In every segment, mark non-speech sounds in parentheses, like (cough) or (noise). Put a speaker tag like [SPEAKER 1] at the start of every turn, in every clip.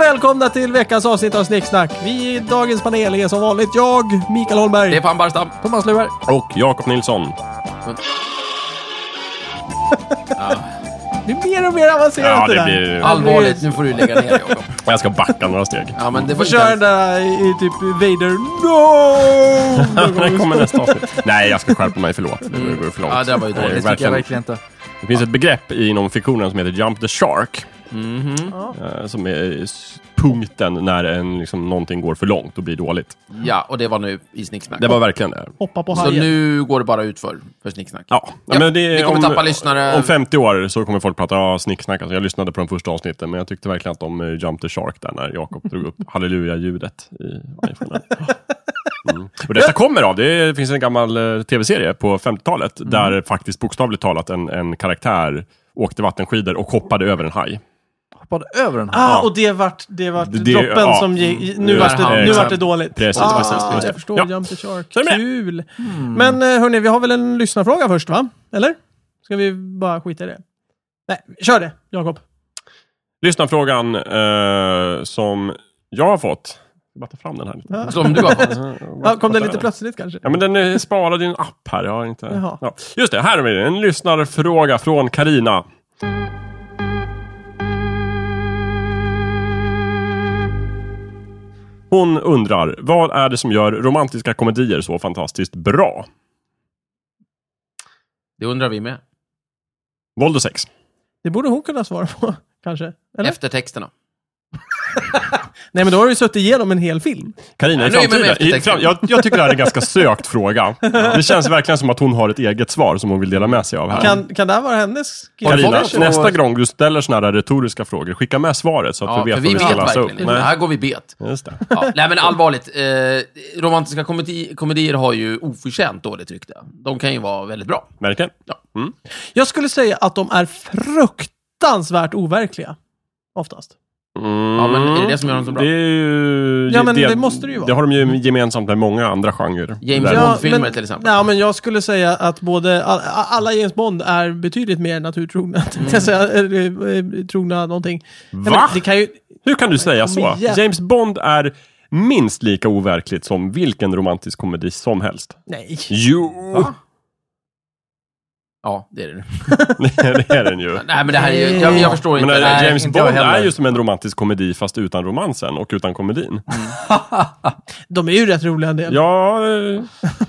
[SPEAKER 1] Välkomna till veckans avsnitt av Snicksnack. Vi i dagens panel är som vanligt jag, Mikael Holmberg.
[SPEAKER 2] Stefan Barstam.
[SPEAKER 1] Thomas Luer.
[SPEAKER 3] Och Jakob Nilsson.
[SPEAKER 1] Det blir mer och mer avancerat
[SPEAKER 3] Ja, det
[SPEAKER 1] där.
[SPEAKER 3] blir...
[SPEAKER 2] Allvarligt, nu får du lägga ner Jakob.
[SPEAKER 3] Jag ska backa några steg.
[SPEAKER 2] Ja, men det var
[SPEAKER 1] Får köra den
[SPEAKER 2] inte ens...
[SPEAKER 1] där i typ Vader. No!
[SPEAKER 3] Det (laughs) kommer nästa avsnitt. Nej, jag ska skärpa mig. Förlåt. Det går för långt.
[SPEAKER 2] Ja, det var ju dåligt.
[SPEAKER 3] är
[SPEAKER 2] Det
[SPEAKER 4] Det tycker jag
[SPEAKER 3] verkligen...
[SPEAKER 4] verkligen inte.
[SPEAKER 3] Det finns ett begrepp inom fiktionen som heter Jump the Shark.
[SPEAKER 4] Mhm.
[SPEAKER 3] Eh, Som är s- punkten när en, liksom, någonting går för långt och blir dåligt.
[SPEAKER 2] Ja, och det var nu i Snicksnack.
[SPEAKER 3] Det var verkligen det.
[SPEAKER 1] Hoppa på
[SPEAKER 2] Så
[SPEAKER 1] hajen.
[SPEAKER 2] nu går det bara ut för, för Snicksnack.
[SPEAKER 3] Ja,
[SPEAKER 2] Ja,
[SPEAKER 3] men det är,
[SPEAKER 2] vi kommer
[SPEAKER 3] om,
[SPEAKER 2] tappa lyssnare.
[SPEAKER 3] Om 50 år så kommer folk prata ja, snicksnack. Alltså, jag lyssnade på de första avsnitten, men jag tyckte verkligen att de eh, Jump the Shark där när Jakob drog
[SPEAKER 2] (laughs)
[SPEAKER 3] upp halleluja-ljudet i iPhone. Mm. Och detta kommer av, det finns en gammal eh, tv-serie på 50-talet
[SPEAKER 2] Mm.
[SPEAKER 3] där faktiskt bokstavligt talat en, en karaktär åkte vattenskidor och hoppade över en haj.
[SPEAKER 4] Hoppade över den här.
[SPEAKER 1] Ah,
[SPEAKER 3] Ja.
[SPEAKER 1] och det vart, det vart
[SPEAKER 3] Det- det-
[SPEAKER 1] droppen
[SPEAKER 3] ja.
[SPEAKER 1] som gick. Nu
[SPEAKER 3] Nu
[SPEAKER 1] vart
[SPEAKER 2] är
[SPEAKER 1] det,
[SPEAKER 2] han-
[SPEAKER 1] nu vart det
[SPEAKER 3] exakt.
[SPEAKER 1] dåligt.
[SPEAKER 3] Precis,
[SPEAKER 1] ah,
[SPEAKER 3] precis, just det.
[SPEAKER 1] Jag förstår.
[SPEAKER 3] Ja. Mm.
[SPEAKER 1] Jump the Shark.
[SPEAKER 3] Så är det.
[SPEAKER 1] Kul! Men eh, hörni, vi har väl en lyssnarfråga först, va? Eller? Ska vi bara skita i det? Nej, kör det, Jakob.
[SPEAKER 3] Lyssnarfrågan eh, som jag har fått. Jag bara ta fram den här lite.
[SPEAKER 2] Som du har fått.
[SPEAKER 3] Mm.
[SPEAKER 1] Ja, kom det lite plötsligt kanske?
[SPEAKER 3] Ja, men den är sparad i en app här. Jag har inte...
[SPEAKER 1] Jaha.
[SPEAKER 3] Ja. Just det, här är det. En lyssnarfråga från Karina. Hon undrar, vad är det som gör romantiska komedier så fantastiskt bra?
[SPEAKER 2] Det undrar vi med.
[SPEAKER 3] Våld och sex.
[SPEAKER 1] Det borde hon kunna svara på, (laughs) kanske? Eller?
[SPEAKER 2] Eftertexterna.
[SPEAKER 1] Nej, men då har du ju suttit igenom en hel film.
[SPEAKER 3] Karina, i
[SPEAKER 2] Ja, nu är man med
[SPEAKER 3] framtiden. I,
[SPEAKER 2] eftertexten.
[SPEAKER 3] fram, jag, jag tycker det här är
[SPEAKER 2] (laughs)
[SPEAKER 3] en ganska sökt fråga. Det känns verkligen som att hon har ett eget svar som hon vill dela med sig av här.
[SPEAKER 1] Kan, kan det här vara hennes?
[SPEAKER 3] Karina,
[SPEAKER 1] Kanske?
[SPEAKER 3] nästa gång du ställer såna här retoriska frågor, skicka med svaret så att
[SPEAKER 2] Ja,
[SPEAKER 3] vi
[SPEAKER 2] för
[SPEAKER 3] vet
[SPEAKER 2] vi
[SPEAKER 3] vad vi
[SPEAKER 2] vet
[SPEAKER 3] ska läsa upp.
[SPEAKER 2] verkligen inte. Här går vi bet.
[SPEAKER 3] Nej, just det.
[SPEAKER 2] Ja, nej men allvarligt, eh, romantiska komedi komedier har ju oförtjänt dåligt rykte. De kan ju vara väldigt bra.
[SPEAKER 3] Verkligen. Mm.
[SPEAKER 1] Jag skulle säga att de är fruktansvärt overkliga. Oftast.
[SPEAKER 2] Ja, men är det det som gör dem så bra?
[SPEAKER 3] Mm, Det är ju,
[SPEAKER 1] Ja, men det måste det ju vara.
[SPEAKER 3] Det har de ju gemensamt med många andra genrer.
[SPEAKER 2] James
[SPEAKER 3] Där-
[SPEAKER 2] Bond. Bondfilmer
[SPEAKER 1] men-
[SPEAKER 2] till exempel.
[SPEAKER 1] Ja, men jag skulle säga att både, all- alla James Bond är betydligt mer naturtrogna. (laughs) Mm. Säga, eller, eh, trogna någonting. Nej,
[SPEAKER 3] Va?
[SPEAKER 1] men Det kan ju,
[SPEAKER 3] Hur kan du säga så?
[SPEAKER 1] Kom igen.
[SPEAKER 3] James Bond är minst lika overkligt som vilken romantisk komedi som helst.
[SPEAKER 1] nej.
[SPEAKER 3] Jo!
[SPEAKER 2] Ja, det är det.
[SPEAKER 3] (laughs) det är den ju.
[SPEAKER 2] Nej, men det här är ju... Jag, jag förstår
[SPEAKER 3] Men
[SPEAKER 2] inte.
[SPEAKER 3] äh,
[SPEAKER 2] Nej,
[SPEAKER 3] James
[SPEAKER 4] inte jag
[SPEAKER 3] Bond
[SPEAKER 4] heller.
[SPEAKER 3] är ju som en romantisk komedi fast utan romansen och utan komedin.
[SPEAKER 1] De är ju rätt roliga en del.
[SPEAKER 3] Ja, eh,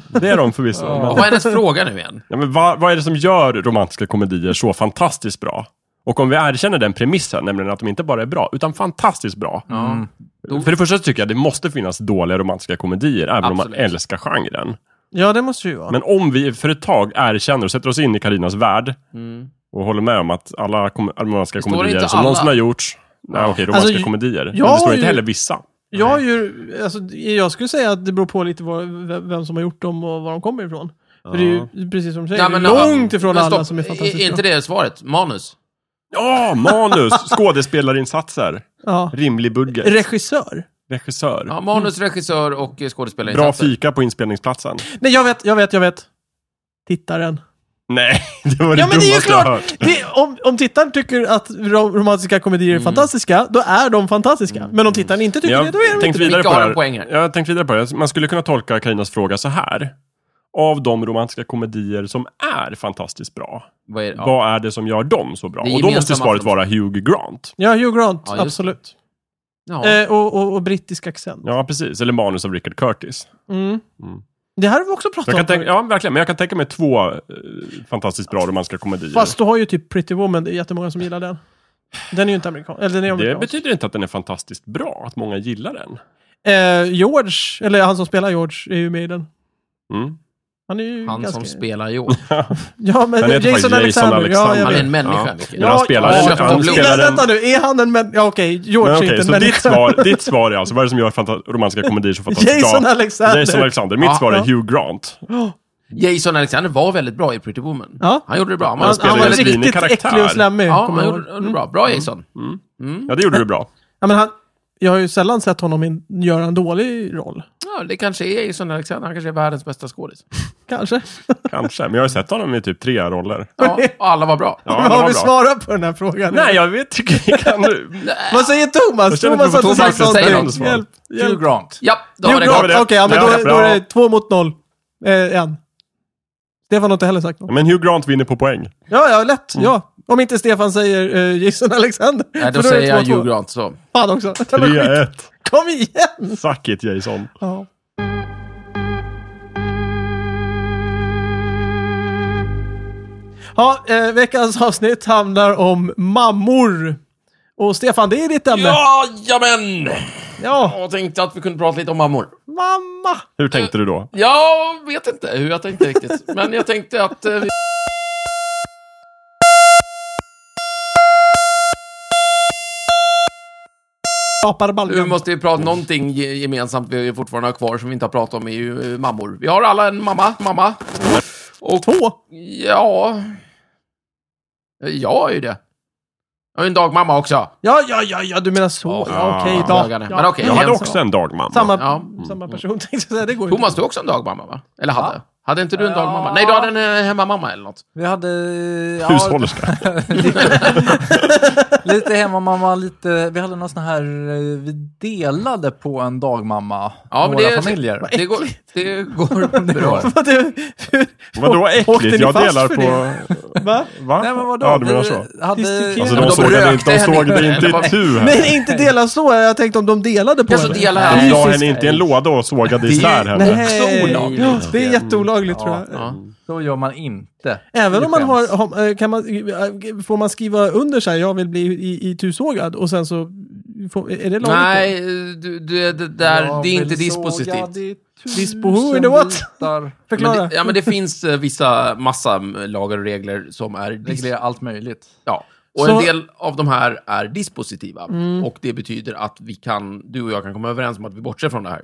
[SPEAKER 3] det är de förvisso.
[SPEAKER 2] Vad
[SPEAKER 3] Men,
[SPEAKER 2] är hennes fråga nu igen?
[SPEAKER 3] ja, men vad, vad är det som gör romantiska komedier så fantastiskt bra? Och om vi erkänner den premissen, nämligen att de inte bara är bra, utan fantastiskt bra.
[SPEAKER 1] Mm.
[SPEAKER 2] Ja.
[SPEAKER 3] För det första så tycker jag det måste finnas dåliga romantiska komedier, även om man
[SPEAKER 2] Absolut.
[SPEAKER 3] älskar genren.
[SPEAKER 1] Ja, det måste det ju vara.
[SPEAKER 3] Men om vi för ett tag erkänner och sätter oss in i Karinas värld och håller med om att alla kom- romantiska
[SPEAKER 2] Mm. står
[SPEAKER 3] komedier
[SPEAKER 2] inte
[SPEAKER 3] som
[SPEAKER 2] alla.
[SPEAKER 3] någonsin har gjorts, nej okej, romantiska
[SPEAKER 1] Alltså, ju- jag
[SPEAKER 3] komedier, men det står
[SPEAKER 1] har
[SPEAKER 3] inte
[SPEAKER 1] ju-
[SPEAKER 3] heller vissa.
[SPEAKER 1] Jag, har ju, alltså, jag skulle säga att det beror på lite vad, vem- vem som har gjort dem och var de kommer ifrån. För det är ju precis som du säger,
[SPEAKER 2] Nej,
[SPEAKER 1] det är långt
[SPEAKER 2] ja,
[SPEAKER 1] ifrån
[SPEAKER 2] men
[SPEAKER 1] alla
[SPEAKER 2] stopp.
[SPEAKER 1] som är fantastiskt
[SPEAKER 2] Är inte
[SPEAKER 1] bra.
[SPEAKER 2] det svaret? Manus?
[SPEAKER 3] Ja, manus, skådespelarinsatser,
[SPEAKER 1] Ja.
[SPEAKER 3] rimlig budget,
[SPEAKER 1] Regissör?
[SPEAKER 3] regissör,
[SPEAKER 2] Ja, manus,
[SPEAKER 1] Mm.
[SPEAKER 2] regissör och eh, skådespelare.
[SPEAKER 3] bra fika på inspelningsplatsen.
[SPEAKER 1] Nej, jag vet, jag vet, jag vet. Tittaren.
[SPEAKER 3] Nej, (laughs) det var det
[SPEAKER 1] Ja, men det är ju
[SPEAKER 3] dummaste jag har
[SPEAKER 1] klart!
[SPEAKER 3] hört.
[SPEAKER 1] Det, om, om tittaren tycker att rom- romantiska komedier är
[SPEAKER 3] Mm.
[SPEAKER 1] fantastiska, då är de fantastiska. Men om tittaren inte tycker
[SPEAKER 3] Men
[SPEAKER 1] det, då är de
[SPEAKER 3] tänkt
[SPEAKER 1] inte
[SPEAKER 3] vidare
[SPEAKER 2] Micke
[SPEAKER 3] på
[SPEAKER 2] har
[SPEAKER 3] det
[SPEAKER 2] en poäng
[SPEAKER 3] här.
[SPEAKER 2] här.
[SPEAKER 3] Jag har tänkt vidare på det. här. Man skulle kunna tolka Karinas fråga så här. Av de romantiska komedier som är fantastiskt bra,
[SPEAKER 2] Vad är det? Ja.
[SPEAKER 3] vad är det som gör dem så bra?
[SPEAKER 2] Det är
[SPEAKER 3] Och då måste
[SPEAKER 2] gemensamma
[SPEAKER 3] svaret
[SPEAKER 2] för dem.
[SPEAKER 3] vara Hugh Grant.
[SPEAKER 1] Ja, Hugh Grant,
[SPEAKER 2] Ja, just det.
[SPEAKER 1] absolut.
[SPEAKER 2] Ja.
[SPEAKER 1] Eh, och, och, och brittisk accent.
[SPEAKER 3] Ja, precis. Eller manus av Richard Curtis.
[SPEAKER 1] Mm. Det här har vi också
[SPEAKER 3] Jag
[SPEAKER 1] pratat om.
[SPEAKER 3] kan tänka, ja, verkligen. Men jag kan tänka mig två eh, fantastiskt bra romantiska komedier.
[SPEAKER 1] Fast du har ju typ Pretty Woman, det är jättemånga som gillar den. Den är ju inte amerikansk. Eller den är
[SPEAKER 3] det
[SPEAKER 1] amerikansk.
[SPEAKER 3] betyder inte att den är fantastiskt bra, att många gillar den.
[SPEAKER 1] Eh, George, eller han som spelar George, är ju med i den.
[SPEAKER 3] Mm.
[SPEAKER 1] Han är ju
[SPEAKER 2] Han
[SPEAKER 1] ganska...
[SPEAKER 2] som spelar i år.
[SPEAKER 1] Ja, men Jason,
[SPEAKER 3] Den heter faktiskt Jason
[SPEAKER 1] Alexander. Ja, jag
[SPEAKER 3] Alexander.
[SPEAKER 2] Han är
[SPEAKER 1] vet.
[SPEAKER 2] en människa,
[SPEAKER 3] Ja.
[SPEAKER 2] Micke.
[SPEAKER 3] Men han spelar,
[SPEAKER 2] Ja,
[SPEAKER 3] en-
[SPEAKER 2] kött och
[SPEAKER 3] han
[SPEAKER 2] blod.
[SPEAKER 3] spelar en...
[SPEAKER 1] Vänta nu, är han en människa? Ja, okej, George
[SPEAKER 3] Men
[SPEAKER 1] är
[SPEAKER 3] okej,
[SPEAKER 1] inte en
[SPEAKER 3] så ditt
[SPEAKER 1] människa. (laughs)
[SPEAKER 3] svar, ditt svar är alltså, vad är det som gör fanta- romantiska komedier så fantastiskt
[SPEAKER 1] Jason
[SPEAKER 3] bra?
[SPEAKER 1] Alexander.
[SPEAKER 3] Jason Alexander. Mitt
[SPEAKER 2] Ja,
[SPEAKER 3] svar är
[SPEAKER 1] ja.
[SPEAKER 3] Hugh Grant.
[SPEAKER 2] Jason Alexander var väldigt bra i Pretty Woman.
[SPEAKER 1] Ja.
[SPEAKER 2] Han gjorde det bra. Han var,
[SPEAKER 1] Han,
[SPEAKER 3] spelar
[SPEAKER 1] han
[SPEAKER 3] ju
[SPEAKER 1] var
[SPEAKER 3] en
[SPEAKER 1] riktigt
[SPEAKER 3] svinig karaktär.
[SPEAKER 1] äcklig och slemmig.
[SPEAKER 2] ja,
[SPEAKER 1] kommer
[SPEAKER 2] han
[SPEAKER 1] jag Mm.
[SPEAKER 2] gjorde
[SPEAKER 1] ihåg. Mm.
[SPEAKER 2] det bra. Bra Jason.
[SPEAKER 3] Ja, det gjorde du bra.
[SPEAKER 1] Ja, men han, jag har ju sällan sett honom in, göra en dålig roll.
[SPEAKER 2] Ja, det kanske är i sån Alexander. Han kanske är världens
[SPEAKER 1] (laughs)
[SPEAKER 2] bästa skådis.
[SPEAKER 1] Kanske. (laughs)
[SPEAKER 3] Kanske, men jag har ju sett honom i typ tre roller.
[SPEAKER 2] Ja, och alla var bra.
[SPEAKER 3] Ja,
[SPEAKER 1] Vad
[SPEAKER 3] han
[SPEAKER 1] har
[SPEAKER 3] var
[SPEAKER 1] vi
[SPEAKER 3] bra.
[SPEAKER 1] svarat på den här frågan?
[SPEAKER 3] Nej, jag vet inte. (laughs) Vi Kan du?
[SPEAKER 1] Vad säger
[SPEAKER 3] Jag
[SPEAKER 1] Thomas?
[SPEAKER 3] känner
[SPEAKER 1] Thomas har
[SPEAKER 3] inte
[SPEAKER 1] inte
[SPEAKER 3] för
[SPEAKER 1] sagt
[SPEAKER 3] Thomas
[SPEAKER 2] att säga
[SPEAKER 1] någonting.
[SPEAKER 3] något svar.
[SPEAKER 1] Hjälp,
[SPEAKER 4] Hugh
[SPEAKER 1] hjälp.
[SPEAKER 4] Grant.
[SPEAKER 2] Ja, då
[SPEAKER 1] Jo,
[SPEAKER 2] var det
[SPEAKER 1] bra.
[SPEAKER 2] klart.
[SPEAKER 3] var det.
[SPEAKER 1] Okej, ja, men
[SPEAKER 3] Ja,
[SPEAKER 1] då, är-
[SPEAKER 3] bra.
[SPEAKER 1] då är det två mot noll. Eh, en. Stefan har inte heller sagt något.
[SPEAKER 3] Men Hugh Grant vinner på poäng.
[SPEAKER 1] Ja, ja, lätt.
[SPEAKER 3] Mm.
[SPEAKER 1] Ja. Om inte Stefan säger eh, Jason Alexander.
[SPEAKER 2] Nej, då
[SPEAKER 1] För är det
[SPEAKER 2] säger jag
[SPEAKER 1] 2-2.
[SPEAKER 2] Hugh Grant så.
[SPEAKER 1] Fan också. (laughs) Det var skit.
[SPEAKER 3] 3-1.
[SPEAKER 1] Kom igen!
[SPEAKER 3] Suck it Jason.
[SPEAKER 1] Ja. Ja, eh, veckans avsnitt handlar om mammor. Och Stefan, det är ditt ämne.
[SPEAKER 2] Jajamän!
[SPEAKER 1] Ja,
[SPEAKER 2] Jag tänkte att vi kunde prata lite om mammor.
[SPEAKER 1] mamma!
[SPEAKER 3] Hur tänkte du då?
[SPEAKER 2] Jag vet inte hur jag tänkte riktigt, men jag tänkte att... eh, vi-
[SPEAKER 1] Apar
[SPEAKER 2] Nu
[SPEAKER 1] baljan.
[SPEAKER 2] måste vi prata någonting ge- gemensamt vi fortfarande har kvar som vi inte har pratat om är ju eh, mammor. Vi har alla en mamma, mamma. Och
[SPEAKER 1] Två.
[SPEAKER 2] ja... Eh, Jag är ju det. Jag är en dagmamma också.
[SPEAKER 1] Ja, ja, ja, ja, du menar så. Ja,
[SPEAKER 3] Ja,
[SPEAKER 1] okej,
[SPEAKER 2] dagarna.
[SPEAKER 1] dag.
[SPEAKER 2] Men okej,
[SPEAKER 3] Jag hade
[SPEAKER 2] Jens
[SPEAKER 3] också en dagmamma.
[SPEAKER 1] Samma,
[SPEAKER 2] Ja.
[SPEAKER 1] samma person (laughs) tänkte jag säga. Det går ju
[SPEAKER 2] Thomas, du är också en dagmamma va? Eller hade? Hade inte du en
[SPEAKER 4] Ja.
[SPEAKER 2] dagmamma? Nej, du hade en eh, hemmamamma eller något.
[SPEAKER 4] Vi hade... Ja,
[SPEAKER 3] Hushållerska.
[SPEAKER 4] (laughs) lite hemmamamma, lite... Vi hade någon sån här... eh, Vi delade på en dagmamma.
[SPEAKER 2] Ja, men
[SPEAKER 4] några
[SPEAKER 2] det,
[SPEAKER 4] familjer.
[SPEAKER 2] Det går, det
[SPEAKER 4] (laughs)
[SPEAKER 2] går bra.
[SPEAKER 1] inte. (laughs) Vad du- hur-
[SPEAKER 3] Vadå
[SPEAKER 1] Åkte ni
[SPEAKER 3] äckligt? Jag
[SPEAKER 1] fast
[SPEAKER 3] delar
[SPEAKER 1] för
[SPEAKER 3] på...
[SPEAKER 1] Va?
[SPEAKER 3] Va?
[SPEAKER 4] Nej, men vadå?
[SPEAKER 3] Ja, du menar
[SPEAKER 4] Vi
[SPEAKER 3] så.
[SPEAKER 4] Hade...
[SPEAKER 1] Alltså,
[SPEAKER 3] Alltså
[SPEAKER 1] Men
[SPEAKER 2] de
[SPEAKER 3] de, såg henne
[SPEAKER 2] rökte
[SPEAKER 3] inte, de
[SPEAKER 2] henne
[SPEAKER 3] såg
[SPEAKER 2] inte,
[SPEAKER 3] det inte
[SPEAKER 2] eller vad?
[SPEAKER 3] i tu här.
[SPEAKER 1] Nej, inte dela så. Jag tänkte om de delade på
[SPEAKER 2] Jag så
[SPEAKER 1] det.
[SPEAKER 2] delar
[SPEAKER 3] De
[SPEAKER 2] här.
[SPEAKER 3] la
[SPEAKER 1] Fysiskt.
[SPEAKER 3] henne inte i en låda och sågade isär henne.
[SPEAKER 2] Också olagligt.
[SPEAKER 1] Ja, det är jätteolagligt tror jag.
[SPEAKER 2] Ja.
[SPEAKER 4] Så gör man inte.
[SPEAKER 1] Även
[SPEAKER 4] Det
[SPEAKER 1] om man
[SPEAKER 4] skäms.
[SPEAKER 1] har, har eh, kan man, eh, får man skriva under så här, jag vill bli i, i tusågad och sen så, får, är det lagligt? då?
[SPEAKER 2] Nej, du, du, det, där,
[SPEAKER 4] Jag
[SPEAKER 2] det är inte
[SPEAKER 4] vill såga
[SPEAKER 2] dispositivt.
[SPEAKER 4] dig
[SPEAKER 1] Dispo-
[SPEAKER 4] tusen
[SPEAKER 1] who, what?
[SPEAKER 4] bitar.
[SPEAKER 2] Men
[SPEAKER 1] Förklara.
[SPEAKER 2] det, ja, men det finns eh, vissa, massa mm, lagar och regler som är... dis-
[SPEAKER 4] Reglera allt möjligt.
[SPEAKER 2] Ja.
[SPEAKER 1] Så-
[SPEAKER 2] Och
[SPEAKER 1] Mm.
[SPEAKER 2] en del av de här är dispositiva. Och det betyder att vi kan, du och jag kan komma överens om att vi bortser från det här.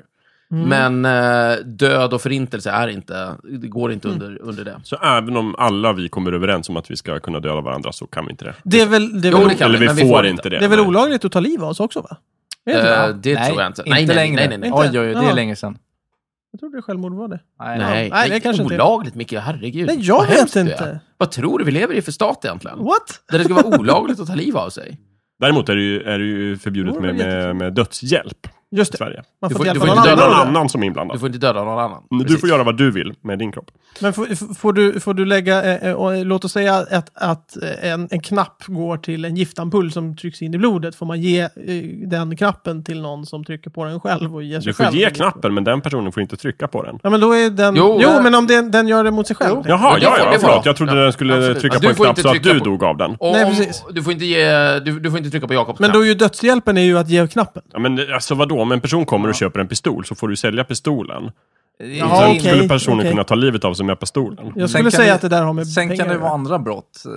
[SPEAKER 1] Mm.
[SPEAKER 2] Men eh, död och förintelse är inte, det går inte
[SPEAKER 1] Mm.
[SPEAKER 2] under, under det.
[SPEAKER 3] Så även om alla vi kommer överens om att vi ska kunna döda varandra så kan vi inte det.
[SPEAKER 1] det är väl, det är
[SPEAKER 2] Jo,
[SPEAKER 1] väl,
[SPEAKER 2] det kan
[SPEAKER 3] Eller
[SPEAKER 2] vi,
[SPEAKER 3] vi,
[SPEAKER 2] men
[SPEAKER 3] får inte det.
[SPEAKER 1] det är väl
[SPEAKER 3] Nej.
[SPEAKER 1] olagligt att ta liv av oss också va? Är det inte
[SPEAKER 2] Eh,
[SPEAKER 1] det?
[SPEAKER 2] det
[SPEAKER 4] nej,
[SPEAKER 2] tror jag inte.
[SPEAKER 4] Inte längre.
[SPEAKER 2] Nej, nej, nej.
[SPEAKER 1] Inte?
[SPEAKER 4] Oj, oj, oj, det
[SPEAKER 1] Ja.
[SPEAKER 4] är länge sedan.
[SPEAKER 1] Jag trodde självmord var det.
[SPEAKER 4] Nej.
[SPEAKER 2] Nej,
[SPEAKER 1] Nej, det
[SPEAKER 2] det
[SPEAKER 1] kanske
[SPEAKER 2] är
[SPEAKER 1] inte är.
[SPEAKER 2] olagligt, Micke. Herregud.
[SPEAKER 1] Nej, jag
[SPEAKER 2] Vad
[SPEAKER 1] vet
[SPEAKER 2] hemskt det är.
[SPEAKER 1] inte.
[SPEAKER 2] Vad tror du vi lever i för stat egentligen?
[SPEAKER 1] What?
[SPEAKER 2] Där det ska vara olagligt att ta liv av sig?
[SPEAKER 3] Däremot är det ju, är det ju
[SPEAKER 1] Jo,
[SPEAKER 3] förbjudet
[SPEAKER 1] det
[SPEAKER 3] med,
[SPEAKER 1] var
[SPEAKER 3] med, med dödshjälp
[SPEAKER 1] Just
[SPEAKER 3] i
[SPEAKER 1] det,
[SPEAKER 3] Sverige.
[SPEAKER 1] man
[SPEAKER 2] Du
[SPEAKER 1] får,
[SPEAKER 2] får-
[SPEAKER 1] inte hjälpa
[SPEAKER 2] du får
[SPEAKER 1] någon
[SPEAKER 2] inte
[SPEAKER 3] Det är
[SPEAKER 1] annan.
[SPEAKER 2] döda
[SPEAKER 3] någon
[SPEAKER 2] någon.
[SPEAKER 3] annan som är
[SPEAKER 2] Du
[SPEAKER 3] inblandad.
[SPEAKER 2] får inte döda någon annan.
[SPEAKER 3] Du får göra vad du vill med din kropp.
[SPEAKER 1] Men får, får, du, får du lägga, eh, eh, och, eh, låt oss säga att, att eh, en, en knapp går till en giftampull som trycks in i blodet. Får man ge eh, den knappen till någon som trycker på den själv och ger sig
[SPEAKER 3] Du får
[SPEAKER 1] själv?
[SPEAKER 3] ge knappen, men den personen får inte trycka på den.
[SPEAKER 1] Ja, men då är den... Jo,
[SPEAKER 2] Jo, eh,
[SPEAKER 1] men om den, den gör det mot sig själv.
[SPEAKER 3] Jaha,
[SPEAKER 2] Det
[SPEAKER 3] ja,
[SPEAKER 2] får-
[SPEAKER 3] ja,
[SPEAKER 2] det får
[SPEAKER 3] förlåt.
[SPEAKER 2] de.
[SPEAKER 3] Jag trodde
[SPEAKER 2] Ja,
[SPEAKER 3] den skulle
[SPEAKER 2] absolut.
[SPEAKER 3] trycka
[SPEAKER 2] Ja,
[SPEAKER 3] på
[SPEAKER 2] du
[SPEAKER 3] en
[SPEAKER 2] får
[SPEAKER 3] knapp
[SPEAKER 2] inte
[SPEAKER 3] så att
[SPEAKER 2] trycka
[SPEAKER 3] du
[SPEAKER 2] på-
[SPEAKER 3] dog av den.
[SPEAKER 2] Och
[SPEAKER 1] Nej,
[SPEAKER 2] om,
[SPEAKER 1] precis.
[SPEAKER 2] du, får inte ge, du, du får inte trycka på Jakobs
[SPEAKER 1] Men
[SPEAKER 2] knapp.
[SPEAKER 1] då är ju dödshjälpen är ju att ge knappen.
[SPEAKER 3] Ja, men alltså vadå, om en person kommer och köper en pistol så får du sälja pistolen.
[SPEAKER 1] Ja,
[SPEAKER 3] Sen
[SPEAKER 1] okej,
[SPEAKER 3] skulle personen
[SPEAKER 1] okej.
[SPEAKER 3] kunna ta livet av sig med pistolen.
[SPEAKER 1] Jag
[SPEAKER 4] Sen
[SPEAKER 1] skulle
[SPEAKER 4] kan
[SPEAKER 1] säga
[SPEAKER 4] det-
[SPEAKER 1] att det där har med
[SPEAKER 4] Sen
[SPEAKER 1] pengar
[SPEAKER 4] kan det
[SPEAKER 1] att
[SPEAKER 4] vara
[SPEAKER 1] göra.
[SPEAKER 4] andra brott. Eh,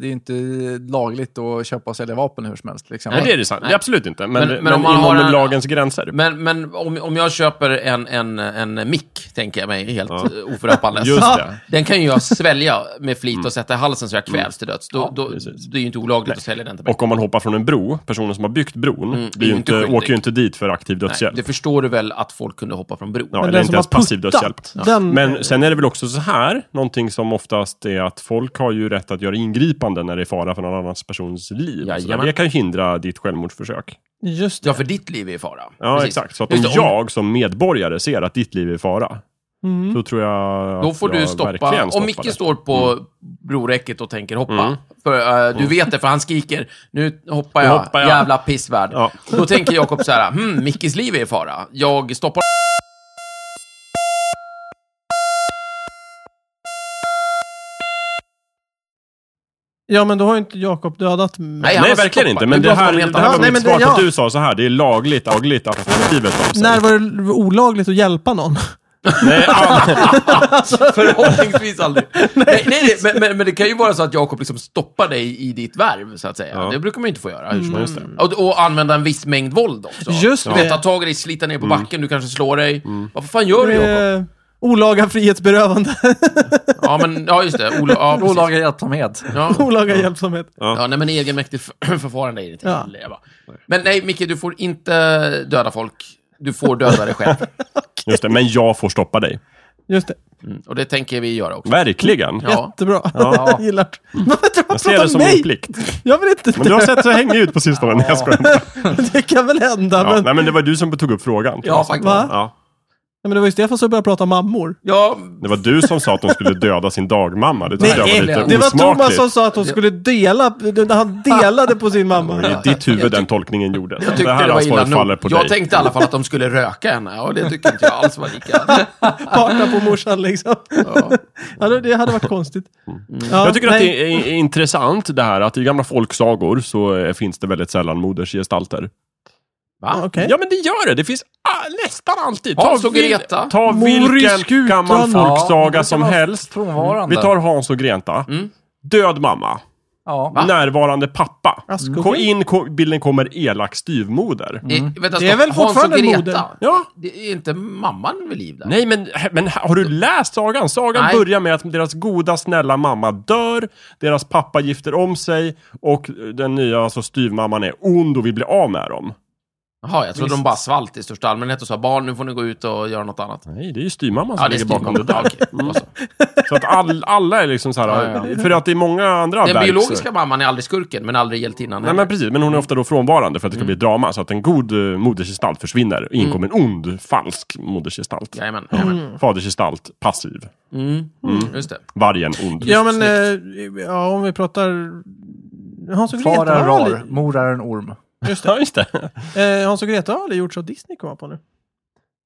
[SPEAKER 4] Det är ju inte lagligt att köpa och sälja vapen hur som helst. Liksom.
[SPEAKER 3] Nej, det är det sant. Det är absolut inte. Men,
[SPEAKER 2] Men-
[SPEAKER 3] men,
[SPEAKER 2] men om man
[SPEAKER 3] inom
[SPEAKER 2] har en-
[SPEAKER 3] lagens gränser.
[SPEAKER 2] Men, men om, om jag köper en, en, en mick, tänker jag mig, helt (laughs)
[SPEAKER 3] Ja.
[SPEAKER 2] ja. oförappandes.
[SPEAKER 3] Just
[SPEAKER 1] Ja.
[SPEAKER 3] det. Mm.
[SPEAKER 2] Den kan ju jag svälja med flit och sätta i halsen så jag kvävs till döds. Då, då,
[SPEAKER 3] precis.
[SPEAKER 2] det är ju inte olagligt att sälja den till mig.
[SPEAKER 3] Och om man hoppar från en bro, personen som har byggt bron,
[SPEAKER 2] Mm, är
[SPEAKER 3] blir ju
[SPEAKER 2] ju inte
[SPEAKER 3] inte,
[SPEAKER 2] skyldig.
[SPEAKER 3] åker ju inte dit för aktiv
[SPEAKER 2] Nej,
[SPEAKER 3] dödshjälp.
[SPEAKER 2] det förstår du väl att folk kunde hoppa från bron?
[SPEAKER 3] Ja,
[SPEAKER 1] Men
[SPEAKER 3] eller
[SPEAKER 1] den
[SPEAKER 3] inte
[SPEAKER 1] som
[SPEAKER 3] ens
[SPEAKER 1] har
[SPEAKER 3] passiv
[SPEAKER 1] puttat,
[SPEAKER 3] dödshjälp.
[SPEAKER 1] Den,
[SPEAKER 3] Men sen är det väl också så här, någonting som oftast är att folk har ju rätt att göra ingripanden när det är fara för någon annans persons liv. Så
[SPEAKER 2] Jajamän.
[SPEAKER 3] det kan ju hindra ditt självmordsförsök.
[SPEAKER 1] Just det.
[SPEAKER 2] Ja, för ditt liv är i fara.
[SPEAKER 3] Ja,
[SPEAKER 2] Precis.
[SPEAKER 3] exakt. Så att om
[SPEAKER 2] Just det, om-
[SPEAKER 3] jag som medborgare ser att ditt liv är i fara,
[SPEAKER 1] Mm.
[SPEAKER 3] då tror jag att
[SPEAKER 2] Då får du
[SPEAKER 3] jag
[SPEAKER 2] stoppa.
[SPEAKER 3] verkligen
[SPEAKER 2] Om
[SPEAKER 3] stoppar
[SPEAKER 2] Micke
[SPEAKER 3] det. Mm.
[SPEAKER 2] står på broräcket och tänker hoppa. För, eh, du vet det, för han skriker nu hoppar jag,
[SPEAKER 3] Nu hoppar jag.
[SPEAKER 2] jävla pissvärd.
[SPEAKER 3] Ja.
[SPEAKER 2] Och Då tänker Jakob så här, hmm, Mickes liv är i fara. Jag stoppar
[SPEAKER 1] Ja, men då har ju inte Jakob dödat mig.
[SPEAKER 2] Nej, han
[SPEAKER 3] Nej,
[SPEAKER 2] har
[SPEAKER 3] verkligen
[SPEAKER 2] stoppat.
[SPEAKER 3] inte.
[SPEAKER 2] Nu
[SPEAKER 3] Men det
[SPEAKER 2] pratar
[SPEAKER 3] här,
[SPEAKER 2] vi om
[SPEAKER 3] det
[SPEAKER 2] helt
[SPEAKER 3] här
[SPEAKER 2] annat.
[SPEAKER 3] var
[SPEAKER 1] Nej,
[SPEAKER 3] mitt
[SPEAKER 1] men det-
[SPEAKER 3] svar på
[SPEAKER 1] ja.
[SPEAKER 3] att du sa så här. Det är lagligt, lagligt att alternativet av sig.
[SPEAKER 1] När var det olagligt att hjälpa någon?
[SPEAKER 3] Nej, ja,
[SPEAKER 2] Förhoppningsvis aldrig. nej, nej, nej, men, men, men det kan ju vara så att Jakob liksom stoppar dig i ditt värv, så att säga.
[SPEAKER 3] Ja.
[SPEAKER 2] Det brukar man ju inte få göra. Hur som helst.
[SPEAKER 3] just det.
[SPEAKER 2] Och, och använda en viss mängd våld också.
[SPEAKER 1] Just
[SPEAKER 2] du vet,
[SPEAKER 1] det. (laughs)
[SPEAKER 2] ta tag i dig, slita ner på backen, du kanske slår dig. Vad fan gör du, Jakob?
[SPEAKER 1] Eh, Olaga
[SPEAKER 2] (laughs)
[SPEAKER 1] frihetsberövande.
[SPEAKER 2] Ja, men ja, just det. Ola, ja, precis.
[SPEAKER 4] Olaga hjälpsamhet.
[SPEAKER 2] Ja.
[SPEAKER 1] Olaga hjälpsamhet.
[SPEAKER 2] Ja, nej, men egenmäktigt för- förfarande är det inte
[SPEAKER 1] Ja.
[SPEAKER 2] heller. Jag bara. Men nej, Micke, du får inte döda folk. Du får döda dig själv.
[SPEAKER 3] Just det, men jag får stoppa dig.
[SPEAKER 1] Just det.
[SPEAKER 2] Mm. Och det tänker vi göra också.
[SPEAKER 3] Verkligen.
[SPEAKER 2] Ja. Mm.
[SPEAKER 1] Jättebra.
[SPEAKER 3] Ja.
[SPEAKER 1] (laughs) Jag gillar det. Varför tror man
[SPEAKER 3] Jag ser det
[SPEAKER 1] pratar
[SPEAKER 3] som
[SPEAKER 1] om mig?
[SPEAKER 3] min plikt.
[SPEAKER 1] Jag vill inte
[SPEAKER 3] Men du har sett så hängig ut på sistone. Nej, jag skojar inte.
[SPEAKER 1] (laughs) Det kan väl hända.
[SPEAKER 3] Ja,
[SPEAKER 1] men,
[SPEAKER 3] nej, men det var du som tog upp frågan.
[SPEAKER 4] Ja, faktiskt.
[SPEAKER 1] Va?
[SPEAKER 3] Ja.
[SPEAKER 1] Nej, men det var ju Stefan som började prata om mammor.
[SPEAKER 2] Ja,
[SPEAKER 3] Det var du som sa att de skulle döda sin dagmamma. Det tyckte jag var
[SPEAKER 1] Nej,
[SPEAKER 3] lite
[SPEAKER 1] det var Thomas
[SPEAKER 3] osmakligt.
[SPEAKER 1] som sa att hon skulle dela, han delade på sin mamma.
[SPEAKER 3] I ditt huvud den tolkningen gjordes.
[SPEAKER 2] jag
[SPEAKER 3] det
[SPEAKER 2] tyckte
[SPEAKER 3] här
[SPEAKER 2] det, var illa
[SPEAKER 3] ansvaret faller
[SPEAKER 2] nog.
[SPEAKER 3] på
[SPEAKER 2] Jag
[SPEAKER 3] dig.
[SPEAKER 2] tänkte i alla fall att de skulle röka henne och det tyckte inte jag alls var
[SPEAKER 3] (laughs)
[SPEAKER 2] lika.
[SPEAKER 1] Parta på morsan liksom.
[SPEAKER 2] Ja.
[SPEAKER 1] (laughs) Ja, det- det hade varit konstigt. Ja,
[SPEAKER 3] Mm. Jag tycker att
[SPEAKER 1] nej.
[SPEAKER 3] det är är intressant det här att i gamla folksagor så eh, finns det väldigt sällan modersgestalter.
[SPEAKER 1] Ja,
[SPEAKER 2] Va?
[SPEAKER 1] Okej.
[SPEAKER 3] Ja men det gör det, det finns ah, nästan alltid.
[SPEAKER 2] Hans
[SPEAKER 3] Ta
[SPEAKER 2] och
[SPEAKER 3] vil-
[SPEAKER 2] Greta.
[SPEAKER 3] Ta vilken
[SPEAKER 1] Moriskutan.
[SPEAKER 3] gammal
[SPEAKER 4] Ja, det
[SPEAKER 3] folksaga
[SPEAKER 4] kan
[SPEAKER 3] som
[SPEAKER 4] vara
[SPEAKER 3] helst.
[SPEAKER 4] Frånvarande.
[SPEAKER 3] Vi tar Hans och Greta.
[SPEAKER 2] Mm.
[SPEAKER 3] Död mamma.
[SPEAKER 4] Ja.
[SPEAKER 2] Va?
[SPEAKER 3] Närvarande pappa.
[SPEAKER 1] Askungen.
[SPEAKER 3] Ko in, ko bilden kommer elak styvmoder.
[SPEAKER 2] Eh, vänta,
[SPEAKER 1] Det är
[SPEAKER 2] stopp.
[SPEAKER 1] väl
[SPEAKER 2] Hans och
[SPEAKER 1] fortfarande
[SPEAKER 2] Greta.
[SPEAKER 1] moder.
[SPEAKER 3] Ja.
[SPEAKER 2] Det är inte mamman vid liv där?
[SPEAKER 3] Nej, men, men har du läst sagan? Sagan
[SPEAKER 2] Nej.
[SPEAKER 3] börjar med att deras goda, snälla mamma dör, deras pappa gifter om sig och den nya alltså styvmamman är ond och vill bli av med dem.
[SPEAKER 2] Jaha, jag trodde de bara svalt i största allmänhet och sa barn, nu får ni gå ut och göra något annat.
[SPEAKER 3] Nej, det är ju styvmamman som
[SPEAKER 2] Ja, det är
[SPEAKER 3] ligger bakom det
[SPEAKER 2] styvmamman.
[SPEAKER 3] där.
[SPEAKER 2] Ja, okej.
[SPEAKER 3] Mm. Så att all, alla är liksom så här,
[SPEAKER 2] Ja,
[SPEAKER 3] för att det är många andra
[SPEAKER 2] Den
[SPEAKER 3] verk-
[SPEAKER 2] biologiska mamman är aldrig skurken, men aldrig hjältinnan
[SPEAKER 3] Nej
[SPEAKER 2] heller.
[SPEAKER 3] men precis, men hon är ofta då frånvarande för att det ska bli drama. Så att en god eh, modersgestalt försvinner och inkommer en ond, falsk modersgestalt.
[SPEAKER 2] Jajamän, jajamän.
[SPEAKER 3] Fadersgestalt, passiv.
[SPEAKER 2] Mm. Just det.
[SPEAKER 3] Vargen, ond.
[SPEAKER 1] Ja, men eh, ja, om vi pratar... Hans och Greta
[SPEAKER 4] Far är
[SPEAKER 1] har
[SPEAKER 4] rar,
[SPEAKER 1] aldrig,
[SPEAKER 4] mor är en orm.
[SPEAKER 1] just
[SPEAKER 3] (laughs) Ja, just det.
[SPEAKER 1] det. Eh, Hans och Greta har aldrig gjorts av Disney, kommer jag på nu.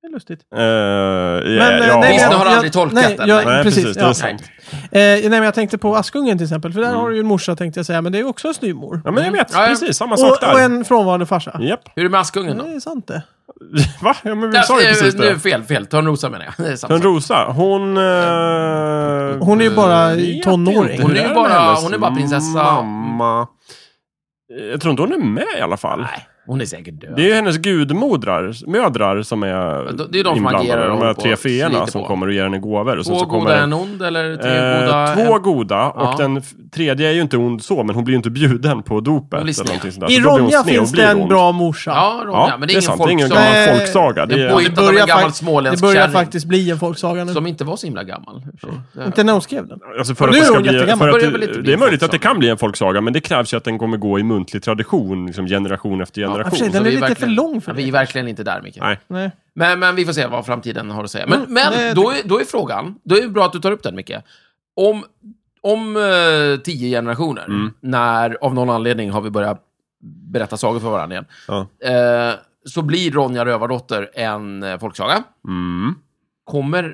[SPEAKER 1] Det är lustigt.
[SPEAKER 3] Eh, ja,
[SPEAKER 1] eh,
[SPEAKER 3] ja.
[SPEAKER 1] nej,
[SPEAKER 2] Disney
[SPEAKER 1] jag-
[SPEAKER 2] har
[SPEAKER 1] jag-
[SPEAKER 2] aldrig tolkat
[SPEAKER 1] nej,
[SPEAKER 2] den,
[SPEAKER 1] jag-
[SPEAKER 2] nej.
[SPEAKER 3] Nej, precis.
[SPEAKER 1] precis,
[SPEAKER 3] det Mm. är
[SPEAKER 1] ja.
[SPEAKER 3] sant.
[SPEAKER 1] Eh, nej, men jag tänkte på Askungen till exempel, för där har du ju en morsa tänkte jag säga, men det är också en styvmor.
[SPEAKER 3] Ja, men jag vet.
[SPEAKER 2] Ja, ja.
[SPEAKER 3] Precis, samma sak
[SPEAKER 1] Och,
[SPEAKER 3] där.
[SPEAKER 1] och en frånvarande farsa.
[SPEAKER 3] Japp. (laughs)
[SPEAKER 2] Hur är det med Askungen då?
[SPEAKER 1] Det är sant det.
[SPEAKER 3] Va? Ja, men
[SPEAKER 2] Där,
[SPEAKER 3] vi Mm, sa ju
[SPEAKER 2] eh,
[SPEAKER 3] precis
[SPEAKER 2] nu,
[SPEAKER 3] det.
[SPEAKER 2] fel, fel. Törnrosa menar jag. (laughs) Det är samma sak.
[SPEAKER 3] Törnrosa, hon... Eh,
[SPEAKER 1] Hon är ju bara
[SPEAKER 3] vet inte
[SPEAKER 1] tonåring.
[SPEAKER 3] hur
[SPEAKER 2] Hon är ju
[SPEAKER 3] det med
[SPEAKER 2] bara-
[SPEAKER 3] hennes
[SPEAKER 2] hon är bara prinsessa.
[SPEAKER 3] Mamma. Jag tror inte hon är med i alla fall.
[SPEAKER 2] Nej, hon är säkert död.
[SPEAKER 3] Det är ju hennes gudmodrar, mödrar som är
[SPEAKER 2] det är de som
[SPEAKER 3] inblandade.
[SPEAKER 2] agerar och
[SPEAKER 3] de här
[SPEAKER 2] håller på
[SPEAKER 3] tre
[SPEAKER 2] och sliter
[SPEAKER 3] feerna som
[SPEAKER 2] på.
[SPEAKER 3] kommer och ger henne gåvor. Och sen
[SPEAKER 2] Två
[SPEAKER 3] så
[SPEAKER 2] goda,
[SPEAKER 3] kommer,
[SPEAKER 2] en ond eller tre
[SPEAKER 3] eh,
[SPEAKER 2] goda?
[SPEAKER 3] två
[SPEAKER 2] en...
[SPEAKER 3] goda och
[SPEAKER 2] Ja.
[SPEAKER 3] den f- tredje är ju inte ond så, men hon blir ju inte bjuden på dopet.
[SPEAKER 2] Hon blir
[SPEAKER 3] Eller
[SPEAKER 2] sned.
[SPEAKER 3] någonting sånt där.
[SPEAKER 1] I
[SPEAKER 3] Så Alltså, då blir hon
[SPEAKER 1] Ronja
[SPEAKER 3] sned och
[SPEAKER 1] finns
[SPEAKER 3] blir
[SPEAKER 1] det en
[SPEAKER 3] ond.
[SPEAKER 1] bra morsa.
[SPEAKER 2] Ja, Ronja, men det är ingen
[SPEAKER 3] sant. Det är ingen
[SPEAKER 2] folksaga.
[SPEAKER 3] gammal
[SPEAKER 1] Nej.
[SPEAKER 3] folksaga.
[SPEAKER 2] Det är
[SPEAKER 3] Det
[SPEAKER 2] en
[SPEAKER 3] är,
[SPEAKER 1] Det
[SPEAKER 2] påhittad av en
[SPEAKER 1] börjar,
[SPEAKER 2] gammal
[SPEAKER 1] fakt- det
[SPEAKER 2] småländsk
[SPEAKER 1] börjar
[SPEAKER 2] kärring.
[SPEAKER 1] faktiskt bli en folksaga nu.
[SPEAKER 2] Som inte var så himla gammal. i och för sig. Det-
[SPEAKER 1] Inte när hon skrev den.
[SPEAKER 3] alltså för
[SPEAKER 1] Och
[SPEAKER 3] att
[SPEAKER 1] nu
[SPEAKER 3] det,
[SPEAKER 1] är
[SPEAKER 3] ska
[SPEAKER 1] hon
[SPEAKER 3] bli,
[SPEAKER 1] jättegammal.
[SPEAKER 3] för att
[SPEAKER 2] Börjar väl inte
[SPEAKER 3] det,
[SPEAKER 2] bli
[SPEAKER 3] det är
[SPEAKER 2] en
[SPEAKER 3] möjligt att det
[SPEAKER 2] folksaga.
[SPEAKER 3] kan bli en folksaga, men det krävs ju att den kommer gå i muntlig tradition, liksom generation efter
[SPEAKER 1] i och för
[SPEAKER 3] generation.
[SPEAKER 1] sig,
[SPEAKER 2] Så
[SPEAKER 1] den
[SPEAKER 2] vi
[SPEAKER 1] är lite för
[SPEAKER 2] verkligen-
[SPEAKER 1] lång för
[SPEAKER 2] ja, Vi är
[SPEAKER 1] det.
[SPEAKER 2] verkligen inte där, Micke.
[SPEAKER 3] Nej.
[SPEAKER 1] Nej.
[SPEAKER 2] Men, men vi får se vad framtiden har att säga. Men,
[SPEAKER 1] Mm, det
[SPEAKER 2] men då, är, då är frågan, då är det bra att du tar upp den Micke. Om, om eh, tio generationer,
[SPEAKER 3] Mm.
[SPEAKER 2] när av någon anledning har vi börjat berätta sagor för varandra igen,
[SPEAKER 3] Ja.
[SPEAKER 2] eh, så blir Ronja Rövardotter en eh, folksaga.
[SPEAKER 3] Mm.
[SPEAKER 2] Kommer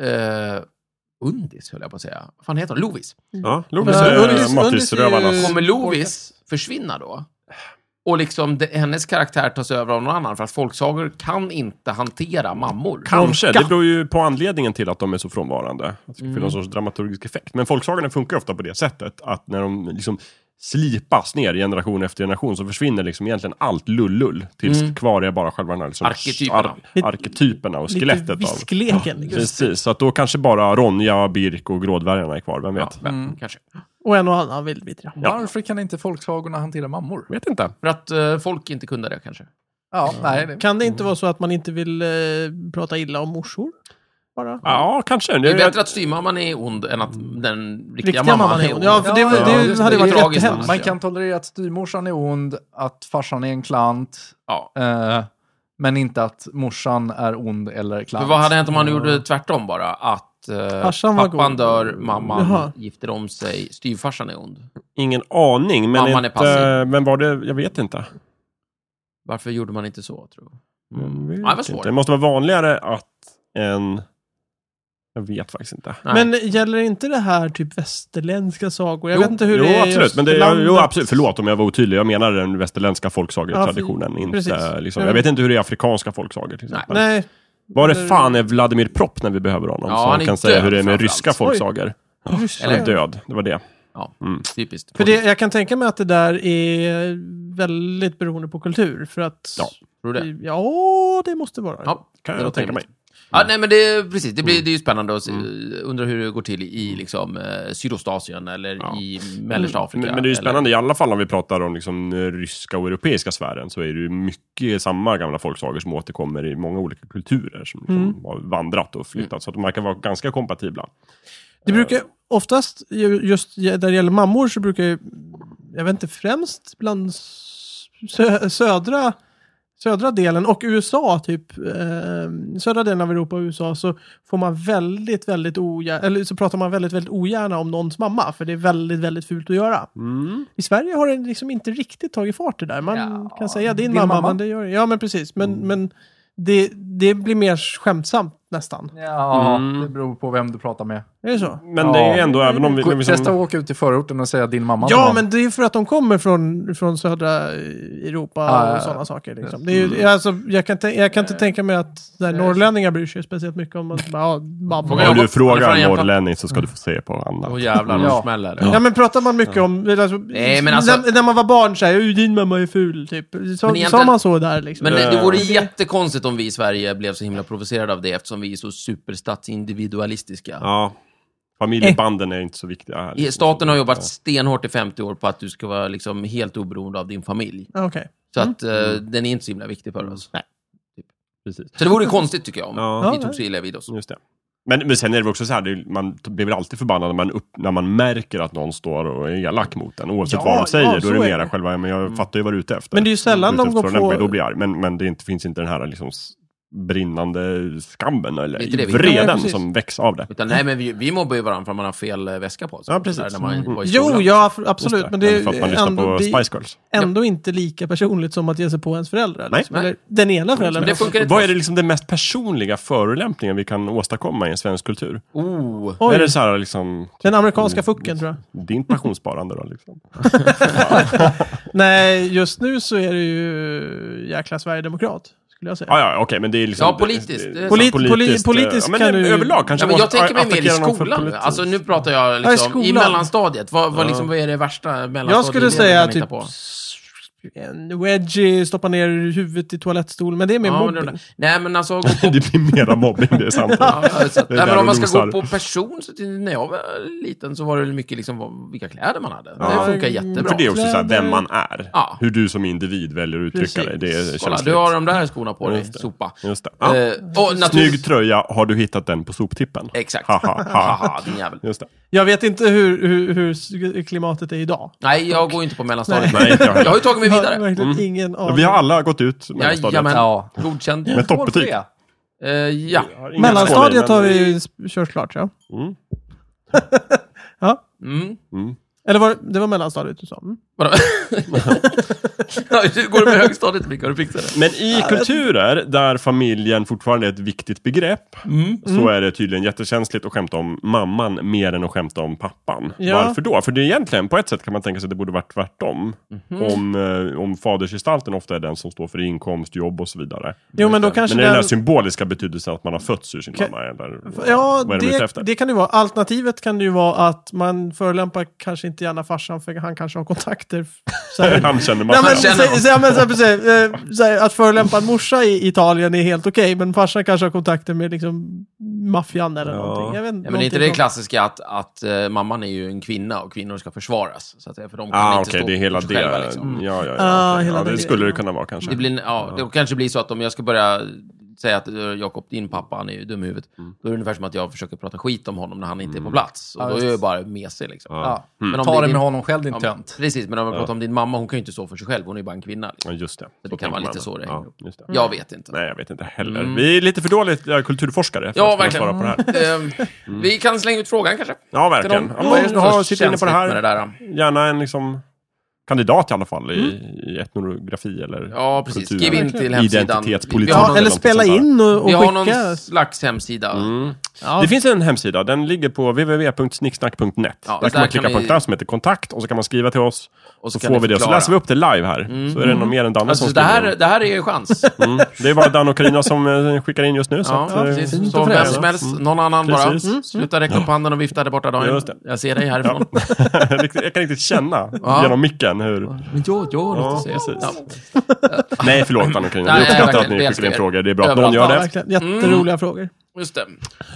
[SPEAKER 2] eh, Undis, höll jag på att säga. Vad fan heter hon? Lovis.
[SPEAKER 3] Ja, Lovis
[SPEAKER 1] Mm. Men
[SPEAKER 3] är
[SPEAKER 1] Undis- Undis är ju-
[SPEAKER 3] Mattisrövarnas.
[SPEAKER 2] Kommer Lovis försvinna då? Och liksom det, hennes karaktär tas över av någon annan, för att folksagor kan inte hantera mammor.
[SPEAKER 3] Kanske.
[SPEAKER 1] Bronka.
[SPEAKER 3] Det beror ju på anledningen till att de är så frånvarande. Att det ska
[SPEAKER 2] Mm.
[SPEAKER 3] fylla någon sorts dramaturgisk effekt. Men folksagorna funkar ofta på det sättet att när de liksom slipas ner generation efter generation så försvinner liksom egentligen allt lullull. Tills kvar är bara själva den här liksom
[SPEAKER 2] Mm. Arketyperna.
[SPEAKER 3] ar- arketyperna och skelettet.
[SPEAKER 1] Lite
[SPEAKER 3] av-
[SPEAKER 1] viskleken. liksom.
[SPEAKER 3] Precis, så att då kanske bara Ronja, Birk och Grådvärgarna är kvar. Vem vet?
[SPEAKER 2] Ja,
[SPEAKER 1] mm.
[SPEAKER 2] kanske.
[SPEAKER 1] Och en och annan vill vi ja.
[SPEAKER 4] Varför kan inte folksagorna hantera mammor?
[SPEAKER 3] Vet inte.
[SPEAKER 2] För att eh, folk inte kunde det kanske.
[SPEAKER 4] Ja, nej. Det...
[SPEAKER 1] Kan det inte vara så att man inte vill eh, prata illa om morsor? Bara.
[SPEAKER 3] Ja, kanske.
[SPEAKER 2] Det är bättre att styvmamman är ond än att den riktiga,
[SPEAKER 1] Mm. Riktiga
[SPEAKER 2] mamman,
[SPEAKER 1] mamman
[SPEAKER 2] är ond.
[SPEAKER 1] Ja, för det,
[SPEAKER 4] Ja,
[SPEAKER 1] det,
[SPEAKER 4] ja,
[SPEAKER 1] det
[SPEAKER 4] just det.
[SPEAKER 1] hade
[SPEAKER 4] Det är
[SPEAKER 1] varit
[SPEAKER 2] tragiskt,
[SPEAKER 1] jättehemskt.
[SPEAKER 4] Man kan tolerera att styvmorsan är ond, att farsan är en klant,
[SPEAKER 2] Ja.
[SPEAKER 4] eh, men inte att morsan är ond eller klant.
[SPEAKER 2] För vad hade hänt om man gjorde tvärtom bara? Att eh,
[SPEAKER 1] Farsan var
[SPEAKER 2] pappan
[SPEAKER 1] god.
[SPEAKER 2] dör, mamman
[SPEAKER 1] Jaha.
[SPEAKER 2] gifter om sig, styvfarsan är ond.
[SPEAKER 3] Ingen aning, men,
[SPEAKER 2] Mamman är
[SPEAKER 3] inte, men var det... Jag vet inte.
[SPEAKER 2] Varför gjorde man inte så,
[SPEAKER 1] Mm.
[SPEAKER 2] tror du?
[SPEAKER 3] Jag
[SPEAKER 2] Ja,
[SPEAKER 3] vet
[SPEAKER 2] det var
[SPEAKER 3] inte.
[SPEAKER 2] svårt.
[SPEAKER 3] Mm, Det måste vara vanligare att en... Jag vet faktiskt inte.
[SPEAKER 2] Nej.
[SPEAKER 1] Men gäller inte det här typ västerländska sagor? Jag
[SPEAKER 2] Jo,
[SPEAKER 1] vet inte hur
[SPEAKER 3] jo,
[SPEAKER 1] det är i
[SPEAKER 3] absolut. Men det, ja,
[SPEAKER 1] östlandet.
[SPEAKER 3] jo, absolut. Förlåt om jag var otydlig. Jag menar den västerländska
[SPEAKER 1] Ja,
[SPEAKER 3] folksagetraditionen.
[SPEAKER 1] för-
[SPEAKER 3] inte,
[SPEAKER 1] precis.
[SPEAKER 3] liksom, jag vet inte hur det är i afrikanska folksagor. Till exempel.
[SPEAKER 1] Nej,
[SPEAKER 3] Var det
[SPEAKER 1] Eller-
[SPEAKER 3] fan är Vladimir Propp när vi behöver honom?
[SPEAKER 2] Ja,
[SPEAKER 3] så
[SPEAKER 2] han
[SPEAKER 3] han
[SPEAKER 2] är
[SPEAKER 3] kan säga
[SPEAKER 2] död
[SPEAKER 3] hur det är med
[SPEAKER 2] framförallt.
[SPEAKER 3] ryska folksagor.
[SPEAKER 1] ryssar.
[SPEAKER 3] Han är död. Det var det.
[SPEAKER 2] Ja,
[SPEAKER 3] Mm.
[SPEAKER 2] typiskt.
[SPEAKER 1] För det, jag kan tänka mig att det där är väldigt beroende på kultur. För att...
[SPEAKER 3] Ja.
[SPEAKER 2] Tror du det?
[SPEAKER 1] Ja, det måste vara det.
[SPEAKER 2] Ja,
[SPEAKER 3] Kan
[SPEAKER 2] det
[SPEAKER 3] jag
[SPEAKER 2] låter
[SPEAKER 3] tänka mig. Mm.
[SPEAKER 2] rimligt. Ja, nej, men det, precis, det, blir, det är ju spännande att se, undra hur det går till i liksom, eh, Sydostasien eller
[SPEAKER 3] Ja. Mm.
[SPEAKER 2] i mellersta Afrika.
[SPEAKER 3] Men, men det är ju
[SPEAKER 2] eller-
[SPEAKER 3] spännande, i alla fall om vi pratar om liksom, eh, ryska och europeiska sfären, så är det ju mycket samma gamla folksagor som återkommer i många olika kulturer som liksom
[SPEAKER 1] Mm.
[SPEAKER 3] har vandrat och flyttat. Så att de verkar vara ganska kompatibla.
[SPEAKER 1] Det brukar oftast, ju- just där det gäller mammor, så brukar ju, jag vet inte, främst bland s- sö, södra, södra delen och USA, typ eh, södra delen av Europa och USA, så får man väldigt, väldigt ogärna, eller så pratar man väldigt, väldigt ogärna om någons mamma, för det är väldigt, väldigt fult att göra. I Sverige har det liksom inte riktigt tagit fart det där. Man
[SPEAKER 4] Ja,
[SPEAKER 1] kan säga din,
[SPEAKER 4] din
[SPEAKER 1] mamma,
[SPEAKER 4] mamma.
[SPEAKER 1] men det gör Ja, men precis. Men, men det, det blir mer skämtsamt nästan.
[SPEAKER 4] Ja,
[SPEAKER 3] Mm.
[SPEAKER 4] det beror på vem du pratar med.
[SPEAKER 1] Är det så?
[SPEAKER 3] Men det är ju ändå, även om vi... liksom-
[SPEAKER 4] Gå-
[SPEAKER 3] vi
[SPEAKER 4] Testa att
[SPEAKER 3] som,
[SPEAKER 4] åka ut i förorten och säga din mamma.
[SPEAKER 1] Ja,
[SPEAKER 4] var-
[SPEAKER 1] men det är för att de kommer från, från södra eh, Europa
[SPEAKER 4] Ja, ja,
[SPEAKER 1] och
[SPEAKER 4] ja.
[SPEAKER 1] sådana saker. Liksom. Det är, ju- alltså, jag kan, tän- jag kan inte tänka mig att där norrlänningar bryr sig speciellt mycket om att bara, ja, mamma.
[SPEAKER 2] Fråga
[SPEAKER 3] om
[SPEAKER 2] jag-
[SPEAKER 3] du frågar
[SPEAKER 2] Fan,
[SPEAKER 3] en
[SPEAKER 2] jag-
[SPEAKER 3] norrlänning så ska du få se på Anna.
[SPEAKER 2] Åh jävlar,
[SPEAKER 4] Ja.
[SPEAKER 2] de smäller.
[SPEAKER 1] Ja, men pratar man mycket om, alltså,
[SPEAKER 2] Nej, men alltså-
[SPEAKER 1] när, när man var barn så här, "Oj, din mamma är ful, typ. Så,
[SPEAKER 2] egentligen-
[SPEAKER 1] sa man så där liksom?
[SPEAKER 2] Men
[SPEAKER 1] Ja.
[SPEAKER 2] det,
[SPEAKER 3] Eh.
[SPEAKER 2] det vore
[SPEAKER 1] Men det-
[SPEAKER 2] jättekonstigt om vi i Sverige blev så himla provocerade av det eftersom vi är så superstatsindividualistiska.
[SPEAKER 3] Ja. Familjebanden är inte så viktiga
[SPEAKER 1] Eh,
[SPEAKER 3] här. liksom.
[SPEAKER 2] I- Staten har jobbat stenhårt i 50 år på att du ska vara liksom helt oberoende av din familj.
[SPEAKER 1] Ah, Okej.
[SPEAKER 2] Så
[SPEAKER 3] Mm.
[SPEAKER 2] att eh, den är inte så himla viktig för oss.
[SPEAKER 3] Precis.
[SPEAKER 2] Så det vore konstigt tycker jag om
[SPEAKER 3] Mm. Ja.
[SPEAKER 2] vi tog så illa vid oss.
[SPEAKER 3] Just det. Men, men sen är det väl också så här, det, är- man t- blir väl alltid förbannad när man, upp, när man märker att någon står och är elak mot en. Oavsett
[SPEAKER 1] Ja,
[SPEAKER 3] vad de säger,
[SPEAKER 1] ja,
[SPEAKER 3] då
[SPEAKER 1] så
[SPEAKER 3] är det
[SPEAKER 1] är
[SPEAKER 3] mera
[SPEAKER 1] det. Mm.
[SPEAKER 3] själva, men jag fattar ju vad du är ute efter.
[SPEAKER 1] Men det är ju sällan
[SPEAKER 3] Ute
[SPEAKER 1] de
[SPEAKER 3] efter
[SPEAKER 1] går
[SPEAKER 3] vad lämpar,
[SPEAKER 1] på-
[SPEAKER 3] Då blir jag arg. Men, men det är inte, finns inte den här liksom s- brinnande skammen
[SPEAKER 2] Det är inte det
[SPEAKER 3] eller
[SPEAKER 2] vi-
[SPEAKER 1] Nej,
[SPEAKER 3] vreden
[SPEAKER 1] precis.
[SPEAKER 3] som väcks av det.
[SPEAKER 2] Utan nej, men vi, vi mobbar ju varandra för att man har fel eh, väska på sig.
[SPEAKER 3] Ja, precis.
[SPEAKER 2] Där När man var i skolan.
[SPEAKER 1] Jo, ja, f-
[SPEAKER 3] Just
[SPEAKER 1] absolut.
[SPEAKER 3] det.
[SPEAKER 1] Men det
[SPEAKER 3] Eller för att man
[SPEAKER 1] är
[SPEAKER 3] lyssnar
[SPEAKER 1] ändå,
[SPEAKER 3] på
[SPEAKER 1] det är
[SPEAKER 3] Spice Girls.
[SPEAKER 1] ändå inte lika personligt som att ge sig på ens föräldrar.
[SPEAKER 3] Nej.
[SPEAKER 1] Liksom. Eller den ena föräldern.
[SPEAKER 2] Det funkar inte.
[SPEAKER 3] Vad är det liksom den mest personliga förolämpningen vi kan åstadkomma i en svensk kultur?
[SPEAKER 2] Oh.
[SPEAKER 1] Oj,
[SPEAKER 3] Är det Mm. så här liksom,
[SPEAKER 1] den amerikanska fucken tror jag.
[SPEAKER 3] din pensionssparande då liksom?
[SPEAKER 1] Nej, just nu så är det ju jäkla sverigedemokrat, skulle jag säga.
[SPEAKER 3] Ja, ja, okej, men det är liksom...
[SPEAKER 2] Ja, politiskt. Det är
[SPEAKER 3] Poli-
[SPEAKER 1] sant. Poli- politiskt
[SPEAKER 3] ja, men
[SPEAKER 1] kan
[SPEAKER 3] det-
[SPEAKER 1] du-
[SPEAKER 3] Överlag kanske
[SPEAKER 2] Ja, men jag
[SPEAKER 3] måste
[SPEAKER 2] tänker mig mer i
[SPEAKER 3] attackera någon för
[SPEAKER 2] skolan.
[SPEAKER 3] politik.
[SPEAKER 2] Alltså nu pratar jag
[SPEAKER 1] Ja, i
[SPEAKER 2] liksom, i
[SPEAKER 1] skolan.
[SPEAKER 2] mellanstadiet. Vad, vad, liksom, vad är det värsta mellanstadiet?
[SPEAKER 3] alltså,
[SPEAKER 1] jag skulle säga typ en wedgie, stoppa ner huvudet i toalettstol, men det är mer
[SPEAKER 2] Ja, men,
[SPEAKER 1] mobbing.
[SPEAKER 2] det- nej men alltså, gå
[SPEAKER 3] (laughs)
[SPEAKER 2] på,
[SPEAKER 3] (laughs) det blir mera mobbing, det är sant.
[SPEAKER 2] ja, så att,
[SPEAKER 3] Det är
[SPEAKER 2] nej,
[SPEAKER 3] där
[SPEAKER 2] men om man
[SPEAKER 3] de
[SPEAKER 2] ska
[SPEAKER 3] nosar.
[SPEAKER 2] gå på person, så till, när jag var liten så var det mycket liksom vad, vilka kläder man hade.
[SPEAKER 1] Ja.
[SPEAKER 2] Det funkar
[SPEAKER 3] Men
[SPEAKER 2] jättebra.
[SPEAKER 3] För det är också så här, vem man är.
[SPEAKER 2] Ja.
[SPEAKER 3] Hur du som individ väljer att uttrycka
[SPEAKER 1] Precis.
[SPEAKER 3] dig. Det är
[SPEAKER 2] Kolla,
[SPEAKER 3] känsligt.
[SPEAKER 2] du har de där skorna på dig,
[SPEAKER 3] Just det.
[SPEAKER 2] sopa.
[SPEAKER 3] Just det. Ja.
[SPEAKER 2] Eh, och
[SPEAKER 3] Snygg
[SPEAKER 2] naturligtvis...
[SPEAKER 3] tröja, har du hittat den på soptippen?
[SPEAKER 2] Exakt.
[SPEAKER 3] Haha, ha.
[SPEAKER 2] Haha, din jävel.
[SPEAKER 3] Just det.
[SPEAKER 1] Jag vet inte hur, hur, hur s- klimatet är idag.
[SPEAKER 2] Nej, jag går ju inte på mellanstadiet.
[SPEAKER 3] Nej, inte jag heller.
[SPEAKER 2] Jag har ju tagit mig
[SPEAKER 1] Jag har
[SPEAKER 2] vidare.
[SPEAKER 1] verkligen ingen
[SPEAKER 3] Mm. Ja,
[SPEAKER 1] aning.
[SPEAKER 3] vi har alla gått ut mellanstadiet.
[SPEAKER 2] Jajamän.
[SPEAKER 4] Ja.
[SPEAKER 2] Godkänd.
[SPEAKER 3] Med toppbetyg.
[SPEAKER 4] Skål
[SPEAKER 2] Eh, ja.
[SPEAKER 3] Jag har inga
[SPEAKER 1] Mellanstadiet har
[SPEAKER 3] skålar, men-
[SPEAKER 1] vi sp- kört klart, ja.
[SPEAKER 3] Mm.
[SPEAKER 1] (laughs) ja.
[SPEAKER 2] Mm.
[SPEAKER 1] Eller var, det var mellanstadiet du sa? Mm.
[SPEAKER 2] Vadå? (laughs) Hur går det med högstadiet, Micke? Har du fixat det?
[SPEAKER 3] Men i kulturer där familjen fortfarande är ett viktigt begrepp
[SPEAKER 1] Mm.
[SPEAKER 2] Mm.
[SPEAKER 3] så är det tydligen jättekänsligt att skämta om mamman mer än att skämta om pappan.
[SPEAKER 1] Ja.
[SPEAKER 3] Varför då? För det är egentligen, på ett sätt kan man tänka sig att det borde varit tvärtom.
[SPEAKER 2] Mhm.
[SPEAKER 3] Om, eh, om fadersgestalten ofta är den som står för inkomst, jobb och så vidare.
[SPEAKER 1] Jo, men då kanske
[SPEAKER 3] Men är det den här
[SPEAKER 1] den...
[SPEAKER 3] symboliska betydelsen att man har fötts ur sin
[SPEAKER 1] Kan-
[SPEAKER 3] mamma? Eller,
[SPEAKER 1] Ja,
[SPEAKER 3] vad är de ute
[SPEAKER 1] det,
[SPEAKER 3] efter?
[SPEAKER 1] det kan det ju vara. Alternativet kan det ju vara att man förolämpar kanske inte gärna farsan för han kanske har kontakter.
[SPEAKER 3] (laughs)
[SPEAKER 1] Så här,
[SPEAKER 3] Han känner
[SPEAKER 1] Nej,
[SPEAKER 3] man
[SPEAKER 1] men,
[SPEAKER 2] Han känner
[SPEAKER 1] så,
[SPEAKER 2] honom.
[SPEAKER 1] så, ja, men, så, precis, eh, så, här, att förolämpa en morsa i Italien är helt okej, men farsan kanske har kontakter med liksom, maffian eller
[SPEAKER 3] Ja.
[SPEAKER 1] någonting. Jag vet,
[SPEAKER 2] Ja, men det är inte det
[SPEAKER 1] någonting om-
[SPEAKER 2] klassiska att, att eh, mamman är ju en kvinna och kvinnor ska försvaras? Så att säga, för de kan
[SPEAKER 3] Ah,
[SPEAKER 2] inte
[SPEAKER 3] Okej,
[SPEAKER 2] stå
[SPEAKER 3] det är hela
[SPEAKER 2] för
[SPEAKER 3] det. mm.
[SPEAKER 2] sig själva, liksom.
[SPEAKER 3] Ja, ja, ja,
[SPEAKER 1] Ah,
[SPEAKER 3] okej.
[SPEAKER 1] hela
[SPEAKER 3] ja,
[SPEAKER 1] den
[SPEAKER 3] det skulle det
[SPEAKER 1] grejen.
[SPEAKER 3] kunna vara kanske.
[SPEAKER 2] Det, blir, ja, det kanske blir så att om jag ska börja säga att eh, Jakob, din pappa, han är ju dum i huvudet. Då är det ungefär som att jag försöker prata skit om honom när han inte är på plats. Och
[SPEAKER 4] Ja,
[SPEAKER 2] då är
[SPEAKER 4] just.
[SPEAKER 2] jag ju bara mesig liksom.
[SPEAKER 4] Ja.
[SPEAKER 2] Men om
[SPEAKER 4] Ta
[SPEAKER 2] det är
[SPEAKER 4] det
[SPEAKER 2] din-
[SPEAKER 4] med honom själv, din
[SPEAKER 2] Ja, men-
[SPEAKER 4] tönt.
[SPEAKER 2] precis, men om jag pratar om din mamma, hon kan ju inte stå för sig själv. Hon är ju bara en kvinna. Liksom.
[SPEAKER 3] Ja, just det.
[SPEAKER 2] det
[SPEAKER 3] Så
[SPEAKER 2] kan vara
[SPEAKER 3] tänker man.
[SPEAKER 2] lite så det hänger
[SPEAKER 3] ja,
[SPEAKER 2] ihop.
[SPEAKER 3] just det.
[SPEAKER 2] Jag vet inte.
[SPEAKER 3] Nej, jag vet inte heller. Vi är lite för dåligt eh, kulturforskare. För
[SPEAKER 2] Mm. Ja,
[SPEAKER 3] att kunna
[SPEAKER 2] verkligen.
[SPEAKER 3] Svara på det här.
[SPEAKER 2] (laughs) Eh, Vi kan slänga ut frågan kanske.
[SPEAKER 3] Ja, verkligen.
[SPEAKER 2] Till
[SPEAKER 3] Ja,
[SPEAKER 2] någon.
[SPEAKER 3] men just,
[SPEAKER 2] Vad är
[SPEAKER 3] ha,
[SPEAKER 2] det
[SPEAKER 3] sitta inne på det
[SPEAKER 2] känsligt med
[SPEAKER 3] här.
[SPEAKER 2] det där? Mm.
[SPEAKER 3] Gärna en liksom, kandidat i alla fall i, i etnografi eller
[SPEAKER 2] Ja, precis.
[SPEAKER 3] kultur.
[SPEAKER 2] Skriv in till hemsidan.
[SPEAKER 3] Identitetspolitik.
[SPEAKER 1] Ja,
[SPEAKER 2] Vi har,
[SPEAKER 3] eller
[SPEAKER 1] eller
[SPEAKER 3] någonting
[SPEAKER 1] spela
[SPEAKER 3] sånt där.
[SPEAKER 1] in och,
[SPEAKER 2] vi
[SPEAKER 1] och
[SPEAKER 2] har någon
[SPEAKER 1] skicka.
[SPEAKER 2] slags hemsida.
[SPEAKER 3] Mm.
[SPEAKER 2] Ja.
[SPEAKER 3] Det finns en hemsida, den ligger på www.snicksnack.net.
[SPEAKER 2] Ja, där
[SPEAKER 3] där kan man klicka
[SPEAKER 2] kan
[SPEAKER 3] på
[SPEAKER 2] vi-
[SPEAKER 3] en knapp som heter kontakt och så kan man skriva till oss. Och så,
[SPEAKER 2] kan
[SPEAKER 3] får
[SPEAKER 2] ni
[SPEAKER 3] vi det. Så
[SPEAKER 2] förklara.
[SPEAKER 3] läser vi upp det live här. Så är det någon mer än Danne
[SPEAKER 2] Alltså,
[SPEAKER 3] som
[SPEAKER 2] det, här,
[SPEAKER 3] skriver.
[SPEAKER 2] det här är ju en
[SPEAKER 3] (laughs)
[SPEAKER 2] chans.
[SPEAKER 3] Mm. Det är bara Danne och Carina som eh, skickar in just nu. Så
[SPEAKER 2] ja,
[SPEAKER 3] att, eh,
[SPEAKER 2] precis.
[SPEAKER 3] (laughs)
[SPEAKER 1] fint
[SPEAKER 2] Så
[SPEAKER 1] och
[SPEAKER 2] vem
[SPEAKER 1] fräscht.
[SPEAKER 2] som helst, någon annan
[SPEAKER 3] Precis.
[SPEAKER 2] bara. Mm. Sluta räcka upp handen och vifta där borta Daniel.
[SPEAKER 3] Just det.
[SPEAKER 2] Jag ser dig härifrån.
[SPEAKER 3] Riktigt- jag kan riktigt känna
[SPEAKER 2] Ja.
[SPEAKER 3] genom micken hur...
[SPEAKER 2] Men jo, jo,
[SPEAKER 3] Ja,
[SPEAKER 2] låt oss se.
[SPEAKER 3] precis.
[SPEAKER 2] Ja.
[SPEAKER 3] (laughs) Nej, förlåt Danne och Carina.
[SPEAKER 2] Nej,
[SPEAKER 3] Vi uppskattar
[SPEAKER 2] verkligen.
[SPEAKER 3] att ni
[SPEAKER 2] Vi
[SPEAKER 3] skickar
[SPEAKER 2] älskar
[SPEAKER 3] in
[SPEAKER 2] er.
[SPEAKER 3] frågor. Det är bra att någon
[SPEAKER 2] Överallt.
[SPEAKER 3] gör
[SPEAKER 1] Ja,
[SPEAKER 3] det.
[SPEAKER 1] verkligen.
[SPEAKER 2] Mm.
[SPEAKER 1] Jätteroliga frågor.
[SPEAKER 2] Just det.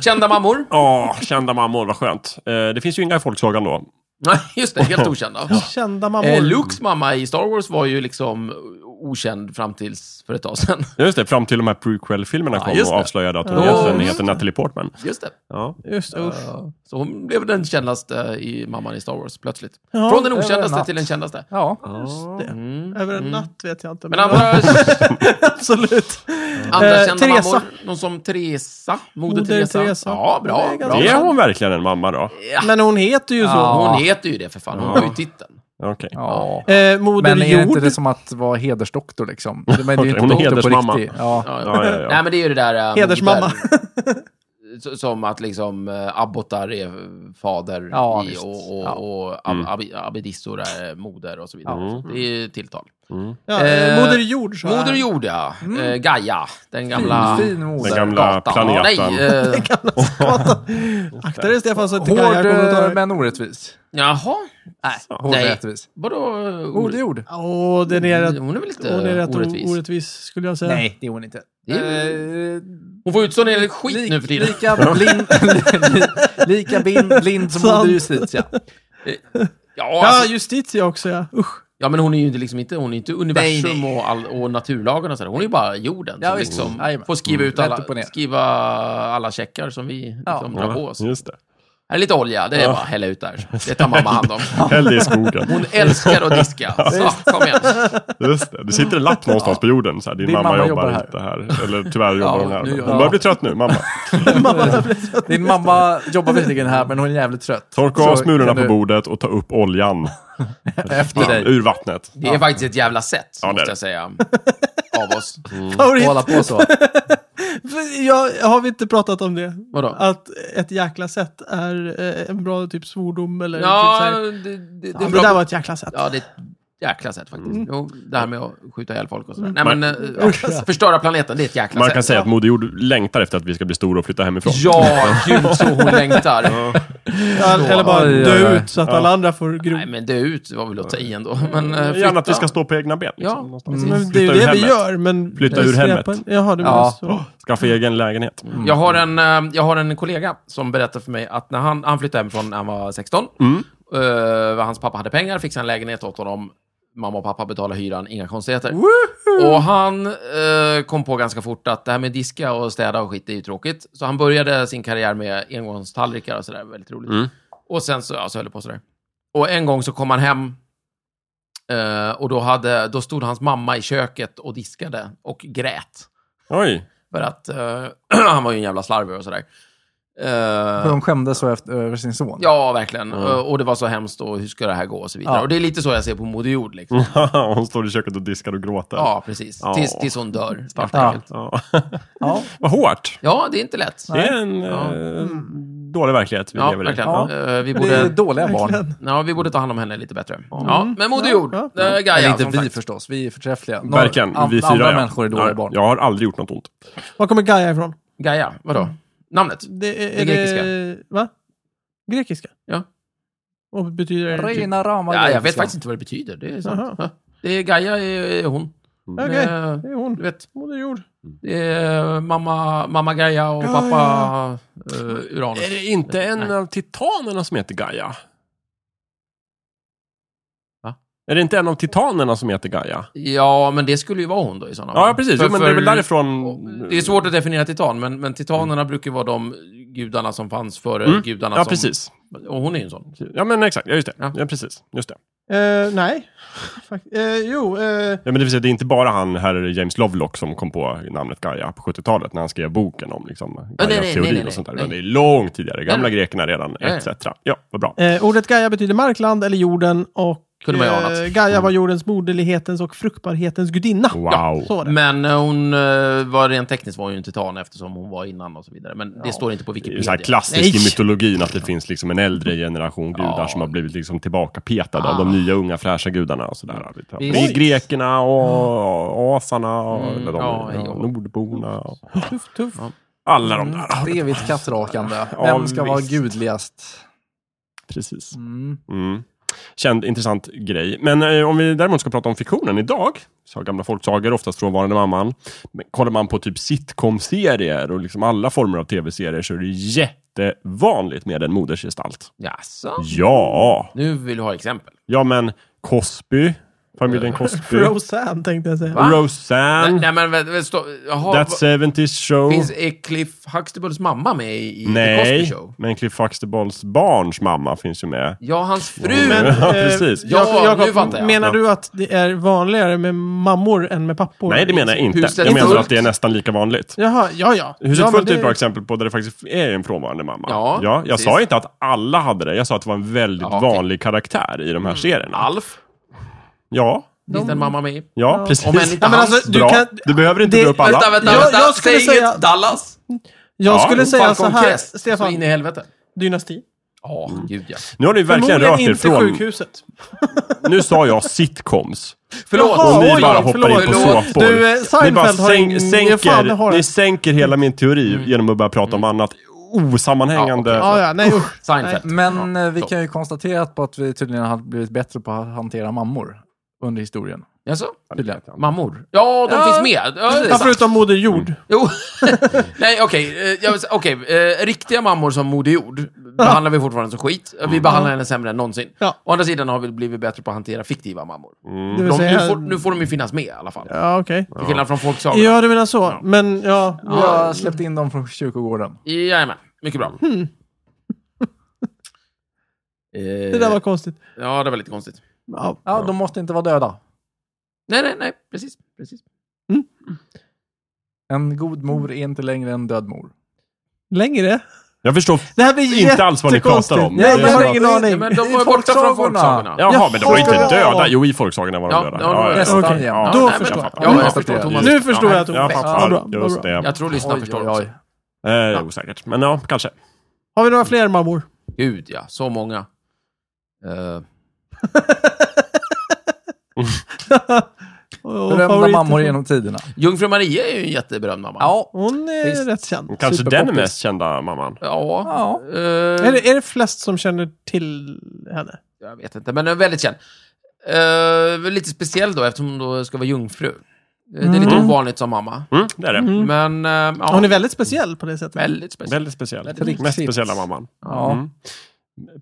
[SPEAKER 2] Kända mammor. (laughs)
[SPEAKER 3] Åh, kända mammor, vad skönt. Eh, det finns ju inga i folksagan då.
[SPEAKER 2] Nej, Just det, helt okända.
[SPEAKER 1] Kända mammor.
[SPEAKER 2] Eh, Lukes mamma i Star Wars var ju liksom okänd fram tills för ett tag sedan. (laughs)
[SPEAKER 3] Just det, fram till de här prequel-filmerna kom
[SPEAKER 2] just
[SPEAKER 3] och
[SPEAKER 2] det.
[SPEAKER 3] avslöjade att hon
[SPEAKER 1] Ja,
[SPEAKER 3] egentligen
[SPEAKER 2] just
[SPEAKER 3] heter Natalie Portman.
[SPEAKER 2] Just det.
[SPEAKER 3] Ja.
[SPEAKER 1] Just det, usch.
[SPEAKER 2] Eh, Så hon blev den kändaste i mamman i Star Wars, plötsligt.
[SPEAKER 1] Ja,
[SPEAKER 2] Från den
[SPEAKER 4] över en
[SPEAKER 2] okändaste
[SPEAKER 4] natt.
[SPEAKER 2] till den kändaste.
[SPEAKER 4] Ja.
[SPEAKER 2] Mm.
[SPEAKER 1] Över en natt vet jag inte.
[SPEAKER 2] Men andra,
[SPEAKER 1] (laughs) absolut.
[SPEAKER 2] (laughs) andra
[SPEAKER 1] Eh,
[SPEAKER 2] kända
[SPEAKER 1] Teresa.
[SPEAKER 2] mammor, någon som Teresa, Moder
[SPEAKER 1] Moder
[SPEAKER 2] Teresa.
[SPEAKER 1] Teresa.
[SPEAKER 2] Ja,
[SPEAKER 1] Det
[SPEAKER 2] bra.
[SPEAKER 1] är
[SPEAKER 2] bra.
[SPEAKER 1] ganska-
[SPEAKER 3] Det är hon verkligen en mamma då?
[SPEAKER 1] Men hon heter ju så.
[SPEAKER 4] Ja.
[SPEAKER 2] Hon heter ju det för fan, hon har ju titeln.
[SPEAKER 3] Okej.
[SPEAKER 4] ja.
[SPEAKER 1] Eh, moder
[SPEAKER 4] Men är det inte
[SPEAKER 1] jord.
[SPEAKER 4] det som att vara hedersdoktor liksom? Men det är ju
[SPEAKER 3] Okej,
[SPEAKER 4] inte
[SPEAKER 3] hon är
[SPEAKER 4] doktor
[SPEAKER 3] hedersmamma.
[SPEAKER 4] på riktigt. Ja.
[SPEAKER 2] Ja,
[SPEAKER 3] Ja, ja, ja.
[SPEAKER 2] Nej, men det är ju det där... eh,
[SPEAKER 1] Hedersmamma.
[SPEAKER 2] där- s- som att liksom eh, abbotar är fader
[SPEAKER 4] Ja,
[SPEAKER 2] i,
[SPEAKER 4] visst.
[SPEAKER 2] och, och,
[SPEAKER 4] Ja.
[SPEAKER 2] och ab, ab, abbedissor är moder och så vidare.
[SPEAKER 3] Ja.
[SPEAKER 2] Så Det är ju tilltal.
[SPEAKER 1] Ja, eh,
[SPEAKER 2] Eh,
[SPEAKER 1] moder jord. Så
[SPEAKER 2] Moder
[SPEAKER 1] här.
[SPEAKER 2] (laughs) jord, ja.
[SPEAKER 1] Mm.
[SPEAKER 2] Eh, Gaia, den gamla...
[SPEAKER 4] Fin moder.
[SPEAKER 3] Den gamla
[SPEAKER 2] gatan. Ja,
[SPEAKER 3] planeten.
[SPEAKER 2] Nej,
[SPEAKER 1] (laughs)
[SPEAKER 2] eh,
[SPEAKER 1] Akta dig Stefan så att inte
[SPEAKER 4] Hård
[SPEAKER 1] Gaia kommer att ta
[SPEAKER 4] eh,
[SPEAKER 1] dig.
[SPEAKER 4] men orättvis.
[SPEAKER 2] jaha.
[SPEAKER 4] Nej, hård
[SPEAKER 2] Nej.
[SPEAKER 4] och rättvis.
[SPEAKER 2] Vadå? eh,
[SPEAKER 4] Moder jord.
[SPEAKER 1] Åh, den är rätt,
[SPEAKER 2] Hon är väl inte
[SPEAKER 1] hon är rätt
[SPEAKER 2] orättvis?
[SPEAKER 1] orättvis. orättvis skulle jag säga.
[SPEAKER 4] Nej, det är hon inte.
[SPEAKER 2] Det är-
[SPEAKER 4] Eh,
[SPEAKER 2] Hon får utstå en hel del skit
[SPEAKER 4] lik-
[SPEAKER 2] nu för tiden.
[SPEAKER 3] (laughs)
[SPEAKER 4] Lika blind, (laughs) li- lika blind, blind som
[SPEAKER 1] Sant.
[SPEAKER 4] moder Justitia.
[SPEAKER 2] Eh, Ja,
[SPEAKER 1] Ja,
[SPEAKER 2] alltså,
[SPEAKER 1] Justitia också ja. Usch.
[SPEAKER 2] ja, men hon är ju inte, liksom inte, hon är inte universum
[SPEAKER 4] Nej,
[SPEAKER 2] Och, all, och naturlagarna. och sådär. Hon är ju bara jorden.
[SPEAKER 4] Ja,
[SPEAKER 2] som
[SPEAKER 4] visst.
[SPEAKER 2] liksom
[SPEAKER 4] Jajamän.
[SPEAKER 2] får skriva ut
[SPEAKER 4] Mm. Rätt upp och
[SPEAKER 2] alla,
[SPEAKER 4] ner.
[SPEAKER 2] skriva alla checkar som vi
[SPEAKER 4] Ja.
[SPEAKER 2] liksom, drar på
[SPEAKER 3] Ja,
[SPEAKER 2] oss.
[SPEAKER 3] just det.
[SPEAKER 2] Här är lite olja, det är bara att hälla ut där. Det tar mamma hand om.
[SPEAKER 3] Häll det i skogen.
[SPEAKER 2] Hon älskar att diska. Så, kom igen.
[SPEAKER 3] Just det. det sitter en lapp någonstans på jorden. Så här, din, mamma, jobbar,
[SPEAKER 4] här."
[SPEAKER 3] inte här. Eller tyvärr jobbar
[SPEAKER 2] Ja,
[SPEAKER 3] hon här.
[SPEAKER 2] nu
[SPEAKER 3] Hon
[SPEAKER 2] gör-
[SPEAKER 3] börjar bli trött nu, mamma.
[SPEAKER 4] Din mamma jobbar visserligen här, men hon är jävligt trött.
[SPEAKER 3] Torka
[SPEAKER 4] Så
[SPEAKER 3] av smulorna
[SPEAKER 4] kan
[SPEAKER 3] på
[SPEAKER 4] du-
[SPEAKER 3] bordet och ta upp oljan.
[SPEAKER 4] Efter dig.
[SPEAKER 3] Ur vattnet.
[SPEAKER 2] Det är faktiskt ett jävla sätt,
[SPEAKER 3] Ja, det är
[SPEAKER 2] måste
[SPEAKER 3] det.
[SPEAKER 2] jag säga, av oss.
[SPEAKER 4] Och
[SPEAKER 1] Favorit.
[SPEAKER 4] hålla på så.
[SPEAKER 1] Jag, har vi inte pratat om det?
[SPEAKER 2] Vadå?
[SPEAKER 1] Att ett jäkla sätt är eh, en bra typ svordom eller typ så
[SPEAKER 2] Ja,
[SPEAKER 1] här.
[SPEAKER 2] det, det, det,
[SPEAKER 1] Ja,
[SPEAKER 2] är
[SPEAKER 1] det där
[SPEAKER 2] bra.
[SPEAKER 1] var ett jäkla sätt.
[SPEAKER 2] Ja, det är ett jäkla sätt faktiskt. Jo, det här med att skjuta ihjäl folk och sådär. Nej, men, eh, ja,
[SPEAKER 1] Usch.
[SPEAKER 2] förstöra planeten, det är ett jäkla
[SPEAKER 3] Man
[SPEAKER 2] sätt.
[SPEAKER 3] kan säga att Moder Jord längtar efter att vi ska bli stora och flytta hemifrån.
[SPEAKER 2] Ja, gud så
[SPEAKER 3] (laughs)
[SPEAKER 2] hon längtar.
[SPEAKER 1] Ja, eller bara
[SPEAKER 4] Oj, oj,
[SPEAKER 1] dö
[SPEAKER 4] oj.
[SPEAKER 1] ut så att alla andra får gro.
[SPEAKER 2] Nej, men dö ut var väl att ta i ändå. Men, eh,
[SPEAKER 3] Gärna
[SPEAKER 2] flytta.
[SPEAKER 3] att vi ska stå på egna ben.
[SPEAKER 2] Ja. Mm.
[SPEAKER 3] Liksom, någonstans.
[SPEAKER 1] Men det är
[SPEAKER 3] Flytta
[SPEAKER 1] ju
[SPEAKER 3] ur
[SPEAKER 1] det vi
[SPEAKER 3] hemmet.
[SPEAKER 1] gör. Men
[SPEAKER 3] Flytta ur
[SPEAKER 1] skräpen-
[SPEAKER 3] hemmet.
[SPEAKER 1] Jaha, du
[SPEAKER 4] Ja.
[SPEAKER 1] menar så.
[SPEAKER 3] Skaffa egen lägenhet.
[SPEAKER 2] Jag har, en, eh, jag har en kollega som berättade för mig att när han, han flyttade hemifrån när han var 16. eh, hans pappa hade pengar, fixade en lägenhet åt honom. Mamma och pappa betalade hyran, inga konstigheter. Och han eh, kom på ganska fort att det här med diska och städa och skit, det är ju tråkigt. Så han började sin karriär med engångstallrikar och sådär, väldigt roligt.
[SPEAKER 3] Mm.
[SPEAKER 2] Och sen så, ja, så höll det på sådär. Och en gång så kom han hem eh, och då, hade, då stod hans mamma i köket och diskade och grät.
[SPEAKER 3] Oj. (laughs)
[SPEAKER 2] För att eh, (clears throat) han var ju en jävla slarver och sådär.
[SPEAKER 4] För
[SPEAKER 2] Eh,
[SPEAKER 4] hon skämdes så efter, över sin son.
[SPEAKER 2] ja, verkligen. Eh, Och det var så hemskt och hur ska det här gå och så vidare.
[SPEAKER 4] Ja.
[SPEAKER 2] Och det är lite så jag ser på Moder Jord. Liksom.
[SPEAKER 3] Hon står i köket och diskar och gråter.
[SPEAKER 2] Ja, precis.
[SPEAKER 3] Mm. Ja.
[SPEAKER 2] Tills, tills hon dör. Svart
[SPEAKER 4] Ja.
[SPEAKER 2] enkelt.
[SPEAKER 3] Ja.
[SPEAKER 4] Ja.
[SPEAKER 3] Vad hårt.
[SPEAKER 2] Ja, det är inte lätt.
[SPEAKER 3] Det är en
[SPEAKER 2] Ja.
[SPEAKER 3] eh,
[SPEAKER 4] Mm.
[SPEAKER 3] dålig verklighet vi
[SPEAKER 2] Ja,
[SPEAKER 3] lever i.
[SPEAKER 2] verkligen.
[SPEAKER 3] Ja.
[SPEAKER 2] Eh, vi,
[SPEAKER 4] Det är
[SPEAKER 2] borde,
[SPEAKER 4] dåliga barn.
[SPEAKER 2] ja, vi borde ta hand om henne lite bättre. Ja, men Moder
[SPEAKER 1] Ja,
[SPEAKER 2] Jord.
[SPEAKER 1] ja.
[SPEAKER 2] Ja, Gaia,
[SPEAKER 4] Eller inte
[SPEAKER 2] som
[SPEAKER 4] vi
[SPEAKER 2] sagt.
[SPEAKER 4] förstås, vi är förträffliga. Några-
[SPEAKER 3] Verkligen.
[SPEAKER 4] an-
[SPEAKER 3] vi fyra,
[SPEAKER 4] andra
[SPEAKER 3] ja.
[SPEAKER 4] människor är dåliga
[SPEAKER 3] Nej,
[SPEAKER 4] barn.
[SPEAKER 3] Jag har aldrig gjort något ont.
[SPEAKER 1] Var kommer Gaia ifrån?
[SPEAKER 2] Gaia, vadå? Namnet?
[SPEAKER 1] Det
[SPEAKER 2] Det
[SPEAKER 1] är,
[SPEAKER 2] är
[SPEAKER 1] är det, va? Grekiska?
[SPEAKER 2] Ja.
[SPEAKER 1] Och betyder det? Typ,
[SPEAKER 4] Rena rama
[SPEAKER 2] Ja, jag vet
[SPEAKER 4] grekiska.
[SPEAKER 2] faktiskt inte vad det betyder. Det är sant.
[SPEAKER 1] Jaha.
[SPEAKER 2] Ja. Det är Gaia är, är hon.
[SPEAKER 1] typ- Okej,
[SPEAKER 2] Eh,
[SPEAKER 1] det är hon.
[SPEAKER 2] Du vet,
[SPEAKER 1] Moder jord.
[SPEAKER 2] det är mamma, mamma Gaia och
[SPEAKER 1] Ja,
[SPEAKER 2] pappa eh, Uranus.
[SPEAKER 3] Är det inte en
[SPEAKER 2] Nej.
[SPEAKER 3] av titanerna som heter Gaia?
[SPEAKER 2] Va?
[SPEAKER 3] Är det inte en av titanerna som heter Gaia?
[SPEAKER 2] Ja, men det skulle ju vara hon då i sådana
[SPEAKER 3] Ja, precis.
[SPEAKER 2] För-
[SPEAKER 3] jo, men det är väl
[SPEAKER 2] för-
[SPEAKER 3] därifrån...
[SPEAKER 2] Det är svårt att definiera titan, men, men titanerna brukar ju vara de gudarna som fanns före
[SPEAKER 3] Mm.
[SPEAKER 2] gudarna
[SPEAKER 3] Ja,
[SPEAKER 2] som...
[SPEAKER 3] precis.
[SPEAKER 2] Och hon är ju en sån.
[SPEAKER 3] Ja, men exakt. Ja, just det.
[SPEAKER 2] Ja.
[SPEAKER 3] Ja. precis. Just det.
[SPEAKER 1] Eh, nej. (laughs) Fakt- eh, jo, eh,
[SPEAKER 3] Ja, men det, vill säga, det är inte bara han, herr James Lovelock, som kom på namnet Gaia på 70-talet när han skrev boken om liksom,
[SPEAKER 2] nej, nej, nej,
[SPEAKER 3] Gaia-teorin
[SPEAKER 2] nej,
[SPEAKER 3] och sånt där.
[SPEAKER 2] nej.
[SPEAKER 3] Utan det är långt tidigare. Gamla
[SPEAKER 2] Nej.
[SPEAKER 3] grekerna redan,
[SPEAKER 2] Ja, ja.
[SPEAKER 3] etc. Ja, vad bra.
[SPEAKER 1] eh, ordet Gaia betyder markland eller jorden och
[SPEAKER 2] Kunde man ju anat. Mm.
[SPEAKER 1] Eh, Gaia var jordens moderlighetens och fruktbarhetens gudinna.
[SPEAKER 3] Wow.
[SPEAKER 1] Så var det.
[SPEAKER 2] Men eh, hon eh, var rent tekniskt var hon ju en titan eftersom hon var innan och så vidare. Men det står inte på
[SPEAKER 3] Det är ju så här
[SPEAKER 2] Wikipedia.
[SPEAKER 3] klassiskt
[SPEAKER 1] Nej.
[SPEAKER 3] i mytologin att det finns liksom en äldre generation gudar som har blivit liksom tillbakapetade av de nya unga fräscha gudarna. Och sådär. Det är
[SPEAKER 2] Ah. Mm. Visst. Mm.
[SPEAKER 3] grekerna och asarna och eller de,
[SPEAKER 2] ja,
[SPEAKER 3] ja,
[SPEAKER 2] ja. Mm.
[SPEAKER 3] nordborna. Och
[SPEAKER 1] Tuff, tuff.
[SPEAKER 3] alla de där.
[SPEAKER 4] Ett evigt kattrakande.
[SPEAKER 3] Ja,
[SPEAKER 4] Vem ska vara
[SPEAKER 3] visst.
[SPEAKER 4] gudligast?
[SPEAKER 3] Precis.
[SPEAKER 4] Mm.
[SPEAKER 3] Mm. Känd intressant grej. Men eh, om vi däremot ska prata om fiktionen idag, så har gamla folksagor, oftast frånvarande mamman. Men kollar man på typ sitcom-serier och liksom alla former av tv-serier så är det jättevanligt med en modersgestalt.
[SPEAKER 2] Jaså?
[SPEAKER 3] Ja,
[SPEAKER 2] Nu vill du ha exempel.
[SPEAKER 3] ja men Cosby,
[SPEAKER 2] (laughs)
[SPEAKER 3] familjen Cosby,
[SPEAKER 1] Roseanne tänkte jag säga.
[SPEAKER 2] Va? Nej,
[SPEAKER 3] Roseanne,
[SPEAKER 2] nej men vänta, vänta, stå, jaha,
[SPEAKER 3] That 70's Show.
[SPEAKER 2] vad- finns, är Cliff Huxtables mamma med i, i The Cosby
[SPEAKER 3] Nej,
[SPEAKER 2] Show?
[SPEAKER 3] men Cliff Huxtables barns mamma finns ju med.
[SPEAKER 2] Ja, hans fru!
[SPEAKER 1] Men,
[SPEAKER 3] (laughs) Ja,
[SPEAKER 1] eh,
[SPEAKER 3] precis.
[SPEAKER 2] Ja,
[SPEAKER 1] Jakob- Jakob,
[SPEAKER 2] nu fattar jag.
[SPEAKER 1] Menar
[SPEAKER 3] Ja.
[SPEAKER 1] du att det är vanligare med mammor än med pappor?
[SPEAKER 3] Nej, det menar jag inte.
[SPEAKER 2] Huset
[SPEAKER 3] Jag menar
[SPEAKER 2] fullt.
[SPEAKER 3] att det är nästan lika vanligt.
[SPEAKER 1] Jaha, ja, ja.
[SPEAKER 3] Huset
[SPEAKER 1] ja, men
[SPEAKER 3] fullt är
[SPEAKER 1] det-
[SPEAKER 3] ett bra exempel på där det faktiskt är en frånvarande mamma.
[SPEAKER 2] Ja,
[SPEAKER 3] jag
[SPEAKER 2] precis.
[SPEAKER 3] sa inte att alla hade det. Jag sa att det var en väldigt
[SPEAKER 2] Ja, okej.
[SPEAKER 3] vanlig karaktär i de här serierna.
[SPEAKER 2] Alf,
[SPEAKER 3] Ja,
[SPEAKER 2] finns det en mamma med i?
[SPEAKER 3] ja, precis.
[SPEAKER 2] Om än inte
[SPEAKER 1] Ja, men
[SPEAKER 2] hans.
[SPEAKER 1] alltså, du
[SPEAKER 3] Bra.
[SPEAKER 1] kan,
[SPEAKER 3] du behöver inte
[SPEAKER 1] det-
[SPEAKER 3] dra upp alla.
[SPEAKER 2] Vänta, vänta,
[SPEAKER 1] Jag-
[SPEAKER 2] vänta!
[SPEAKER 1] jag skulle
[SPEAKER 2] Säg
[SPEAKER 1] säga-
[SPEAKER 2] inget Dallas!
[SPEAKER 1] jag skulle
[SPEAKER 2] Ja,
[SPEAKER 1] säga så
[SPEAKER 2] Falcon
[SPEAKER 1] här,
[SPEAKER 2] Crest, Så in
[SPEAKER 1] Stefan.
[SPEAKER 2] i helvete.
[SPEAKER 1] Dynasti.
[SPEAKER 2] Ja,
[SPEAKER 3] Mm.
[SPEAKER 2] gud ja.
[SPEAKER 3] Nu har du verkligen rört
[SPEAKER 1] Förmodligen
[SPEAKER 3] er
[SPEAKER 1] inte
[SPEAKER 3] från...
[SPEAKER 1] sjukhuset.
[SPEAKER 3] Nu sa jag sitcoms.
[SPEAKER 2] Förlåt!
[SPEAKER 1] Jaha,
[SPEAKER 3] Och ni
[SPEAKER 1] oj,
[SPEAKER 3] bara hoppar in på
[SPEAKER 2] förlåt.
[SPEAKER 3] såpor.
[SPEAKER 1] Du, eh,
[SPEAKER 3] ni bara
[SPEAKER 1] Seinfeld har ingen-
[SPEAKER 3] sänker,
[SPEAKER 1] fan, det har jag.
[SPEAKER 3] ni sänker hela min teori genom att börja prata om annat osammanhängande.
[SPEAKER 2] Ja,
[SPEAKER 1] Ja, ja, nej usch.
[SPEAKER 2] Seinfeld.
[SPEAKER 4] Men eh, vi
[SPEAKER 2] så.
[SPEAKER 4] kan ju konstatera på att vi tydligen har blivit bättre på att hantera mammor under historien.
[SPEAKER 2] Jaså?
[SPEAKER 4] Tydligen.
[SPEAKER 2] Mammor? Ja, de
[SPEAKER 4] Ja.
[SPEAKER 2] finns med. Ja, (laughs) det är
[SPEAKER 1] Ja,
[SPEAKER 2] sant.
[SPEAKER 1] förutom Moder Jord.
[SPEAKER 3] Mm.
[SPEAKER 2] Jo. (laughs) Nej, okej. eh, jag vill säga- Okej, eh, riktiga mammor som Moder Jord behandlar vi fortfarande som skit. Vi behandlar henne sämre än någonsin.
[SPEAKER 1] Mm. Ja.
[SPEAKER 2] Å andra sidan har vi blivit bättre på att hantera fiktiva mammor.
[SPEAKER 3] Mm.
[SPEAKER 1] Det
[SPEAKER 2] De,
[SPEAKER 1] vill säga,
[SPEAKER 2] nu, får, nu får de ju finnas med i alla fall.
[SPEAKER 1] Ja, okej.
[SPEAKER 2] Till skillnad från folksagorna.
[SPEAKER 1] Ja, du menar så. Men ja.
[SPEAKER 4] Vi har släppt in dem från kyrkogården.
[SPEAKER 2] Jajamän, mycket bra.
[SPEAKER 1] Hmm.
[SPEAKER 2] Eh,
[SPEAKER 1] Det där var konstigt.
[SPEAKER 2] Ja, det var lite konstigt.
[SPEAKER 1] Ja.
[SPEAKER 4] Ja, de måste inte vara döda.
[SPEAKER 2] Nej, nej, nej, precis. precis.
[SPEAKER 4] En god mor är inte längre en död mor.
[SPEAKER 1] Längre?
[SPEAKER 3] Jag förstår
[SPEAKER 1] Det här blir
[SPEAKER 3] Inte alls vad ni
[SPEAKER 1] jättekonstigt.
[SPEAKER 3] pratar om. Det
[SPEAKER 1] Nej,
[SPEAKER 3] är
[SPEAKER 1] jag har
[SPEAKER 3] bara-
[SPEAKER 1] ingen
[SPEAKER 4] Nej,
[SPEAKER 1] aning.
[SPEAKER 2] Ja, men de
[SPEAKER 4] I
[SPEAKER 2] var ju borta
[SPEAKER 4] folksagorna.
[SPEAKER 2] från folksagorna.
[SPEAKER 3] Jaha, men de var ju inte
[SPEAKER 1] Jaha.
[SPEAKER 3] döda. Jo, i folksagorna var de
[SPEAKER 2] Ja,
[SPEAKER 3] döda.
[SPEAKER 2] ja, de var
[SPEAKER 4] Nästan
[SPEAKER 1] okej.
[SPEAKER 4] jämnt.
[SPEAKER 1] Då
[SPEAKER 2] men-
[SPEAKER 1] förstår jag.
[SPEAKER 2] Ja,
[SPEAKER 4] Ja,
[SPEAKER 2] jag förstår.
[SPEAKER 4] det.
[SPEAKER 2] Thomas.
[SPEAKER 1] Nu förstår
[SPEAKER 2] Ja,
[SPEAKER 1] jag, Thomas.
[SPEAKER 3] Ja,
[SPEAKER 1] Ja, bra,
[SPEAKER 3] pappa, just
[SPEAKER 1] bra.
[SPEAKER 3] det.
[SPEAKER 2] Jag tror lyssnarna förstår
[SPEAKER 4] Oj, oj,
[SPEAKER 2] också.
[SPEAKER 4] oj.
[SPEAKER 3] Eh, osäkert. Men ja, kanske.
[SPEAKER 1] Har vi några fler mammor?
[SPEAKER 2] Gud, ja. Så många. Eh,
[SPEAKER 1] Och
[SPEAKER 4] Berömda
[SPEAKER 1] favoriter
[SPEAKER 4] mammor
[SPEAKER 1] från-
[SPEAKER 4] genom tiderna.
[SPEAKER 2] Jungfru Maria är ju en jätteberömd mamma.
[SPEAKER 4] Ja.
[SPEAKER 1] Hon är
[SPEAKER 4] Visst.
[SPEAKER 1] rätt känd.
[SPEAKER 3] Kanske den
[SPEAKER 4] Superpoppis.
[SPEAKER 3] mest kända mamman.
[SPEAKER 2] Ja.
[SPEAKER 4] ja.
[SPEAKER 2] Eh,
[SPEAKER 1] Är det, är det flest som känner till henne?
[SPEAKER 2] Jag vet inte, men den är väldigt känd. Eh, lite speciell då, eftersom hon då ska vara jungfru. Eh, Det är lite ovanligt som mamma.
[SPEAKER 3] Mm, det är det.
[SPEAKER 2] Men, eh, ja.
[SPEAKER 1] Hon är väldigt speciell på det sättet.
[SPEAKER 2] väldigt speciell.
[SPEAKER 3] Väldigt speciell.
[SPEAKER 4] Väldigt
[SPEAKER 3] Mest
[SPEAKER 4] riktigt.
[SPEAKER 3] speciella mamman.
[SPEAKER 4] Ja.
[SPEAKER 3] Mm.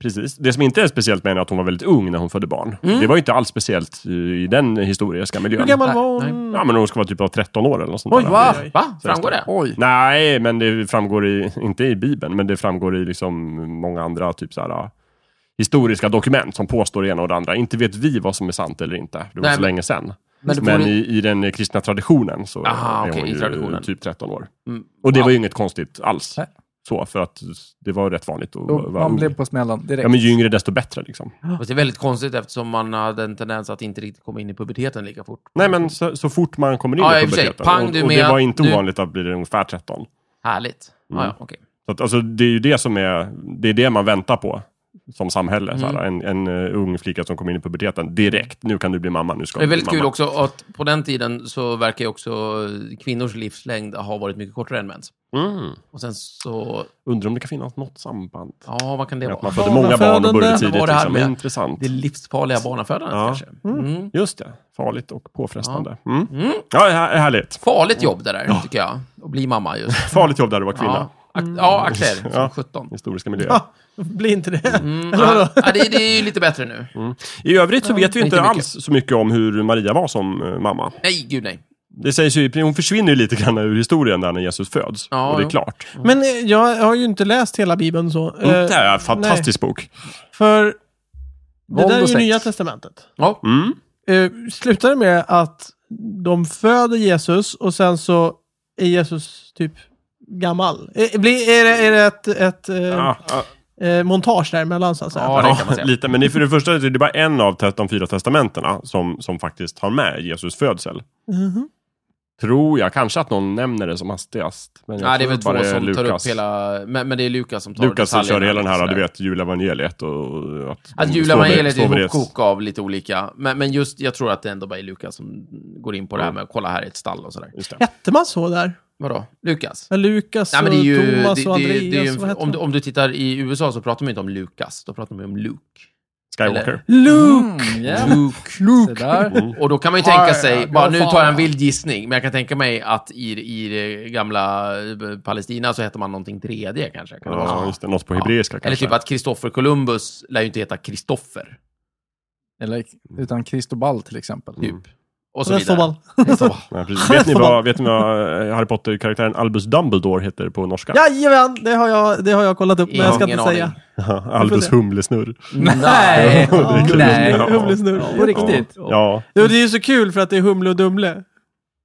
[SPEAKER 3] Precis. Det som inte är speciellt med henne är att hon var väldigt ung när hon födde barn. Det var ju inte alls speciellt i den historiska miljön.
[SPEAKER 1] Hur gammal
[SPEAKER 2] Nej,
[SPEAKER 1] var hon?
[SPEAKER 3] Ja, men hon ska vara typ av 13 år eller något sånt
[SPEAKER 1] Oj,
[SPEAKER 3] där.
[SPEAKER 1] va?
[SPEAKER 2] Va? Framgår det?
[SPEAKER 4] Oj.
[SPEAKER 3] Nej, men det framgår i, inte i Bibeln, men det framgår i liksom många andra typ så här, ah, historiska dokument som påstår det ena och det andra. Inte vet vi vad som är sant eller inte. Det var
[SPEAKER 2] Nej,
[SPEAKER 3] så
[SPEAKER 2] men-
[SPEAKER 3] länge sedan.
[SPEAKER 2] Men
[SPEAKER 3] Men,
[SPEAKER 2] det får
[SPEAKER 3] i, i den kristna traditionen så
[SPEAKER 2] Aha,
[SPEAKER 3] är
[SPEAKER 2] okej,
[SPEAKER 3] hon
[SPEAKER 2] i
[SPEAKER 3] ju
[SPEAKER 2] traditionen.
[SPEAKER 3] typ 13 år.
[SPEAKER 2] Mm.
[SPEAKER 3] Och det
[SPEAKER 2] Wow.
[SPEAKER 3] var ju inget konstigt alls.
[SPEAKER 4] Nej.
[SPEAKER 3] Så, för att det var rätt vanligt att
[SPEAKER 4] Då,
[SPEAKER 3] vara
[SPEAKER 4] man
[SPEAKER 3] ung.
[SPEAKER 4] blev på smällen direkt.
[SPEAKER 3] Ja, men ju yngre desto bättre liksom.
[SPEAKER 2] Fast det är väldigt konstigt eftersom man hade en tendens att inte riktigt komma in i puberteten lika fort.
[SPEAKER 3] Nej, men så, så fort man kommer in
[SPEAKER 2] Ja,
[SPEAKER 3] i
[SPEAKER 2] i och för sig.
[SPEAKER 3] puberteten.
[SPEAKER 2] Pang,
[SPEAKER 3] och,
[SPEAKER 2] du
[SPEAKER 3] och det
[SPEAKER 2] med.
[SPEAKER 3] var inte
[SPEAKER 2] Du-
[SPEAKER 3] ovanligt att bli ungefär 13.
[SPEAKER 2] Härligt. Ja, ja, okej.
[SPEAKER 3] Så att, alltså, det är ju det som är, det är det man väntar på som samhälle. såhär. en
[SPEAKER 2] Mm.
[SPEAKER 3] en eh, ung flicka som kommer in i puberteten direkt. Nu kan du bli mamma, nu ska
[SPEAKER 2] Det är
[SPEAKER 3] du bli
[SPEAKER 2] väldigt kul
[SPEAKER 3] mamma.
[SPEAKER 2] också att på den tiden så verkar ju också kvinnors livslängd ha varit mycket kortare än mäns.
[SPEAKER 3] Mm.
[SPEAKER 2] Och sen så,
[SPEAKER 3] Undrar om det kan finnas något samband.
[SPEAKER 2] ja, vad kan det
[SPEAKER 3] Med att man
[SPEAKER 2] vara?
[SPEAKER 3] födde många barn och började
[SPEAKER 1] Barnafödande.
[SPEAKER 3] tidigt.
[SPEAKER 2] Vad var det här
[SPEAKER 3] Liksom.
[SPEAKER 2] med?
[SPEAKER 3] Intressant.
[SPEAKER 2] Det livsfarliga barnafödandet
[SPEAKER 3] Ja.
[SPEAKER 2] kanske? Mm.
[SPEAKER 3] Just det, farligt och påfrestande. Mm. Ja, det här är härligt.
[SPEAKER 2] Farligt jobb det där, tycker jag. Att bli mamma
[SPEAKER 3] (laughs)
[SPEAKER 2] just.
[SPEAKER 3] Farligt jobb där du var kvinna.
[SPEAKER 2] Ja, ak- ja akta er, som
[SPEAKER 3] Mm. Ja.
[SPEAKER 2] 17.
[SPEAKER 3] (laughs) Historiska miljöer.
[SPEAKER 1] Ja, bli inte det.
[SPEAKER 2] Mm, ja, ja, det, det är ju lite bättre nu.
[SPEAKER 3] Mm. I övrigt så vet vi ju
[SPEAKER 2] inte
[SPEAKER 3] inte,
[SPEAKER 2] mycket.
[SPEAKER 3] alls så mycket om hur Maria var som eh, mamma.
[SPEAKER 2] Nej, gud nej.
[SPEAKER 3] Det sägs ju, i- hon försvinner ju lite grann ur historien där när Jesus föds.
[SPEAKER 2] Ja,
[SPEAKER 3] och det är
[SPEAKER 2] jo.
[SPEAKER 3] klart.
[SPEAKER 1] Men eh, jag har ju inte läst hela Bibeln så. eh,
[SPEAKER 3] det här är en fantastisk bok.
[SPEAKER 1] För det
[SPEAKER 4] Våld
[SPEAKER 1] där är
[SPEAKER 4] och
[SPEAKER 1] ju
[SPEAKER 4] sex.
[SPEAKER 1] Nya Testamentet.
[SPEAKER 2] Ja,
[SPEAKER 3] Mm.
[SPEAKER 1] Eh, slutar det med att de föder Jesus och sen så är Jesus typ gammal. Eh, blir- är det, är det ett, ett eh,
[SPEAKER 3] Ja, ja.
[SPEAKER 1] eh, montage däremellan så att säga.
[SPEAKER 2] Ja, det kan man säga.
[SPEAKER 3] lite. Men det är för det första är det bara en av te- de fyra testamentena som, som faktiskt har med Jesus födsel.
[SPEAKER 1] Mhm.
[SPEAKER 3] Tror jag. Kanske att någon nämner det som hastigast. Men jag
[SPEAKER 2] Nej, det är
[SPEAKER 3] tror
[SPEAKER 2] väl två
[SPEAKER 3] bara det är
[SPEAKER 2] som tar
[SPEAKER 3] Lukas.
[SPEAKER 2] upp hela... Men, men det är Lukas som tar
[SPEAKER 3] Lukas som kör
[SPEAKER 2] detaljerna
[SPEAKER 3] hela den här,
[SPEAKER 2] och
[SPEAKER 3] du
[SPEAKER 2] sådär.
[SPEAKER 3] vet, julevangeliet och... Att, de
[SPEAKER 2] Att
[SPEAKER 3] står
[SPEAKER 2] julevangeliet
[SPEAKER 3] vid-
[SPEAKER 2] är
[SPEAKER 3] står vid
[SPEAKER 2] ett
[SPEAKER 3] det-
[SPEAKER 2] hopkok av lite olika. Men, men just, jag tror att det ändå bara är Lukas som går in på det här med att kolla här i ett stall och sådär.
[SPEAKER 3] Just det.
[SPEAKER 1] Hette man så där?
[SPEAKER 2] Vadå? Lukas?
[SPEAKER 1] Ja, Lukas
[SPEAKER 2] Nej, men det är
[SPEAKER 1] och
[SPEAKER 2] ju,
[SPEAKER 1] Thomas
[SPEAKER 2] det,
[SPEAKER 1] och
[SPEAKER 2] det, det,
[SPEAKER 1] Andreas.
[SPEAKER 2] är ju en,
[SPEAKER 1] vad hette
[SPEAKER 2] om, du,
[SPEAKER 1] de?
[SPEAKER 2] om du tittar i USA så pratar man inte om Lukas, då pratar man om Luke.
[SPEAKER 3] Skywalker.
[SPEAKER 2] Eller-
[SPEAKER 1] Luke!
[SPEAKER 3] Mm.
[SPEAKER 2] Mm, Luke.
[SPEAKER 4] Se där.
[SPEAKER 2] Och då kan man ju tänka sig,
[SPEAKER 4] Har-
[SPEAKER 2] bara, nu tar jag en
[SPEAKER 4] Godfather.
[SPEAKER 2] vild gissning, men jag kan tänka mig att i, i det gamla eh, Palestina så heter man någonting tredje kanske. Kan det vara så?
[SPEAKER 3] Ja, just det. Något på hebreiska
[SPEAKER 2] Eller
[SPEAKER 3] kanske.
[SPEAKER 2] typ att Kristoffer Columbus lär ju inte heta Kristoffer.
[SPEAKER 4] Eller utan Cristobal till exempel.
[SPEAKER 2] Typ. Och så vidare.
[SPEAKER 1] Restoban.
[SPEAKER 3] Nej, precis.
[SPEAKER 2] (laughs)
[SPEAKER 3] vet, ni vad, vet ni vad eh, Harry Potter-karaktären Albus Dumbledore heter på norska?
[SPEAKER 1] Jajamän, det har, jag, det har jag kollat upp, men jag ska
[SPEAKER 2] Ingen
[SPEAKER 1] inte
[SPEAKER 2] aning.
[SPEAKER 1] säga.
[SPEAKER 3] (laughs) Albus Humlesnurr.
[SPEAKER 2] Nej!
[SPEAKER 3] Det är kul.
[SPEAKER 4] Nej.
[SPEAKER 3] (laughs) Ja.
[SPEAKER 1] Humlesnurr.
[SPEAKER 4] På riktigt.
[SPEAKER 3] Ja.
[SPEAKER 1] Jo, det är ju så kul för att det är Humle och Dumle. De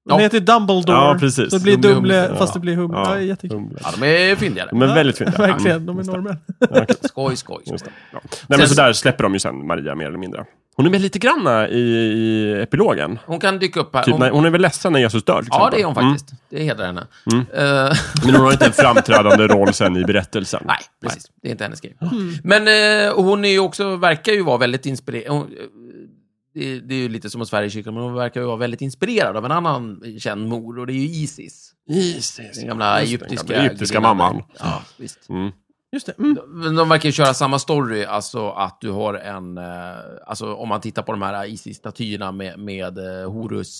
[SPEAKER 2] Ja.
[SPEAKER 1] heter ju Dumbledore.
[SPEAKER 3] Ja, precis.
[SPEAKER 1] Så det blir
[SPEAKER 2] Dumle och
[SPEAKER 1] Dumle
[SPEAKER 2] Humle.
[SPEAKER 1] fast det blir Humle. Ja, det är
[SPEAKER 3] ja.
[SPEAKER 1] jättekul.
[SPEAKER 3] Humle.
[SPEAKER 2] Ja, de är fyndigare.
[SPEAKER 3] De är väldigt
[SPEAKER 1] (laughs)
[SPEAKER 3] fina.
[SPEAKER 1] Verkligen, de är
[SPEAKER 3] Just det.
[SPEAKER 1] norrmän.
[SPEAKER 3] Ja, okej.
[SPEAKER 2] Skoj, skoj, skoj.
[SPEAKER 3] Just det. Ja. Nej, men
[SPEAKER 2] Sen-
[SPEAKER 3] så där släpper de ju sen Maria mer eller mindre. Hon är med lite grann eh, i, i epilogen.
[SPEAKER 2] Hon kan dyka upp här.
[SPEAKER 3] Typ,
[SPEAKER 2] Hon-
[SPEAKER 3] när, hon är väl ledsen när Jesus dör? till
[SPEAKER 2] Ja,
[SPEAKER 3] exempel.
[SPEAKER 2] det är hon faktiskt. Det hedrar henne. Eh, (laughs)
[SPEAKER 3] Mm. Men hon har inte en framträdande roll sen i berättelsen.
[SPEAKER 2] nej, precis. Det är inte hennes grej.
[SPEAKER 3] Mm.
[SPEAKER 2] Men eh, hon är ju också, verkar ju vara väldigt inspirerad. Hon, eh, det, det är ju lite som hos Sverigekyrkan, men hon verkar ju vara väldigt inspirerad av en annan känd mor, och det är ju Isis.
[SPEAKER 3] Jesus.
[SPEAKER 2] Den gamla
[SPEAKER 3] Just det,
[SPEAKER 2] egyptiska,
[SPEAKER 3] den gamla egyptiska
[SPEAKER 2] gudinnan.
[SPEAKER 3] mamman.
[SPEAKER 2] Ja, visst.
[SPEAKER 3] Mm.
[SPEAKER 1] Just det. Mm.
[SPEAKER 2] Men de verkar ju köra samma story, alltså att du har en... eh, Alltså om man tittar på de här Isis-statyerna med, med eh,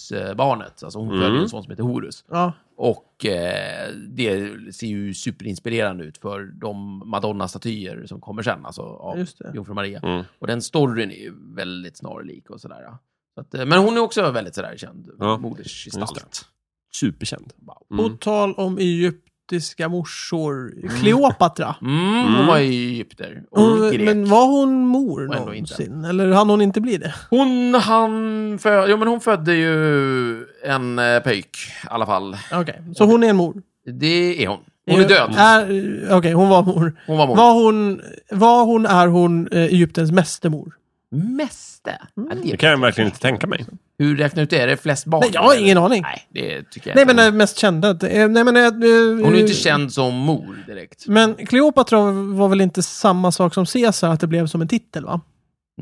[SPEAKER 2] Horus-barnet. Alltså hon föder ju
[SPEAKER 3] Mm.
[SPEAKER 2] en son som heter Horus.
[SPEAKER 1] Ja.
[SPEAKER 2] Och eh, det ser ju superinspirerande ut för de Madonna-statyer som kommer sen, alltså av
[SPEAKER 1] Just det.
[SPEAKER 2] Jungfru Maria.
[SPEAKER 3] Mm.
[SPEAKER 2] Och den storyn är ju väldigt snarlik och sådär. ja. Så att, eh, men hon är också väldigt sådär känd,
[SPEAKER 3] Ja,
[SPEAKER 2] modersgestalt.
[SPEAKER 3] Superkänd.
[SPEAKER 2] Mm.
[SPEAKER 1] På tal om egyptiska morsor, Kleopatra.
[SPEAKER 2] Mm, Hon var i Egypter och
[SPEAKER 1] Hon,
[SPEAKER 2] grek.
[SPEAKER 1] men var hon mor
[SPEAKER 2] Och ändå inte.
[SPEAKER 1] någonsin? Eller hann hon inte bli det?
[SPEAKER 2] Hon, han, fö- jo, men hon födde ju en eh, pöjk i alla fall.
[SPEAKER 1] Okej, så hon är en mor?
[SPEAKER 2] Det är hon. Hon är död.
[SPEAKER 1] Är- Okej, hon var mor.
[SPEAKER 2] Hon var mor.
[SPEAKER 1] Var hon, var hon är hon eh, Egyptens mästermor?
[SPEAKER 2] Mäste? Ja, det-
[SPEAKER 3] Det kan jag verkligen inte tänka mig.
[SPEAKER 2] Hur räknar du ut det? Är det flest barn?
[SPEAKER 1] Nej, jag har ingen aning.
[SPEAKER 2] Nej, det tycker jag
[SPEAKER 1] Nej,
[SPEAKER 2] inte.
[SPEAKER 1] men den mest kända. Eh, Nej, men, eh, eh,
[SPEAKER 2] Hon är ju inte känd som mor direkt.
[SPEAKER 1] Men Kleopatra var väl inte samma sak som Caesar, att det blev som en titel va?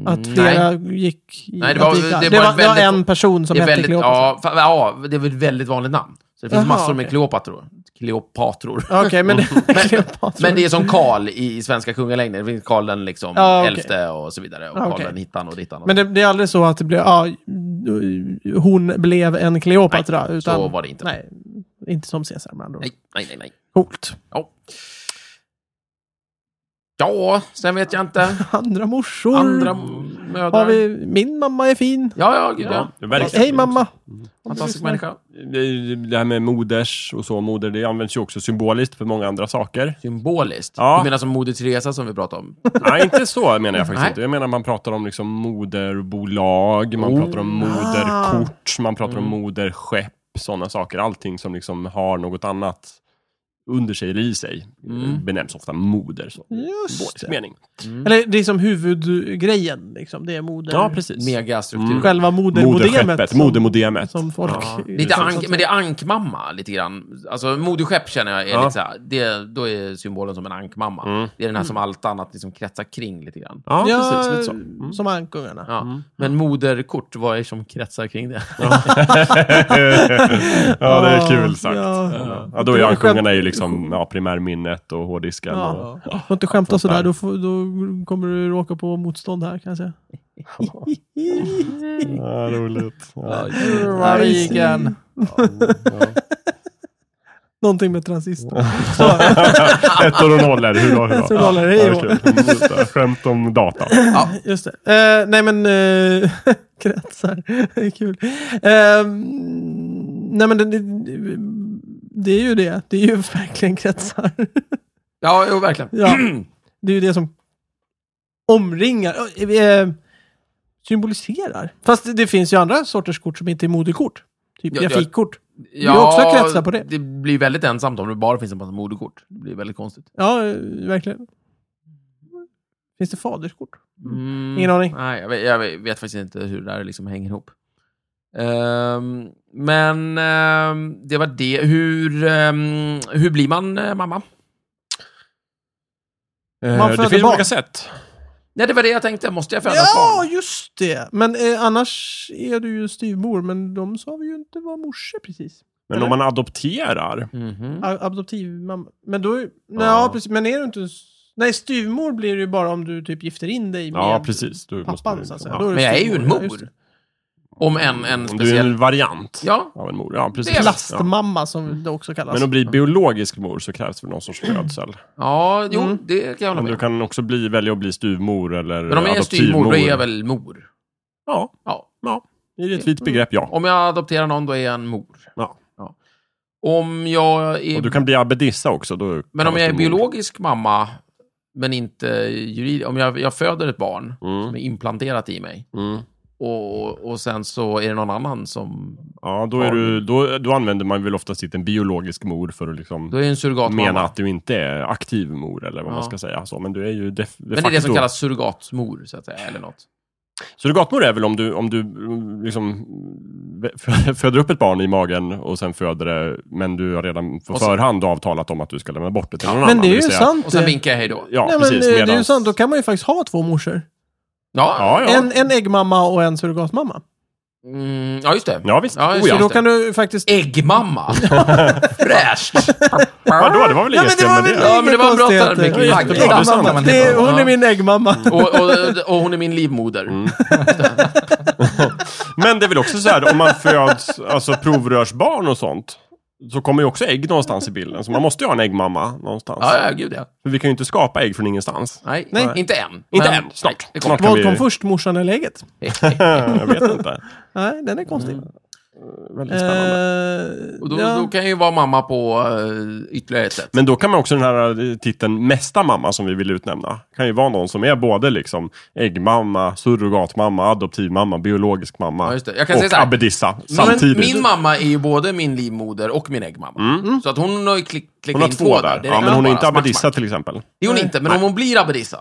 [SPEAKER 1] Att
[SPEAKER 2] Mm, Nej.
[SPEAKER 1] flera gick... i-
[SPEAKER 2] Nej, det
[SPEAKER 1] att
[SPEAKER 2] var-
[SPEAKER 1] gick där.
[SPEAKER 2] det
[SPEAKER 1] det var,
[SPEAKER 2] var
[SPEAKER 1] det var
[SPEAKER 2] väldigt-
[SPEAKER 1] en person som
[SPEAKER 2] det är
[SPEAKER 1] hette
[SPEAKER 2] väldigt,
[SPEAKER 1] Kleopatra.
[SPEAKER 2] ja, fa- ja, det är väl ett väldigt vanligt namn. Så det finns
[SPEAKER 1] Jaha,
[SPEAKER 2] massor med
[SPEAKER 1] okej.
[SPEAKER 2] Kleopatror. Kleopatror.
[SPEAKER 1] (laughs) Okej, men det, Kleopatra.
[SPEAKER 2] (laughs) Men det är som Karl i svenska kungalängden. Det finns Karl den liksom
[SPEAKER 1] Ja, okej.
[SPEAKER 2] elfte och så vidare. Och
[SPEAKER 1] Ja,
[SPEAKER 2] Karl
[SPEAKER 1] okej.
[SPEAKER 2] den hittan och dittan. Och
[SPEAKER 1] Men det, det är aldrig så att det blev, ja, hon blev en Kleopatra.
[SPEAKER 2] Nej,
[SPEAKER 1] utan,
[SPEAKER 2] så var det inte.
[SPEAKER 1] Nej, inte som Caesar med andra ord.
[SPEAKER 2] nej, nej, nej. nej.
[SPEAKER 1] Coolt.
[SPEAKER 2] Ja. ja, sen vet jag inte.
[SPEAKER 1] Andra morsor.
[SPEAKER 2] Andra
[SPEAKER 1] Har
[SPEAKER 2] mödrar.
[SPEAKER 1] vi, min mamma är fin.
[SPEAKER 2] Ja, ja, gud ja.
[SPEAKER 3] Det verkar-
[SPEAKER 1] Hej mamma.
[SPEAKER 2] Fantastisk människa.
[SPEAKER 3] Det- Det här med moders och så, moder, det används ju också symboliskt för många andra saker.
[SPEAKER 2] Symboliskt.
[SPEAKER 3] Ja.
[SPEAKER 2] Du menar som Moder Teresa som vi pratade om?
[SPEAKER 3] Nej, inte så menar jag faktiskt
[SPEAKER 2] Nej.
[SPEAKER 3] inte. Jag menar man pratar om liksom moderbolag, man
[SPEAKER 2] Oh.
[SPEAKER 3] pratar om moderkort,
[SPEAKER 1] Ah.
[SPEAKER 3] man pratar om
[SPEAKER 1] Mm.
[SPEAKER 3] moderskepp, sådana saker. Allting som liksom har något annat under sig eller i sig eh,
[SPEAKER 2] Mm.
[SPEAKER 3] benämns ofta moder. Så.
[SPEAKER 1] Just
[SPEAKER 3] Symbolisk
[SPEAKER 1] det.
[SPEAKER 3] mening.
[SPEAKER 1] Eller det är som huvudgrejen, liksom. det är moder.
[SPEAKER 3] Ja, precis.
[SPEAKER 2] Megastruktur.
[SPEAKER 3] Mm.
[SPEAKER 1] Själva modermodemet.
[SPEAKER 3] Moderskeppet,
[SPEAKER 1] som-
[SPEAKER 3] modermodemet.
[SPEAKER 1] Som folk...
[SPEAKER 3] Ja.
[SPEAKER 2] Lite
[SPEAKER 1] Liksom,
[SPEAKER 2] ank, men det är ankmamma lite grann. Alltså moderskepp känner jag är
[SPEAKER 3] Ja.
[SPEAKER 2] lite så här, det, då är symbolen som en ankmamma.
[SPEAKER 3] Mm.
[SPEAKER 2] Det är den här som allt annat liksom kretsar kring lite grann.
[SPEAKER 3] Ja,
[SPEAKER 1] Ja,
[SPEAKER 3] precis. Lite så. Mm.
[SPEAKER 1] Som ankungarna.
[SPEAKER 2] Ja. Men moderkort, vad är det som kretsar kring det?
[SPEAKER 3] (laughs) ja, det är kul sagt.
[SPEAKER 1] Ja.
[SPEAKER 3] Ja, då är ankungarna ju liksom ja, primärminnet och hårddisken. Och,
[SPEAKER 1] Ja. Du får inte skämta sådär, då, får, då kommer du råka på motstånd här kanske.
[SPEAKER 3] ja, roligt.
[SPEAKER 2] (laughs)
[SPEAKER 3] Ja.
[SPEAKER 4] Varigen.
[SPEAKER 1] Någonting med eh, transistor.
[SPEAKER 3] Ettor och nollor, hurra hurra.
[SPEAKER 1] Ettor och nollor, hej
[SPEAKER 3] Ja,
[SPEAKER 1] då.
[SPEAKER 3] det är kul. Just det. Skämt om data.
[SPEAKER 1] Just det. Eh, nej men, eh, (laughs) kretsar. det är kul. Eh, nej men det, det, det är ju det. Det är ju verkligen kretsar.
[SPEAKER 2] Ja, jo, verkligen.
[SPEAKER 1] ja. Det är ju det som omringar, eh, eh, symboliserar. Fast det, det finns ju andra sorters kort som inte är moderkort. Typ
[SPEAKER 2] Ja, ja.
[SPEAKER 1] grafikkort.
[SPEAKER 2] (clears throat) Ja,
[SPEAKER 1] har också kretsar på det.
[SPEAKER 2] Det blir väldigt ensamt om det bara finns en massa moderkort. Det blir väldigt konstigt.
[SPEAKER 1] Ja, eh, verkligen. Finns det faderskort?
[SPEAKER 2] Mm,
[SPEAKER 1] Ingen aning.
[SPEAKER 2] Nej, jag, vet, jag vet- vet faktiskt inte hur det där liksom hänger ihop. Ehm, men ehm, det var det. Hur, ehm, hur blir man eh, mamma?
[SPEAKER 3] Eh,
[SPEAKER 1] Man föder
[SPEAKER 3] det finns
[SPEAKER 1] barn.
[SPEAKER 3] olika sätt.
[SPEAKER 2] Nej, det var det jag tänkte. Måste jag föda ett
[SPEAKER 1] Ja,
[SPEAKER 2] barn?
[SPEAKER 1] just det! Men eh, annars är du ju styvmor, men de sa vi ju inte var morsor precis.
[SPEAKER 3] Men om man adopterar,
[SPEAKER 2] Mhm.
[SPEAKER 1] A- Adoptivmamma. Men då... är- Nej,
[SPEAKER 2] Ja.
[SPEAKER 1] ja. precis. Men är du inte... s- Nej, styvmor blir det ju bara om du typ gifter in dig med
[SPEAKER 3] ja precis. Då måste
[SPEAKER 1] pappan,
[SPEAKER 3] du,
[SPEAKER 1] så att säga.
[SPEAKER 3] ja.
[SPEAKER 1] Då
[SPEAKER 2] Men jag är ju
[SPEAKER 1] styvmor, ja,
[SPEAKER 2] en
[SPEAKER 1] just
[SPEAKER 2] mor.
[SPEAKER 1] det.
[SPEAKER 2] Om en, en
[SPEAKER 3] Om du är
[SPEAKER 2] speciell...
[SPEAKER 3] en variant
[SPEAKER 2] Ja,
[SPEAKER 3] av en mor. Ja, precis.
[SPEAKER 2] Det är
[SPEAKER 3] ja.
[SPEAKER 1] Plastmamma,
[SPEAKER 2] Mm.
[SPEAKER 1] som det också kallas.
[SPEAKER 3] Men att bli biologisk mor så krävs det någon sorts födsel.
[SPEAKER 2] ja jo,
[SPEAKER 1] Mm.
[SPEAKER 2] det kan jag hålla
[SPEAKER 3] Men
[SPEAKER 2] med
[SPEAKER 3] du
[SPEAKER 2] om.
[SPEAKER 3] kan också bli, välja att bli styvmor eller
[SPEAKER 2] Men om jag är styvmor, då är jag väl mor?
[SPEAKER 3] Ja,
[SPEAKER 2] Ja.
[SPEAKER 3] i ett vitt begrepp, ja.
[SPEAKER 2] Om jag adopterar någon, då är jag en mor.
[SPEAKER 3] ja.
[SPEAKER 2] Om jag är...
[SPEAKER 3] Och du kan bli abbedissa också. Då
[SPEAKER 2] Men om
[SPEAKER 3] kallas
[SPEAKER 2] jag är
[SPEAKER 3] du mor.
[SPEAKER 2] biologisk mamma, men inte juridisk... Om jag, jag föder ett barn som är implanterat i mig
[SPEAKER 3] Mm.
[SPEAKER 2] och, och sen så är det någon annan som...
[SPEAKER 3] Ja, då, är du, då, då använder man väl ofta sitt en biologisk mor för att liksom
[SPEAKER 2] Då är det en surrogatmamma.
[SPEAKER 3] mena att du inte är aktiv mor eller vad
[SPEAKER 2] Ja.
[SPEAKER 3] man ska säga. Så, men du är ju def- de
[SPEAKER 2] men det är det som
[SPEAKER 3] facto-
[SPEAKER 2] kallas surrogatmor, så att säga, eller något.
[SPEAKER 3] Surrogatmor är väl om du, om du mm, liksom mm, (laughs) föder upp ett barn i magen och sen föder det, men du har redan på
[SPEAKER 2] Och sen-
[SPEAKER 3] förhand avtalat om att du ska lämna bort det till någon annan.
[SPEAKER 1] Men det är ju
[SPEAKER 3] vill säga-
[SPEAKER 1] sant.
[SPEAKER 2] Och sen
[SPEAKER 1] det.
[SPEAKER 2] vinkar jag hej då.
[SPEAKER 3] Ja,
[SPEAKER 1] Nej, men,
[SPEAKER 3] precis.
[SPEAKER 1] eh, Det är ju
[SPEAKER 3] medans-
[SPEAKER 1] sant, då kan man ju faktiskt ha två morsor.
[SPEAKER 2] Ja,
[SPEAKER 3] Ja, ja.
[SPEAKER 1] En, en äggmamma och en surrogatmamma.
[SPEAKER 2] mm, ja just det.
[SPEAKER 3] Ja, visst.
[SPEAKER 2] Ja, just
[SPEAKER 3] Oh,
[SPEAKER 1] Så
[SPEAKER 3] ja.
[SPEAKER 2] det.
[SPEAKER 1] då kan du faktiskt...
[SPEAKER 3] (laughs)
[SPEAKER 2] Äggmamma! Fräscht!
[SPEAKER 3] Vadå, det var väl
[SPEAKER 1] Ja,
[SPEAKER 3] inget
[SPEAKER 1] men det
[SPEAKER 3] fel
[SPEAKER 1] var
[SPEAKER 3] med
[SPEAKER 1] väl
[SPEAKER 3] det?
[SPEAKER 2] Ja, men det var bra
[SPEAKER 1] konstigheter.
[SPEAKER 2] där, Micke.
[SPEAKER 1] Ja,
[SPEAKER 3] Jättebra,
[SPEAKER 1] jättebra.
[SPEAKER 3] det är sant.
[SPEAKER 1] Äggmamma. Det är, hon är
[SPEAKER 2] Ja. Mm.
[SPEAKER 1] min äggmamma.
[SPEAKER 2] och, och, och hon är min livmoder.
[SPEAKER 3] Mm. Men det är väl också så här, om man föds alltså, provrörsbarn och sånt, så kommer ju också ägg någonstans i bilden. Så man måste ju ha en äggmamma någonstans.
[SPEAKER 2] Ja, ja, gud ja.
[SPEAKER 3] För vi kan ju inte skapa ägg från ingenstans.
[SPEAKER 2] Nej,
[SPEAKER 1] Nej.
[SPEAKER 2] inte än.
[SPEAKER 3] Inte
[SPEAKER 2] Men-
[SPEAKER 3] än, snart.
[SPEAKER 2] Nej, det kommer.
[SPEAKER 3] snart kan
[SPEAKER 1] Vad
[SPEAKER 3] vi...
[SPEAKER 1] kom först, morsan eller ägget?
[SPEAKER 3] Jag vet inte.
[SPEAKER 1] Nej, den är konstig.
[SPEAKER 2] Mm,
[SPEAKER 3] Väldigt spännande.
[SPEAKER 1] Eh,
[SPEAKER 2] (laughs) Och då,
[SPEAKER 1] ja.
[SPEAKER 2] då kan jag ju vara mamma på eh, ytterligare ett sätt.
[SPEAKER 3] Men då kan man också den här eh, titeln mesta mamma som vi vill utnämna. kan ju vara någon som är både liksom äggmamma, surrogatmamma, adoptivmamma, biologisk mamma
[SPEAKER 2] Ja, just det. Jag kan
[SPEAKER 3] och
[SPEAKER 2] säga så här.
[SPEAKER 3] abbedissa
[SPEAKER 2] Min,
[SPEAKER 3] samtidigt. Mm.
[SPEAKER 2] min mamma är ju både min livmoder och min äggmamma. Mm. Så att hon har ju klick, klickat
[SPEAKER 3] hon har
[SPEAKER 2] in
[SPEAKER 3] två där.
[SPEAKER 2] direkt.
[SPEAKER 3] Ja, men hon
[SPEAKER 2] Bara
[SPEAKER 3] är inte
[SPEAKER 2] smack,
[SPEAKER 3] abbedissa
[SPEAKER 2] smack.
[SPEAKER 3] till exempel.
[SPEAKER 2] Det är hon inte, men om hon blir abbedissa,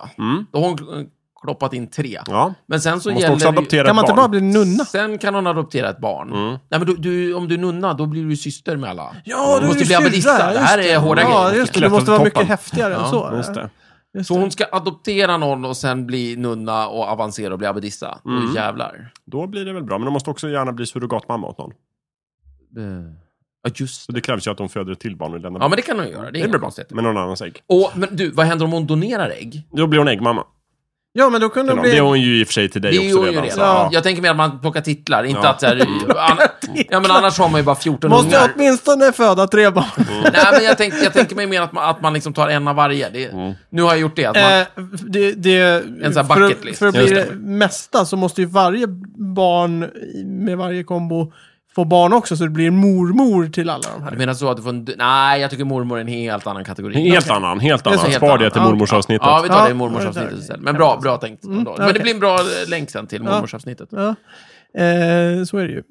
[SPEAKER 2] då har hon eh, kloppat in tre.
[SPEAKER 3] Ja.
[SPEAKER 2] Men sen så
[SPEAKER 3] Hon måste
[SPEAKER 2] gäller
[SPEAKER 3] också
[SPEAKER 2] det ju-
[SPEAKER 3] adoptera
[SPEAKER 1] Kan man
[SPEAKER 3] ett
[SPEAKER 1] inte
[SPEAKER 3] barn.
[SPEAKER 1] bara bli nunna?
[SPEAKER 2] Sen kan hon adoptera ett barn. Nej, men du, du, om du är nunna, då blir du ju syster med alla.
[SPEAKER 1] Ja,
[SPEAKER 2] du måste
[SPEAKER 1] ju
[SPEAKER 2] bli abbedissa.
[SPEAKER 1] syrra,
[SPEAKER 2] Det här
[SPEAKER 1] just
[SPEAKER 2] är hårda
[SPEAKER 1] Ja,
[SPEAKER 2] grejer.
[SPEAKER 1] just det. Det
[SPEAKER 3] Klättra
[SPEAKER 1] måste
[SPEAKER 3] till
[SPEAKER 1] vara
[SPEAKER 3] toppen.
[SPEAKER 1] mycket häftigare än
[SPEAKER 2] Ja,
[SPEAKER 1] så.
[SPEAKER 3] Just det.
[SPEAKER 2] Så hon ska adoptera någon och sen bli nunna och avancera och bli abbedissa. Mm. jävlar.
[SPEAKER 3] Då blir det väl bra. Men de måste också gärna bli surrogatmamma åt någon.
[SPEAKER 2] Eh, Ja, just
[SPEAKER 3] Så
[SPEAKER 2] det.
[SPEAKER 3] det krävs ju att de föder ett till barn och lämnar
[SPEAKER 2] Ja,
[SPEAKER 3] bort
[SPEAKER 2] men det kan hon göra. Det är
[SPEAKER 3] det
[SPEAKER 2] inga
[SPEAKER 3] blir bra.
[SPEAKER 2] konstigheter.
[SPEAKER 3] Med någon annans ägg.
[SPEAKER 2] Och, men du, vad händer om hon donerar ägg?
[SPEAKER 3] Då blir hon äggmamma.
[SPEAKER 1] Ja, men då kunde de
[SPEAKER 3] till någon. Det är
[SPEAKER 1] bli...
[SPEAKER 3] hon ju i och för sig till dig
[SPEAKER 2] Det är
[SPEAKER 3] också
[SPEAKER 2] ju
[SPEAKER 3] redan.
[SPEAKER 2] redan.
[SPEAKER 3] så-
[SPEAKER 2] Ja. Jag tänker mer att man plockar titlar, inte
[SPEAKER 3] Ja.
[SPEAKER 2] att... Så här,
[SPEAKER 1] (laughs)
[SPEAKER 2] an, ja, men annars har man ju bara 14
[SPEAKER 1] Måste
[SPEAKER 2] ungar.
[SPEAKER 1] jag åtminstone föda tre barn?
[SPEAKER 2] Nej, men jag, tänk, jag tänker mig mer att man, att man liksom tar en av varje. Det, Nu har jag gjort det. Att man,
[SPEAKER 1] Eh, det, det, en
[SPEAKER 2] sån här
[SPEAKER 1] för,
[SPEAKER 2] bucket
[SPEAKER 1] att-
[SPEAKER 2] list.
[SPEAKER 1] för att bli
[SPEAKER 3] Just
[SPEAKER 1] det mesta så måste ju varje barn i- med varje kombo få barn också, så det blir mormor till alla de
[SPEAKER 2] du
[SPEAKER 1] här.
[SPEAKER 2] menar så att du får en... Nej, jag tycker mormor är en helt annan kategori.
[SPEAKER 3] Helt annan, helt annan.
[SPEAKER 2] helt
[SPEAKER 3] Spar det till
[SPEAKER 1] annan.
[SPEAKER 3] mormorsavsnittet.
[SPEAKER 2] Ja, vi tar det i
[SPEAKER 1] Ja,
[SPEAKER 2] mormorsavsnittet
[SPEAKER 1] där.
[SPEAKER 2] istället. Men bra, bra tänkt. ändå. Men det
[SPEAKER 1] Mm, okej.
[SPEAKER 2] blir en bra eh, länk sen till mormorsavsnittet.
[SPEAKER 1] Ja. Eh, så är det ju.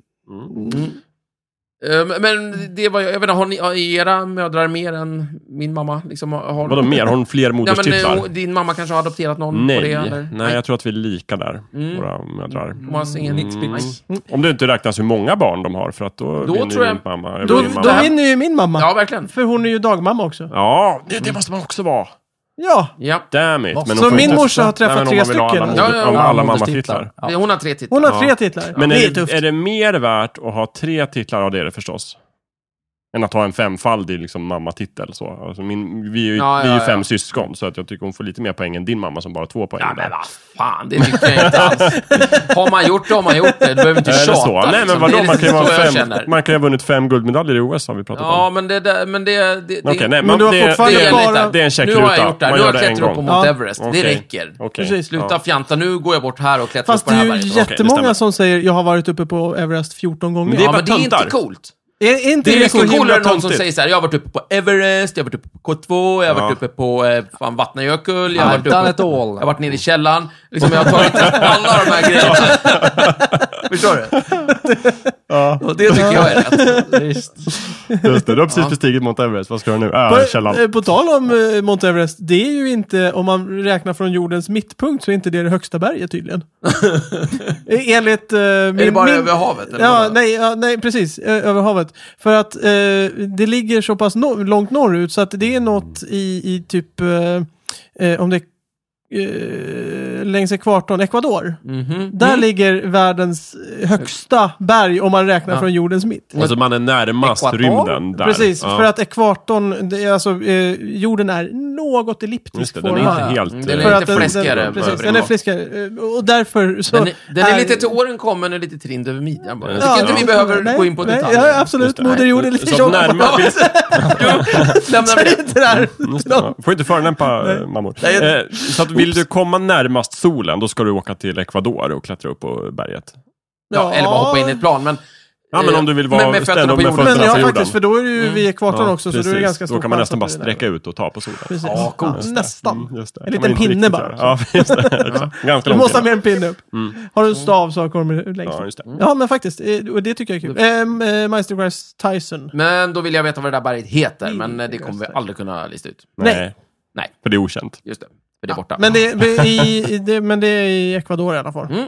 [SPEAKER 2] Eh, men- Men det var, jag vet inte, har ni, har era mödrar mer än min mamma? Liksom, har, har-
[SPEAKER 3] Vadå mer? Har hon fler
[SPEAKER 2] Ja, men, eh,
[SPEAKER 3] moderstitlar?
[SPEAKER 2] hon- din mamma kanske har adopterat någon Mm, på det?
[SPEAKER 3] Nej.
[SPEAKER 2] Eller? Mm.
[SPEAKER 3] Nej, Mm. jag tror att vi är lika där, våra mödrar.
[SPEAKER 2] Thomas, ingen nitpicks.
[SPEAKER 3] Om det inte räknas hur många barn de har, för att då, vinner ju
[SPEAKER 2] tror jag-
[SPEAKER 3] min mamma över
[SPEAKER 1] Då,
[SPEAKER 3] din
[SPEAKER 1] då
[SPEAKER 3] mamma.
[SPEAKER 1] vinner ju min mamma.
[SPEAKER 2] Ja, verkligen.
[SPEAKER 1] För hon är ju dagmamma också.
[SPEAKER 3] Ja, det, det måste man också vara.
[SPEAKER 1] Ja,
[SPEAKER 2] Ja.
[SPEAKER 3] Damn it. Men hon
[SPEAKER 1] så
[SPEAKER 3] får
[SPEAKER 1] min
[SPEAKER 3] inte-
[SPEAKER 1] morsa har
[SPEAKER 3] Nej,
[SPEAKER 1] träffat
[SPEAKER 3] men
[SPEAKER 1] tre
[SPEAKER 3] om man vill ha
[SPEAKER 1] stycken.
[SPEAKER 3] Alla,
[SPEAKER 2] Ja,
[SPEAKER 3] ja,
[SPEAKER 2] ja,
[SPEAKER 3] ja,
[SPEAKER 2] ja,
[SPEAKER 3] alla
[SPEAKER 4] moderstitlar.
[SPEAKER 3] mammatitlar.
[SPEAKER 4] Ja.
[SPEAKER 2] Hon har tre titlar.
[SPEAKER 1] Hon har tre
[SPEAKER 3] Ja.
[SPEAKER 1] titlar.
[SPEAKER 3] Men
[SPEAKER 1] det är,
[SPEAKER 3] är
[SPEAKER 1] tufft.
[SPEAKER 3] det, är det mer värt att ha tre titlar? Ja, det är det förstås. Än att ha en femfaldig liksom, mammatitel. Så. Alltså, min, vi är ju,
[SPEAKER 2] Ja,
[SPEAKER 3] vi är ju
[SPEAKER 2] ja, ja.
[SPEAKER 3] fem syskon, så att jag tycker hon får lite mer poäng än din mamma som bara har två poäng.
[SPEAKER 2] Ja,
[SPEAKER 3] där.
[SPEAKER 2] men vad fan, det tycker jag
[SPEAKER 1] (laughs)
[SPEAKER 2] inte alls. Har man gjort det har man gjort det. Du behöver inte
[SPEAKER 3] Är det
[SPEAKER 2] tjata.
[SPEAKER 3] så? Nej, men
[SPEAKER 2] liksom.
[SPEAKER 3] vadå?
[SPEAKER 2] Det är
[SPEAKER 3] Man kan ju
[SPEAKER 2] så
[SPEAKER 3] vara
[SPEAKER 2] jag
[SPEAKER 3] fem,
[SPEAKER 2] känner.
[SPEAKER 3] man kan ju ha vunnit fem guldmedaljer i OS, har vi pratat
[SPEAKER 2] Ja,
[SPEAKER 3] om.
[SPEAKER 2] men det där, men det... det, det
[SPEAKER 3] Okej, nej,
[SPEAKER 1] Men
[SPEAKER 3] man-
[SPEAKER 1] du har
[SPEAKER 3] det-
[SPEAKER 1] fortfarande
[SPEAKER 3] det är-
[SPEAKER 1] bara-
[SPEAKER 3] Det är en
[SPEAKER 2] Nu har
[SPEAKER 3] checkruta.
[SPEAKER 2] jag gjort det här.
[SPEAKER 3] Man
[SPEAKER 2] Nu har
[SPEAKER 3] gör
[SPEAKER 2] jag
[SPEAKER 3] det en
[SPEAKER 2] klättrat upp på
[SPEAKER 3] gång.
[SPEAKER 2] Mount
[SPEAKER 1] Ja.
[SPEAKER 2] Everest. Det
[SPEAKER 3] Okej.
[SPEAKER 2] räcker.
[SPEAKER 3] Okej.
[SPEAKER 1] Precis.
[SPEAKER 2] Sluta fjanta. Nu går jag bort här och klättrar upp
[SPEAKER 1] Fast
[SPEAKER 2] på
[SPEAKER 1] det
[SPEAKER 2] det här
[SPEAKER 1] är ju
[SPEAKER 2] berget.
[SPEAKER 1] jättemånga
[SPEAKER 3] stämmer.
[SPEAKER 1] som säger jag har varit uppe på Everest 14 gånger.
[SPEAKER 3] det är
[SPEAKER 2] Ja,
[SPEAKER 3] bara
[SPEAKER 2] men det är inte
[SPEAKER 3] töntar.
[SPEAKER 2] coolt.
[SPEAKER 1] är, är inte
[SPEAKER 2] Det är
[SPEAKER 1] så
[SPEAKER 2] mycket
[SPEAKER 1] himla
[SPEAKER 2] coolare än någon som
[SPEAKER 3] töntigt.
[SPEAKER 2] säger så här, jag har varit uppe på Everest, jag har varit uppe på K2, jag har varit
[SPEAKER 3] Ja.
[SPEAKER 2] uppe på eh, fan, Vatnajökull, jag har
[SPEAKER 4] I've
[SPEAKER 2] varit
[SPEAKER 4] done
[SPEAKER 2] uppe...
[SPEAKER 4] it all.
[SPEAKER 2] Jag har varit nere i källaren. Liksom, jag har tagit alla de här grejerna. Förstår du? Och det tycker jag är rätt.
[SPEAKER 4] Visst.
[SPEAKER 3] Just det, du har precis bestigit Mount Everest. Vad ska du nu? Äh, källan.
[SPEAKER 1] På, eh, på tal om eh, Mount Everest, det är ju inte, om man räknar från jordens mittpunkt så är inte det det högsta berget tydligen.
[SPEAKER 2] (laughs)
[SPEAKER 1] Eh, Enligt eh, min...
[SPEAKER 2] är det bara
[SPEAKER 1] min...
[SPEAKER 2] över havet? Eller
[SPEAKER 1] Ja,
[SPEAKER 2] vadå?
[SPEAKER 1] nej, ja, nej, precis. Ö- Över havet. För att eh, det ligger så pass no långt norrut så att det är något i, i typ, eh, eh, om det är eh, längs ekvatorn, Ecuador.
[SPEAKER 2] Mhm.
[SPEAKER 1] Där ligger världens högsta berg om man räknar
[SPEAKER 2] Ja.
[SPEAKER 1] från jordens mitt.
[SPEAKER 3] Alltså man är närmast
[SPEAKER 2] Ekvator?
[SPEAKER 3] rymden där.
[SPEAKER 1] Precis,
[SPEAKER 3] Ja.
[SPEAKER 1] för att ekvatorn, det är alltså, eh, jorden är något
[SPEAKER 3] Just
[SPEAKER 1] elliptisk
[SPEAKER 3] det, den är inte helt...
[SPEAKER 2] Mm, den är
[SPEAKER 1] För
[SPEAKER 3] eh,
[SPEAKER 2] lite
[SPEAKER 1] att den-
[SPEAKER 2] fläskigare
[SPEAKER 1] den-
[SPEAKER 2] än
[SPEAKER 1] Precis,
[SPEAKER 2] övrig
[SPEAKER 1] den är
[SPEAKER 2] mat.
[SPEAKER 1] fläskigare. Eh, Och därför så...
[SPEAKER 2] Den, är- den är lite till åren kommen och lite trind över midjan bara. Jag tycker
[SPEAKER 3] Ja,
[SPEAKER 2] inte vi
[SPEAKER 3] ja.
[SPEAKER 2] behöver
[SPEAKER 1] nej,
[SPEAKER 2] gå in på
[SPEAKER 1] nej,
[SPEAKER 2] detaljer.
[SPEAKER 1] Ja, absolut.
[SPEAKER 3] Just det.
[SPEAKER 1] Moder
[SPEAKER 3] Nej.
[SPEAKER 1] jord är lite
[SPEAKER 3] Så
[SPEAKER 1] tjock.
[SPEAKER 3] närmare-
[SPEAKER 2] (laughs) Ja, precis. Lämnar vi
[SPEAKER 1] Säg
[SPEAKER 2] det.
[SPEAKER 1] inte det
[SPEAKER 2] (laughs)
[SPEAKER 1] här.
[SPEAKER 3] Just det, ja. Får inte förlämpa eh, mammor.
[SPEAKER 2] Nej, jag-
[SPEAKER 3] Eh, så att vill du komma närmast solen, då ska du åka till Ecuador och klättra upp på berget.
[SPEAKER 2] Ja, eller bara hoppa in i ett plan. Men,
[SPEAKER 3] Ja, men om du vill vara
[SPEAKER 2] Men Eh, med fötterna på
[SPEAKER 3] ställa- med
[SPEAKER 2] jorden.
[SPEAKER 1] Men
[SPEAKER 3] fötterna
[SPEAKER 1] ja,
[SPEAKER 3] på jorden.
[SPEAKER 1] faktiskt, för då är det ju
[SPEAKER 2] Mm.
[SPEAKER 1] vid ekvatorn också, så då är det
[SPEAKER 3] precis.
[SPEAKER 1] ganska stor
[SPEAKER 3] Då kan man
[SPEAKER 1] chans
[SPEAKER 3] nästan bara
[SPEAKER 1] att det är
[SPEAKER 3] sträcka ut och ta på solen.
[SPEAKER 1] Precis.
[SPEAKER 2] Ja, coolt.
[SPEAKER 1] Just det. Nästan.
[SPEAKER 3] Mm, just det.
[SPEAKER 1] En
[SPEAKER 3] Kan man
[SPEAKER 1] liten
[SPEAKER 3] inte
[SPEAKER 1] pinne
[SPEAKER 3] riktigt
[SPEAKER 1] bara.
[SPEAKER 3] göra. Ja, just
[SPEAKER 1] (laughs)
[SPEAKER 3] det. Ganska
[SPEAKER 1] Du
[SPEAKER 3] långt. Mm.
[SPEAKER 1] måste ha med en pinne upp. Har du en stav så kommer du längst
[SPEAKER 3] Ja,
[SPEAKER 1] upp.
[SPEAKER 3] just det.
[SPEAKER 1] Ja, men faktiskt. eh, Och det tycker jag är kul. Ehm, eh, Meister Grass Tyson.
[SPEAKER 2] men då vill jag veta vad det där berget heter, men eh, det
[SPEAKER 1] Just
[SPEAKER 2] kommer vi
[SPEAKER 1] det.
[SPEAKER 2] aldrig kunna lista ut.
[SPEAKER 1] Nej.
[SPEAKER 2] Nej.
[SPEAKER 3] För det är okänt.
[SPEAKER 2] Just det, för det är borta.
[SPEAKER 1] Men det, är- i, i- det, men det är i Ecuador i alla fall.
[SPEAKER 2] Mm.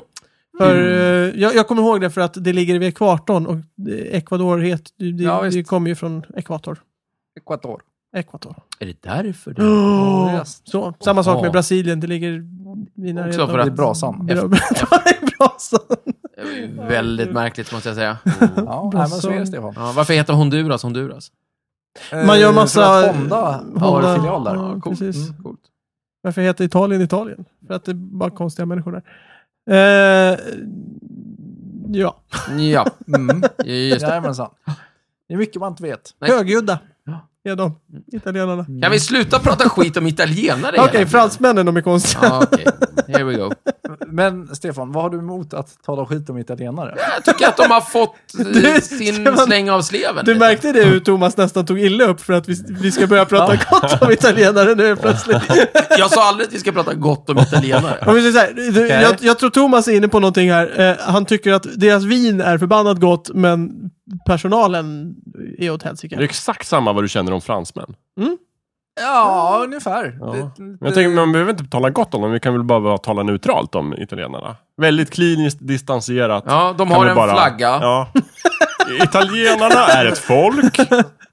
[SPEAKER 1] För, eh, jag, jag kommer ihåg det för att det ligger vid ekvatorn och eh, Ecuador heter, det, det-
[SPEAKER 4] Ja, visst.
[SPEAKER 1] det kommer ju från ekvator.
[SPEAKER 4] Ecuador.
[SPEAKER 1] Ekvator.
[SPEAKER 2] Är det därför det
[SPEAKER 1] Oh, så. Samma sak med
[SPEAKER 2] Ja.
[SPEAKER 1] Brasilien, det ligger i närheten
[SPEAKER 2] för
[SPEAKER 1] av-
[SPEAKER 2] att-
[SPEAKER 4] Det är brasan.
[SPEAKER 1] Bra- (laughs) Det är brasan.
[SPEAKER 2] är väldigt märkligt, måste jag säga.
[SPEAKER 4] Ja, nej, men så är det Stefan.
[SPEAKER 2] Ja, varför heter Honduras Honduras?
[SPEAKER 1] Man gör
[SPEAKER 4] Eh,
[SPEAKER 1] massa-
[SPEAKER 4] För att Honda
[SPEAKER 1] Honda-
[SPEAKER 4] har filial där.
[SPEAKER 1] Ja,
[SPEAKER 4] Coolt.
[SPEAKER 1] precis.
[SPEAKER 4] Mm, coolt.
[SPEAKER 1] Varför heter Italien Italien? För att det är bara konstiga människor där. Eh, ja,
[SPEAKER 2] Ja,
[SPEAKER 4] Mm.
[SPEAKER 2] just det.
[SPEAKER 4] Jajamensan. Det är mycket man inte vet.
[SPEAKER 2] Nej. Mm.
[SPEAKER 1] högljudda är de, italienarna.
[SPEAKER 2] Kan vi sluta prata skit om italienare?
[SPEAKER 1] Okej,
[SPEAKER 2] hela tiden?
[SPEAKER 1] fransmännen de är konstiga.
[SPEAKER 2] Ja, Okej, here we go.
[SPEAKER 4] Men Stefan, vad har du emot att tala skit om italienare?
[SPEAKER 2] Jag tycker att de har fått eh,
[SPEAKER 1] Du-
[SPEAKER 2] sin
[SPEAKER 1] Stefan,
[SPEAKER 2] släng av sleven.
[SPEAKER 1] Du
[SPEAKER 2] lite.
[SPEAKER 1] märkte det hur Thomas nästan tog illa upp för att vi, vi ska börja prata gott om italienare nu
[SPEAKER 2] (laughs)
[SPEAKER 1] plötsligt.
[SPEAKER 2] Jag sa aldrig att vi ska prata gott om italienare.
[SPEAKER 1] Om vi säger så här, du, jag, jag tror Thomas är inne på någonting här. Eh, han tycker att deras vin är förbannat gott, men personalen är åt
[SPEAKER 3] Det är
[SPEAKER 1] helsike.
[SPEAKER 3] exakt samma vad du känner om fransmän.
[SPEAKER 4] Ja, ungefär.
[SPEAKER 3] Ja.
[SPEAKER 4] Det-
[SPEAKER 3] Men jag
[SPEAKER 1] Eh.
[SPEAKER 3] tänker, man behöver inte tala gott om dem, vi kan väl bara, bara tala neutralt om italienarna. Väldigt kliniskt distanserat.
[SPEAKER 2] Ja, de
[SPEAKER 3] Kan
[SPEAKER 2] har
[SPEAKER 3] vi
[SPEAKER 2] en
[SPEAKER 3] bara-
[SPEAKER 2] flagga.
[SPEAKER 3] Ja. (laughs) Italienarna är ett folk.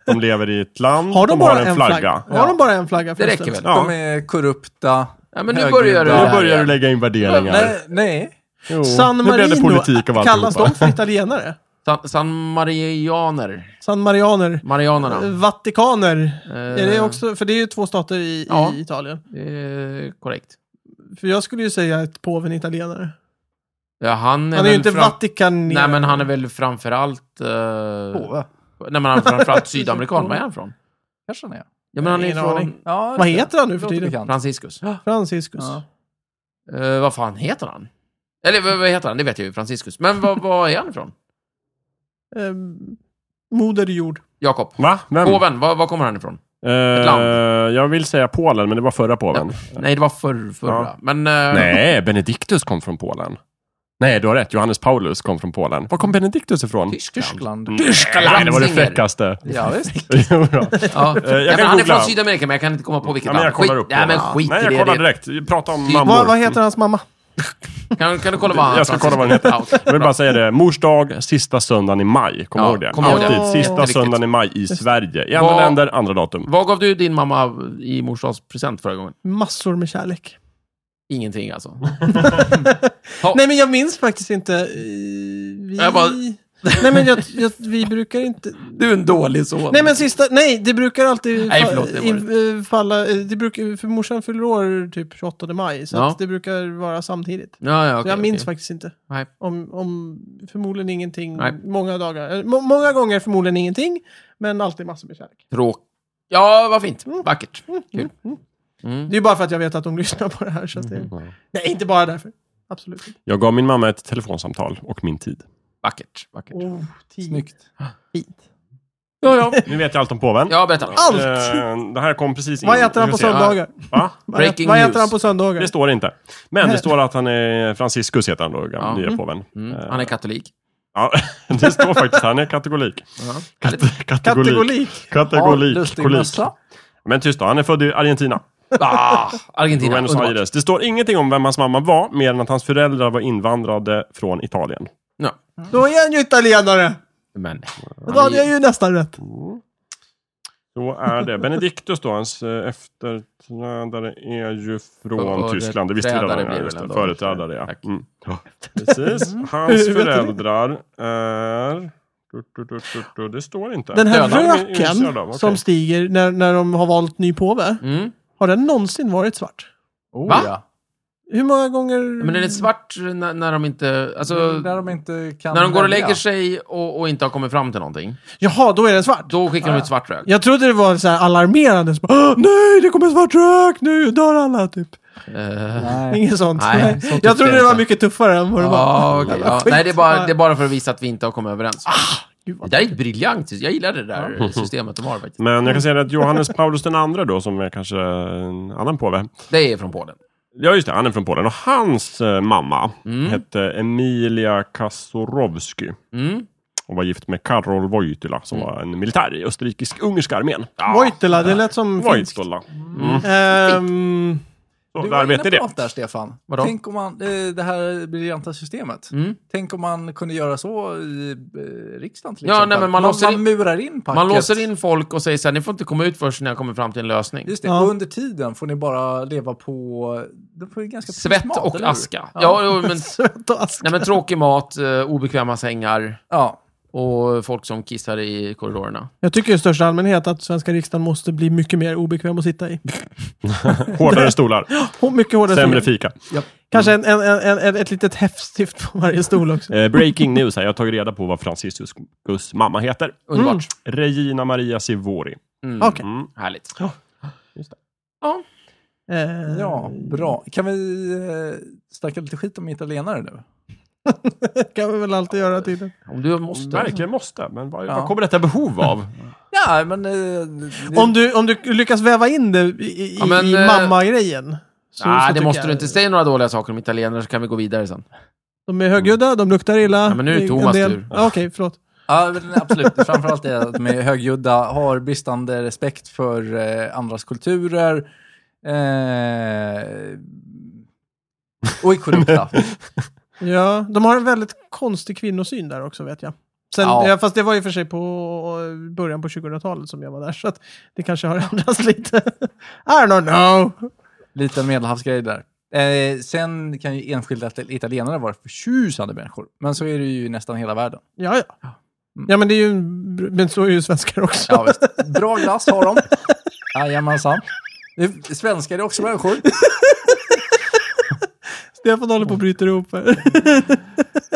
[SPEAKER 3] De lever i ett land.
[SPEAKER 1] Har de, bara
[SPEAKER 3] har en, flagga.
[SPEAKER 1] Har
[SPEAKER 4] Ja.
[SPEAKER 1] de bara en flagga?
[SPEAKER 2] Det
[SPEAKER 1] förresten?
[SPEAKER 2] räcker väl?
[SPEAKER 3] Ja.
[SPEAKER 4] De är korrupta.
[SPEAKER 2] Ja, men nu börjar du.
[SPEAKER 4] högljudda.
[SPEAKER 3] Nu börjar du lägga in värderingar.
[SPEAKER 4] Nej, nej.
[SPEAKER 3] Jo.
[SPEAKER 1] San
[SPEAKER 3] nu blev det politik
[SPEAKER 1] Marino,
[SPEAKER 3] av
[SPEAKER 1] kallas
[SPEAKER 3] alltihopa.
[SPEAKER 1] de för italienare?
[SPEAKER 2] San, San Marianer.
[SPEAKER 1] San Marianer?
[SPEAKER 2] Marianerna.
[SPEAKER 1] Eh, Vatikaner? Är det
[SPEAKER 2] Eh,
[SPEAKER 1] också, för det är ju två stater i,
[SPEAKER 2] Ja.
[SPEAKER 1] i Italien.
[SPEAKER 2] det är korrekt.
[SPEAKER 1] För jag skulle ju säga att påven är italienare.
[SPEAKER 2] Ja, han är,
[SPEAKER 1] Han är
[SPEAKER 2] väl
[SPEAKER 1] ju inte
[SPEAKER 2] fram...
[SPEAKER 1] vatikaner.
[SPEAKER 2] Nej, men han är väl framförallt... Uh...
[SPEAKER 4] Påve.
[SPEAKER 2] Nej, men han
[SPEAKER 1] (laughs)
[SPEAKER 2] är framförallt sydamerikan. Var är han från?
[SPEAKER 4] Kanske han är.
[SPEAKER 2] Ja, men han är
[SPEAKER 1] Ingen
[SPEAKER 2] från
[SPEAKER 1] aning.
[SPEAKER 4] Ja,
[SPEAKER 1] Vad
[SPEAKER 4] det-
[SPEAKER 1] heter han nu för
[SPEAKER 4] låter
[SPEAKER 1] tiden?
[SPEAKER 4] bekant.
[SPEAKER 2] Franciscus.
[SPEAKER 1] Franciscus.
[SPEAKER 4] Ja.
[SPEAKER 2] Eh, vad fan heter han? Eller vad, vad heter han? Det vet jag ju. Franciscus. Men vad, vad är han ifrån?
[SPEAKER 1] Eh, moder jord.
[SPEAKER 2] Jakob.
[SPEAKER 3] Va? Vem?
[SPEAKER 2] Påven. Var, var kommer han ifrån?
[SPEAKER 3] Eh,
[SPEAKER 2] land.
[SPEAKER 3] jag vill säga Polen, men det var förra påven.
[SPEAKER 2] Nej, det var förr, förra.
[SPEAKER 3] Ja.
[SPEAKER 2] Men... eh,
[SPEAKER 3] Nej, Benediktus kom från Polen. Nej, du har rätt. Johannes Paulus kom från Polen. Var kom Benediktus ifrån?
[SPEAKER 2] Tyskland.
[SPEAKER 4] Tyskland.
[SPEAKER 3] Nej, det var det
[SPEAKER 2] Ratzinger.
[SPEAKER 3] fräckaste.
[SPEAKER 4] Ja,
[SPEAKER 3] (laughs)
[SPEAKER 4] visst.
[SPEAKER 3] Jo då.
[SPEAKER 2] Ja.
[SPEAKER 3] Eh, jag
[SPEAKER 2] ja,
[SPEAKER 3] kan
[SPEAKER 2] men han är
[SPEAKER 3] googla.
[SPEAKER 2] från Sydamerika, men jag kan inte komma på vilket
[SPEAKER 3] Ja, men jag
[SPEAKER 2] land.
[SPEAKER 3] kollar
[SPEAKER 2] Skit-
[SPEAKER 3] upp
[SPEAKER 2] Nej, men
[SPEAKER 3] det.
[SPEAKER 2] skit
[SPEAKER 3] Nej,
[SPEAKER 2] i
[SPEAKER 3] jag
[SPEAKER 2] det.
[SPEAKER 3] kollar
[SPEAKER 2] det.
[SPEAKER 3] direkt. Prata om
[SPEAKER 2] Vad-
[SPEAKER 3] mammor.
[SPEAKER 1] Vad, vad heter hans mamma?
[SPEAKER 2] Kan, kan du kolla vad han
[SPEAKER 3] Jag ska kolla vad den heter. Jag vill bara säga det. Mors dag, sista söndagen i maj. Kommer
[SPEAKER 2] Ja,
[SPEAKER 3] du ihåg det?
[SPEAKER 2] kom ihåg
[SPEAKER 1] det.
[SPEAKER 3] Alltid.
[SPEAKER 1] Ja, det
[SPEAKER 3] Sista
[SPEAKER 2] är
[SPEAKER 3] söndagen i maj i Sverige. I andra
[SPEAKER 2] Vad-
[SPEAKER 3] länder, andra datum.
[SPEAKER 2] Vad gav du din mamma i morsdagspresent förra gången?
[SPEAKER 1] Massor med kärlek.
[SPEAKER 2] Ingenting alltså.
[SPEAKER 1] Nej, men jag minns faktiskt inte. eh, Vi...
[SPEAKER 2] Jag bara-
[SPEAKER 1] Nej, men jag, jag, vi brukar inte...
[SPEAKER 2] Du är en dålig son.
[SPEAKER 1] Nej, men sista... Nej, det brukar alltid
[SPEAKER 2] Nej,
[SPEAKER 1] fa-
[SPEAKER 2] förlåt, det var
[SPEAKER 1] in- eh, falla... eh, Det brukar, för morsan fyller år typ 28 maj, så
[SPEAKER 2] Ja.
[SPEAKER 1] att det brukar vara samtidigt.
[SPEAKER 2] Ja, ja,
[SPEAKER 1] Så
[SPEAKER 2] okej,
[SPEAKER 1] jag minns
[SPEAKER 2] okej.
[SPEAKER 1] faktiskt inte.
[SPEAKER 2] Nej.
[SPEAKER 1] Om, om förmodligen ingenting,
[SPEAKER 2] Nej.
[SPEAKER 1] många dagar. eh, Må, många gånger förmodligen ingenting, men alltid massor med kärlek.
[SPEAKER 2] Tråk. Ja, vad fint.
[SPEAKER 3] Mm.
[SPEAKER 2] Vackert. Kul.
[SPEAKER 1] Det är ju bara för att jag vet att de (laughs) lyssnar på det här. Så att
[SPEAKER 2] Mm,
[SPEAKER 1] det... Nej, inte bara därför. Absolut inte.
[SPEAKER 3] Jag gav min mamma ett telefonsamtal och min tid.
[SPEAKER 2] Vackert. Vackert.
[SPEAKER 1] Oh, tid.
[SPEAKER 4] Snyggt.
[SPEAKER 1] Fint.
[SPEAKER 2] Ja, ja.
[SPEAKER 3] Nu vet jag allt om påven.
[SPEAKER 2] Ja, berätta.
[SPEAKER 1] Allt!
[SPEAKER 3] Eh, Det här kom precis in.
[SPEAKER 1] Vad äter han
[SPEAKER 3] Vi
[SPEAKER 1] på
[SPEAKER 3] får se.
[SPEAKER 1] söndagar?
[SPEAKER 3] Va?
[SPEAKER 1] Vad äter-
[SPEAKER 2] Ah, Breaking
[SPEAKER 1] Vad
[SPEAKER 2] news.
[SPEAKER 1] äter han på söndagar?
[SPEAKER 3] Det står inte. Men det står att han är Franciscus heter han då, gamla
[SPEAKER 2] Ja.
[SPEAKER 3] nya påven.
[SPEAKER 2] Mm. Han är katolik.
[SPEAKER 3] Ja, (laughs) det står faktiskt här, han är kategolik. Kate- Kategolik.
[SPEAKER 1] Kategolik.
[SPEAKER 3] Kategolik.
[SPEAKER 4] Ja, lustig
[SPEAKER 3] kolik.
[SPEAKER 4] mössa.
[SPEAKER 3] Men tyst då, han är född i Argentina.
[SPEAKER 2] Ah, Argentina.
[SPEAKER 3] Buenos
[SPEAKER 2] underbart.
[SPEAKER 3] Aires. Det står ingenting om vem hans mamma var, mer än att hans föräldrar var invandrade från Italien.
[SPEAKER 2] Ja.
[SPEAKER 1] Då är han ju italienare.
[SPEAKER 2] Men,
[SPEAKER 1] Då hade jag ju nästan rätt.
[SPEAKER 3] Då är det Benedictus då, hans eh, efterträdare är ju från
[SPEAKER 2] Och- och
[SPEAKER 3] Tyskland. Det visste vi redan.
[SPEAKER 2] företrädare blir
[SPEAKER 3] ja,
[SPEAKER 2] det
[SPEAKER 3] just det.
[SPEAKER 2] väl ändå.
[SPEAKER 3] Företrädare, ja.
[SPEAKER 2] Tack.
[SPEAKER 3] Mm. Precis. Hans
[SPEAKER 1] Hur vet du det?
[SPEAKER 3] föräldrar är... du, du, du, du, du, Det står inte.
[SPEAKER 1] Den här
[SPEAKER 2] Döda.
[SPEAKER 1] röken som stiger när, när de har valt ny påve,
[SPEAKER 2] mm.
[SPEAKER 1] har den någonsin varit svart?
[SPEAKER 4] Oh,
[SPEAKER 2] Va?
[SPEAKER 4] Ja.
[SPEAKER 1] Hur många gånger?
[SPEAKER 2] men är det svart när, när de inte... Alltså,
[SPEAKER 3] Mm,
[SPEAKER 4] Där de inte kan
[SPEAKER 2] när de går och lägger
[SPEAKER 4] välja.
[SPEAKER 2] sig och, och inte har kommit fram till någonting,
[SPEAKER 1] Jaha, då är den svart.
[SPEAKER 2] då skickar de ut svart rök.
[SPEAKER 1] Jag trodde det var så här alarmerande. Så bara, "Åh, nej, det kommer svart rök nu, dör alla typ.
[SPEAKER 2] Eh,
[SPEAKER 4] Nej.
[SPEAKER 1] Inget sånt.
[SPEAKER 2] Nej,
[SPEAKER 1] Nej.
[SPEAKER 2] sånt tyckte
[SPEAKER 1] jag trodde
[SPEAKER 2] jag
[SPEAKER 1] det var
[SPEAKER 2] inte.
[SPEAKER 1] mycket tuffare än vad det var.
[SPEAKER 2] ja, okej, ja.
[SPEAKER 1] skit.
[SPEAKER 2] Nej, det är, bara, det är bara för att visa att vi inte har kommit överens.
[SPEAKER 1] Gud,
[SPEAKER 2] Det
[SPEAKER 1] vad-
[SPEAKER 2] där är ett briljant. Jag gillar det där systemet de har faktiskt.
[SPEAKER 3] Men jag kan säga att Johannes Paulus den andra då, som är kanske en annan påve.
[SPEAKER 2] Det är från Polen.
[SPEAKER 3] Ja, just det. Han är från Polen. Och hans eh, mamma hette Emilia Kasorowski.
[SPEAKER 2] Mm.
[SPEAKER 3] Hon var gift med Karol Wojtyla, som var en militär i österrikisk-ungerska armén.
[SPEAKER 1] Voitela, det lät som finskt.
[SPEAKER 3] Wojtyla.
[SPEAKER 1] Ehm,
[SPEAKER 3] Så,
[SPEAKER 4] Du
[SPEAKER 3] där
[SPEAKER 4] var inne
[SPEAKER 3] vet
[SPEAKER 4] på
[SPEAKER 3] ni det.
[SPEAKER 4] något där, Stefan.
[SPEAKER 2] Vadå?
[SPEAKER 4] Tänk om man, eh, det här briljanta systemet.
[SPEAKER 2] Mm.
[SPEAKER 4] Tänk om man kunde göra så i eh, riksdagen till
[SPEAKER 2] Ja,
[SPEAKER 4] exempel.
[SPEAKER 2] nej, men man låser in-
[SPEAKER 4] man murar in packet.
[SPEAKER 2] Man låser in folk och säger så här, ni får inte komma ut först när jag kommer fram till en lösning.
[SPEAKER 4] Just det,
[SPEAKER 1] Ja.
[SPEAKER 4] och under tiden får ni bara leva på... De får ju ganska trist
[SPEAKER 2] Svett
[SPEAKER 4] mat,
[SPEAKER 2] och
[SPEAKER 4] eller hur?
[SPEAKER 2] aska. Ja,
[SPEAKER 4] Ja.
[SPEAKER 2] jo, men,
[SPEAKER 1] Söt och ask.
[SPEAKER 2] nej, men tråkig mat, eh, obekväma sängar
[SPEAKER 4] Ja.
[SPEAKER 2] och folk som kissar i korridorerna.
[SPEAKER 1] Jag tycker i största allmänhet att svenska riksdagen måste bli mycket mer obekväm att sitta i. (laughs)
[SPEAKER 3] Hårdare stolar,
[SPEAKER 1] Hon- Mycket hårdare.
[SPEAKER 3] sämre
[SPEAKER 1] stol.
[SPEAKER 3] fika.
[SPEAKER 1] Kanske en, en, en, en, ett litet häftstift på varje
[SPEAKER 3] (laughs)
[SPEAKER 1] stol också.
[SPEAKER 3] Eh, breaking news här. Jag har tagit reda på vad Franciscus mamma heter.
[SPEAKER 2] Underbart.
[SPEAKER 3] Regina Maria Sivori.
[SPEAKER 2] Mm.
[SPEAKER 1] Okej.
[SPEAKER 3] Mm.
[SPEAKER 2] Härligt.
[SPEAKER 1] Ja.
[SPEAKER 3] Just det.
[SPEAKER 2] Ja.
[SPEAKER 1] Eh,
[SPEAKER 4] ja, bra. Kan vi eh, snacka lite skit om italienare nu?
[SPEAKER 1] kan vi väl alltid göra tydligen.
[SPEAKER 2] Om du måste.
[SPEAKER 3] Verkligen måste, men vad,
[SPEAKER 4] Ja.
[SPEAKER 3] vad kommer detta behov av?
[SPEAKER 4] Ja, men... Eh,
[SPEAKER 1] Om du, om du lyckas väva in det i, i,
[SPEAKER 2] Ja, men,
[SPEAKER 1] i
[SPEAKER 2] eh,
[SPEAKER 1] mamma-grejen. så- så
[SPEAKER 2] Nej, det
[SPEAKER 1] tycker
[SPEAKER 2] måste
[SPEAKER 1] jag-
[SPEAKER 2] du inte. Säg några dåliga saker om italienare så kan vi gå vidare sen.
[SPEAKER 1] De är högljudda, de luktar illa.
[SPEAKER 2] Ja, men nu är det
[SPEAKER 1] en
[SPEAKER 2] Thomas
[SPEAKER 1] del-
[SPEAKER 2] tur.
[SPEAKER 1] Ja, Okej, förlåt.
[SPEAKER 4] Ja, men absolut. Framförallt det att de är högljudda, har bristande respekt för eh, andras kulturer. Eh, och är (laughs) korrupta.
[SPEAKER 1] Ja, de har en väldigt konstig kvinnosyn där också vet jag. Sen,
[SPEAKER 4] Ja.
[SPEAKER 1] ja. Fast det var ju för sig på eh, början på 2000-talet som jag var där, så att det kanske har (laughs) ändrats lite. I don't know.
[SPEAKER 4] Liten medelhavsgrej där. Eh, sen kan ju enskilda it- italienare vara förtjusande människor, men så är det ju i nästan hela världen.
[SPEAKER 1] Ja, ja. Ja, men det är ju, men så är ju svenskar också.
[SPEAKER 4] Ja, visst. (laughs) Bra glass har de. Jajamensan. Det är- Svenskar är också människor.
[SPEAKER 1] (laughs) Stefan håller på och bryter ihop här.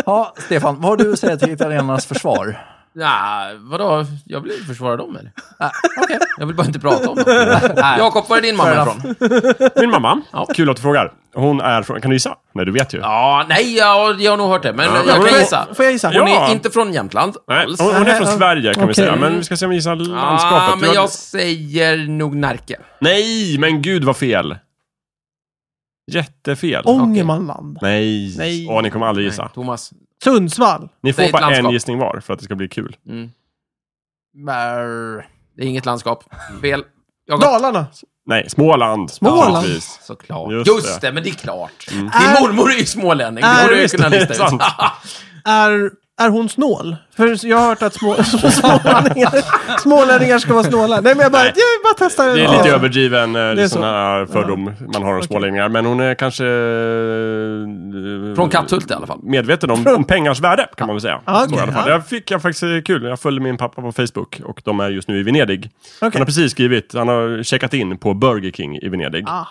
[SPEAKER 4] Ja, Stefan, vad har du att säga till italienarnas försvar?
[SPEAKER 2] Ja, vadå? Jag vill inte försvara dem eller? Ah, Okej, jag vill bara inte prata om dem. Jakob, var är din mamma
[SPEAKER 4] Fair
[SPEAKER 2] ifrån?
[SPEAKER 3] Min mamma, kul att du frågar. Hon är från... Kan du gissa? Nej, du vet ju.
[SPEAKER 2] Ja, nej, jag, jag har nog hört det, men
[SPEAKER 3] men-
[SPEAKER 2] jag kan gissa.
[SPEAKER 1] (laughs) Får jag gissa?
[SPEAKER 2] Hon
[SPEAKER 3] Ja.
[SPEAKER 2] är inte från Jämtland
[SPEAKER 3] Nej,
[SPEAKER 2] alls.
[SPEAKER 3] hon, hon är från
[SPEAKER 1] Nej, ja.
[SPEAKER 3] Sverige kan vi
[SPEAKER 1] Okej.
[SPEAKER 3] säga, men vi ska se om vi gissar landskapet.
[SPEAKER 2] Ja,
[SPEAKER 3] Du
[SPEAKER 2] men
[SPEAKER 3] har-
[SPEAKER 2] jag säger nog Närke.
[SPEAKER 3] Nej, men gud vad fel! Jättefel.
[SPEAKER 1] Ångermanland.
[SPEAKER 3] Nej.
[SPEAKER 1] Nej.
[SPEAKER 3] Åh, ni kommer aldrig gissa.
[SPEAKER 2] Nej, Thomas.
[SPEAKER 1] Sundsvall.
[SPEAKER 3] Ni
[SPEAKER 2] Säg
[SPEAKER 3] får
[SPEAKER 2] ett
[SPEAKER 3] bara en
[SPEAKER 2] landskap.
[SPEAKER 3] gissning var för att det ska bli kul.
[SPEAKER 2] Mm.
[SPEAKER 4] Brr.
[SPEAKER 2] Det är inget landskap.
[SPEAKER 3] Mm.
[SPEAKER 2] Fel. Jakob.
[SPEAKER 1] Dalarna.
[SPEAKER 3] Nej, Småland.
[SPEAKER 1] Småland.
[SPEAKER 3] naturligtvis.
[SPEAKER 2] Såklart.
[SPEAKER 3] Just
[SPEAKER 2] Just,
[SPEAKER 3] det. Mm. Äh,
[SPEAKER 2] det. men det är klart.
[SPEAKER 1] Är-
[SPEAKER 2] Din mormor är ju smålänning.
[SPEAKER 1] Är-
[SPEAKER 2] Det borde ju
[SPEAKER 1] Just
[SPEAKER 2] kunna
[SPEAKER 3] det,
[SPEAKER 2] lista ut.
[SPEAKER 3] sant.
[SPEAKER 1] Är, är hon snål? För jag har hört att små, (laughs) smålänningar, smålänningar ska vara snåla. Nej, men jag bara,
[SPEAKER 3] Nej.
[SPEAKER 1] jag vill bara testar.
[SPEAKER 3] Det är lite överdriven eh,
[SPEAKER 1] är
[SPEAKER 3] sån
[SPEAKER 1] så.
[SPEAKER 3] här fördom man har om smålänningar, men hon är kanske... eh,
[SPEAKER 2] Från Katthult i alla fall.
[SPEAKER 3] Medveten om, om pengars värde, kan man väl säga.
[SPEAKER 1] Ja,
[SPEAKER 3] Så i
[SPEAKER 1] okej,
[SPEAKER 3] alla fall.
[SPEAKER 1] ja.
[SPEAKER 3] Jag fick jag faktiskt eh, kul. Jag följde min pappa på Facebook och de är just nu i Venedig. Han
[SPEAKER 1] Okej.
[SPEAKER 3] har precis skrivit, han har checkat in på Burger King i Venedig.
[SPEAKER 1] Ah,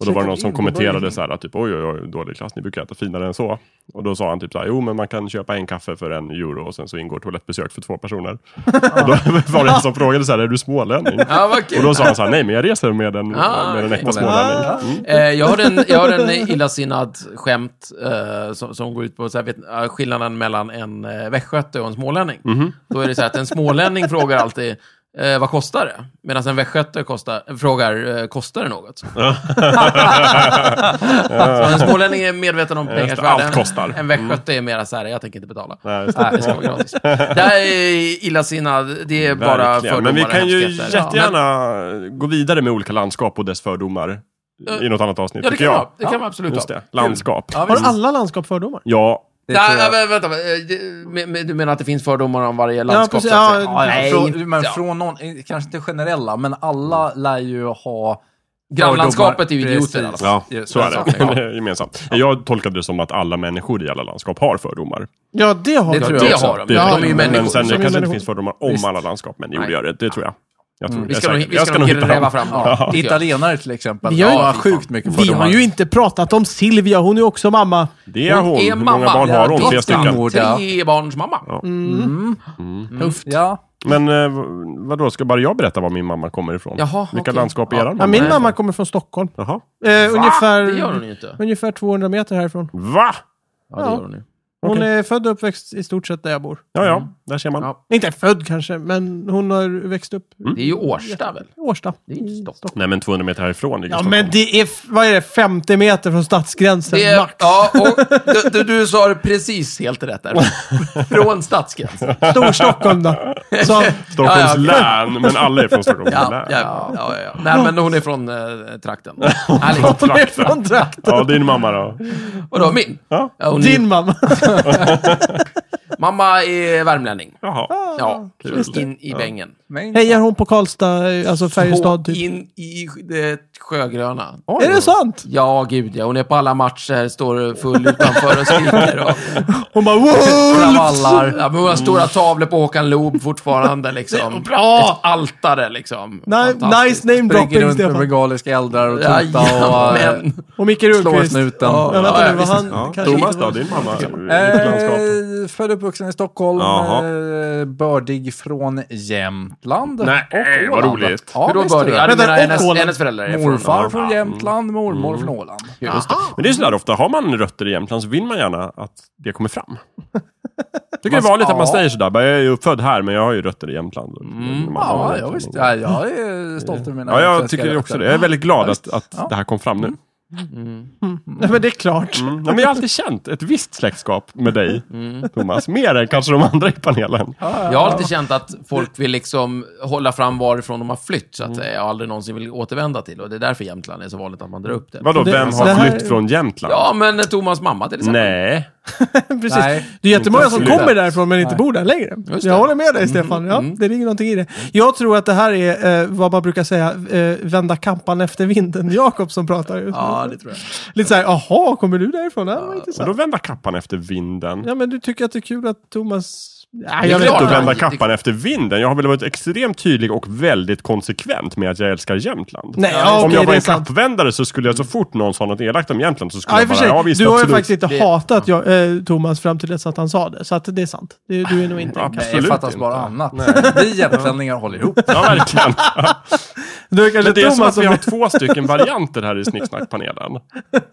[SPEAKER 3] Och då var det någon
[SPEAKER 4] Checkat
[SPEAKER 3] som
[SPEAKER 4] in på Burger
[SPEAKER 3] kommenterade
[SPEAKER 4] King.
[SPEAKER 3] så här att typ oj oj oj dålig klass, ni brukar äta finare än så. Och då sa han typ så här, jo men man kan köpa en kaffe för en euro och sen så ingår toalettbesök för
[SPEAKER 1] (laughs)
[SPEAKER 3] två personer. och då (laughs) var det en som frågade så här, är du smålänning?
[SPEAKER 2] Ja, vad
[SPEAKER 3] och
[SPEAKER 2] kul.
[SPEAKER 3] då sa han så här, nej men jag reser med en,
[SPEAKER 2] Ah,
[SPEAKER 3] med en
[SPEAKER 2] okej.
[SPEAKER 3] äkta smålänning. Mm.
[SPEAKER 2] Eh, jag, har en, jag har en illasinnad skämt eh, som, som går ut på så här, vet, eh,
[SPEAKER 3] Mhm.
[SPEAKER 2] skillnaden mellan en eh, västgöte och en smålänning. Då är det så här att en smålänning frågar alltid eh, vad kostar det? Medan en västgöte kostar, frågar, eh, kostar det
[SPEAKER 3] (laughs)
[SPEAKER 2] något? Så en smålänning är medveten om
[SPEAKER 3] Just det,
[SPEAKER 2] pengars värde.
[SPEAKER 3] allt kostar. Mm.
[SPEAKER 2] En västgöte är mera så här, jag tänker inte betala.
[SPEAKER 3] Nej, just det.
[SPEAKER 2] Nej, det ska vara gratis. Det här är illasinnad, det är bara
[SPEAKER 3] Verkligen.
[SPEAKER 2] fördomar
[SPEAKER 3] Men vi
[SPEAKER 2] och
[SPEAKER 3] kan ju
[SPEAKER 2] hemskheter.
[SPEAKER 3] jättegärna gå vidare med olika landskap och dess fördomar.
[SPEAKER 2] Eh,
[SPEAKER 3] I något annat avsnitt,
[SPEAKER 2] Ja, det
[SPEAKER 3] tycker
[SPEAKER 2] kan,
[SPEAKER 3] jag.
[SPEAKER 2] man, det kan man absolut
[SPEAKER 3] Just
[SPEAKER 2] ha.
[SPEAKER 3] det. Landskap. Mm.
[SPEAKER 4] Ja,
[SPEAKER 1] Har
[SPEAKER 4] visst.
[SPEAKER 1] alla landskap fördomar?
[SPEAKER 3] Ja,
[SPEAKER 4] Det
[SPEAKER 2] Nej,
[SPEAKER 4] tror jag.
[SPEAKER 2] men vänta. eh, det- men- men Du menar att det finns fördomar om varje landskap?
[SPEAKER 1] precis,
[SPEAKER 2] så att
[SPEAKER 1] ja,
[SPEAKER 2] säga?
[SPEAKER 1] Ja,
[SPEAKER 4] Nej,
[SPEAKER 2] Frå-
[SPEAKER 4] men
[SPEAKER 2] ja.
[SPEAKER 4] från någon, eh, kanske inte generella, men alla lär ju ha...
[SPEAKER 2] Grannlandskapet är ju
[SPEAKER 4] fördomar.
[SPEAKER 2] idioter alltså. i alla fall.
[SPEAKER 3] ja
[SPEAKER 4] Just
[SPEAKER 3] så
[SPEAKER 4] det,
[SPEAKER 3] är
[SPEAKER 4] så
[SPEAKER 3] (laughs) det.
[SPEAKER 4] kan det
[SPEAKER 3] Gemensamt. Jag tolkade det som att alla människor i alla landskap har fördomar.
[SPEAKER 1] Ja, det har
[SPEAKER 2] Det
[SPEAKER 1] vi.
[SPEAKER 2] tror
[SPEAKER 3] Det
[SPEAKER 2] jag
[SPEAKER 3] också.
[SPEAKER 2] har de.
[SPEAKER 3] Det
[SPEAKER 2] Ja,
[SPEAKER 3] gör
[SPEAKER 2] de är ju
[SPEAKER 3] men
[SPEAKER 2] människor.
[SPEAKER 3] sen
[SPEAKER 1] Som är
[SPEAKER 3] det kanske inte
[SPEAKER 1] människor.
[SPEAKER 3] finns fördomar om
[SPEAKER 4] Visst.
[SPEAKER 3] alla landskap, men
[SPEAKER 2] Nej.
[SPEAKER 3] jo,
[SPEAKER 2] Mm.
[SPEAKER 3] det gör det. Det tror jag. Jag tror
[SPEAKER 2] Vi
[SPEAKER 3] jag
[SPEAKER 2] ska, nog,
[SPEAKER 3] säkert.
[SPEAKER 2] vi
[SPEAKER 3] Jag
[SPEAKER 2] ska, nog
[SPEAKER 3] hitta
[SPEAKER 2] gräva
[SPEAKER 3] dem.
[SPEAKER 2] fram.
[SPEAKER 4] Ja.
[SPEAKER 2] Ja, det tycker jag.
[SPEAKER 4] Italienare till exempel.
[SPEAKER 1] Vi har ju-
[SPEAKER 4] Ja,
[SPEAKER 2] liksom.
[SPEAKER 4] sjukt mycket
[SPEAKER 1] Vi har ju inte pratat om Silvia, hon är också mamma.
[SPEAKER 3] Det är hon.
[SPEAKER 2] är
[SPEAKER 3] Hur många
[SPEAKER 2] mamma.
[SPEAKER 3] barn har
[SPEAKER 4] Ja,
[SPEAKER 3] hon? Tre
[SPEAKER 4] det är
[SPEAKER 3] stycken.
[SPEAKER 4] hon.
[SPEAKER 2] Tre barns mamma.
[SPEAKER 3] Ja.
[SPEAKER 4] Tufft. Mm. Ja.
[SPEAKER 3] Men eh, v- vadå, ska bara jag berätta var min mamma kommer ifrån?
[SPEAKER 2] Jaha,
[SPEAKER 3] Vilka
[SPEAKER 2] okej.
[SPEAKER 3] landskap är
[SPEAKER 2] Ja.
[SPEAKER 3] eran
[SPEAKER 1] Ja,
[SPEAKER 3] mamma?
[SPEAKER 1] min mamma kommer från Stockholm.
[SPEAKER 3] Jaha.
[SPEAKER 1] Eh,
[SPEAKER 2] Det gör hon
[SPEAKER 1] ungefär,
[SPEAKER 2] ju inte.
[SPEAKER 1] ungefär 200 meter härifrån.
[SPEAKER 3] Va?
[SPEAKER 2] Ja, det
[SPEAKER 1] Ja.
[SPEAKER 2] gör hon ju.
[SPEAKER 1] Hon
[SPEAKER 3] Okej.
[SPEAKER 1] är född och uppväxt i stort sett där jag bor.
[SPEAKER 3] Ja, ja. Där ser man.
[SPEAKER 2] Ja.
[SPEAKER 1] Inte född kanske, men hon har växt upp
[SPEAKER 2] Det är ju Årsta väl?
[SPEAKER 1] i Årsta.
[SPEAKER 2] Mm.
[SPEAKER 1] Mm,
[SPEAKER 2] Det är inte Stockholm.
[SPEAKER 3] Nej, men 200 meter härifrån ligger
[SPEAKER 1] Ja,
[SPEAKER 3] Stockholm.
[SPEAKER 1] men det är, f- vad är det, 50 meter från stadsgränsen
[SPEAKER 2] Det är,
[SPEAKER 1] max.
[SPEAKER 2] Ja, och du, du, du sa det precis helt rätt där. Från stadsgränsen.
[SPEAKER 1] Storstockholm
[SPEAKER 2] (laughs)
[SPEAKER 1] då. Så,
[SPEAKER 3] Stockholms
[SPEAKER 2] Ja, ja.
[SPEAKER 3] län, men alla är från
[SPEAKER 2] (laughs)
[SPEAKER 3] Stockholms
[SPEAKER 2] Ja,
[SPEAKER 3] län.
[SPEAKER 2] ja, ja, ja, ja. Nej, men hon är från eh, trakten.
[SPEAKER 1] (laughs)
[SPEAKER 2] Härligt.
[SPEAKER 1] hon är från trakten.
[SPEAKER 3] Ja, din mamma då?
[SPEAKER 2] Vadå, min?
[SPEAKER 3] Ja.
[SPEAKER 2] hon är,
[SPEAKER 1] Din
[SPEAKER 2] (laughs)
[SPEAKER 1] mamma.
[SPEAKER 2] mamma är värmlänning.
[SPEAKER 3] Jaha.
[SPEAKER 2] Ja,
[SPEAKER 3] Just det.
[SPEAKER 2] in i bängen.
[SPEAKER 4] Men,
[SPEAKER 1] Hejar hon på Karlstad, eh, alltså Färjestad
[SPEAKER 2] På-
[SPEAKER 1] typ?
[SPEAKER 2] In i det sjögröna.
[SPEAKER 1] Är det sant?
[SPEAKER 2] Ja, gud ja. Hon är på alla matcher, står full utanför och skriker. Och
[SPEAKER 1] Hon bara Wolves!
[SPEAKER 2] (laughs)
[SPEAKER 4] Kravallar.
[SPEAKER 2] Ja, men hon har stora tavlor på Håkan Loob fortfarande. Liksom.
[SPEAKER 1] bra!
[SPEAKER 2] Ett altare liksom.
[SPEAKER 1] Nej,
[SPEAKER 2] Fantastiskt.
[SPEAKER 1] nice name
[SPEAKER 4] Springer
[SPEAKER 1] dropping
[SPEAKER 4] runt med
[SPEAKER 1] Stefan.
[SPEAKER 4] bengaliska eldar och tuta och... eh,
[SPEAKER 2] Jajamän.
[SPEAKER 1] Och Micke
[SPEAKER 4] Slår
[SPEAKER 1] Rundqvist.
[SPEAKER 4] snuten.
[SPEAKER 2] Ja.
[SPEAKER 1] Ja, vänta nu, vad
[SPEAKER 2] visst.
[SPEAKER 1] han
[SPEAKER 3] Ja.
[SPEAKER 1] kanske
[SPEAKER 3] Thomas
[SPEAKER 1] inte-
[SPEAKER 3] då, din mamma? Vilket landskap?
[SPEAKER 4] Eh, född och uppvuxen i Stockholm,
[SPEAKER 3] Jaha.
[SPEAKER 4] eh, bördig från Jämtland.
[SPEAKER 3] Nej,
[SPEAKER 4] och
[SPEAKER 3] vad
[SPEAKER 4] Åland.
[SPEAKER 3] roligt.
[SPEAKER 4] Ja,
[SPEAKER 2] Hur då
[SPEAKER 4] visst är
[SPEAKER 2] började
[SPEAKER 4] det.
[SPEAKER 1] Vänta,
[SPEAKER 2] jag? menar,
[SPEAKER 1] och
[SPEAKER 2] hennes,
[SPEAKER 1] Åland.
[SPEAKER 2] hennes föräldrar är från...
[SPEAKER 4] Morfar
[SPEAKER 3] Ja.
[SPEAKER 4] från Jämtland, mormor från Åland.
[SPEAKER 3] Just det. Men det är sådär ofta, har man rötter i Jämtland så vill man gärna att det kommer fram. tycker det är vanligt att man
[SPEAKER 4] Ja.
[SPEAKER 3] säger sådär, bara, jag är ju född här men jag har ju rötter i Jämtland. Man har
[SPEAKER 4] Mm. Ja,
[SPEAKER 3] ju
[SPEAKER 4] ja,
[SPEAKER 3] rötter.
[SPEAKER 4] visst. Ja, jag är stolt över mina
[SPEAKER 3] Ja, jag
[SPEAKER 4] svenska
[SPEAKER 3] tycker också
[SPEAKER 4] rötter.
[SPEAKER 3] det. Jag är väldigt glad att, att
[SPEAKER 4] Ja.
[SPEAKER 3] det här kom fram nu.
[SPEAKER 1] Nej, men det är klart.
[SPEAKER 3] Mm. Ja, men jag har alltid känt ett visst släktskap med dig, Thomas. Mer än kanske de andra i panelen.
[SPEAKER 2] Jag har alltid känt att folk vill liksom hålla fram varifrån de har flytt, så att säga. Jag har aldrig någonsin vill återvända till. Och det är därför Jämtland är så vanligt att man drar upp det.
[SPEAKER 3] Vadå,
[SPEAKER 1] Det-
[SPEAKER 3] vem har
[SPEAKER 1] det här-
[SPEAKER 3] flytt från Jämtland?
[SPEAKER 2] Ja, men Thomas mamma till exempel.
[SPEAKER 3] Nej.
[SPEAKER 1] (laughs) Precis.
[SPEAKER 4] Nej.
[SPEAKER 1] det är jättemånga som
[SPEAKER 3] Inte
[SPEAKER 1] kommer därifrån men inte
[SPEAKER 4] Nej.
[SPEAKER 1] bor där längre.
[SPEAKER 2] Just det.
[SPEAKER 1] Jag håller med dig Stefan. Ja, Det ligger någonting i det. Jag tror att det här är eh, vad man brukar säga, eh, vända kampan efter vinden. Jakob som pratar just nu.
[SPEAKER 2] Ja, det tror jag.
[SPEAKER 1] Lite såhär, jaha, kommer du därifrån? Ja, vad
[SPEAKER 3] Men då
[SPEAKER 1] intressant.
[SPEAKER 3] vända kappan efter vinden.
[SPEAKER 1] Ja, men du tycker att det är kul att Thomas... Ja,
[SPEAKER 3] Jag
[SPEAKER 1] jag
[SPEAKER 2] är
[SPEAKER 3] vill
[SPEAKER 1] vet
[SPEAKER 2] klart
[SPEAKER 3] inte
[SPEAKER 1] inte.
[SPEAKER 2] att
[SPEAKER 3] vända
[SPEAKER 2] han-
[SPEAKER 3] kappan efter vinden. Jag har väl varit extremt tydlig och väldigt konsekvent med att jag älskar Jämtland.
[SPEAKER 1] Nej, ja,
[SPEAKER 3] om
[SPEAKER 1] okej,
[SPEAKER 3] jag var
[SPEAKER 1] det är
[SPEAKER 3] en
[SPEAKER 1] sant.
[SPEAKER 3] kappvändare så skulle jag så fort någon sa något elakt om Jämtland så skulle
[SPEAKER 1] Ja, i och
[SPEAKER 3] jag
[SPEAKER 1] för
[SPEAKER 3] bara,
[SPEAKER 1] sig.
[SPEAKER 3] ja visst,
[SPEAKER 1] du har
[SPEAKER 3] absolut.
[SPEAKER 1] ju faktiskt inte
[SPEAKER 2] Det-
[SPEAKER 1] hatat jag, eh, Thomas fram till dess att han sa det. Så att det är sant. Det, du är nog inte...
[SPEAKER 4] Nej,
[SPEAKER 3] Absolut
[SPEAKER 4] fattas
[SPEAKER 3] inte.
[SPEAKER 4] bara annat. (laughs) Vi jämtlänningar håller ihop.
[SPEAKER 3] Ja, verkligen.
[SPEAKER 1] Du är kanske
[SPEAKER 3] Men det är som
[SPEAKER 1] Thomas
[SPEAKER 3] att vi
[SPEAKER 1] som...
[SPEAKER 3] har två stycken varianter här i Snicksnackpanelen.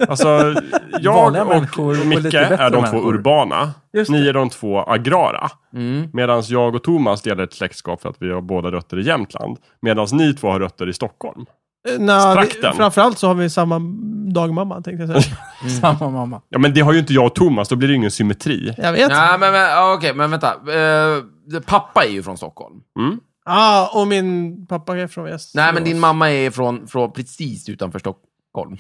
[SPEAKER 3] Alltså,
[SPEAKER 4] Vanliga
[SPEAKER 3] jag
[SPEAKER 4] människor och
[SPEAKER 3] och Micke
[SPEAKER 4] lite bättre
[SPEAKER 3] är de två
[SPEAKER 4] människor. Mm.
[SPEAKER 3] urbana.
[SPEAKER 1] Just det.
[SPEAKER 3] Ni är de två agrara. Medan jag och Thomas delar ett släktskap för att vi har båda rötter i Jämtland. Medan ni två har rötter i Stockholm.
[SPEAKER 1] Eh, Nej, vi,
[SPEAKER 3] trakten.
[SPEAKER 1] framförallt så har vi samma dagmamma, tänkte jag (laughs) säga.
[SPEAKER 2] Mm.
[SPEAKER 4] (laughs) Samma mamma.
[SPEAKER 3] Ja, men det har ju inte jag och Thomas, då blir det ju ingen symmetri.
[SPEAKER 1] Jag (laughs) vet.
[SPEAKER 2] Nej, men, men ja, okej, men vänta. Eh, pappa är ju från Stockholm.
[SPEAKER 1] Ja, ah, och min pappa är från väst.
[SPEAKER 2] Nej, men din mamma är från, från precis utanför Stockholm.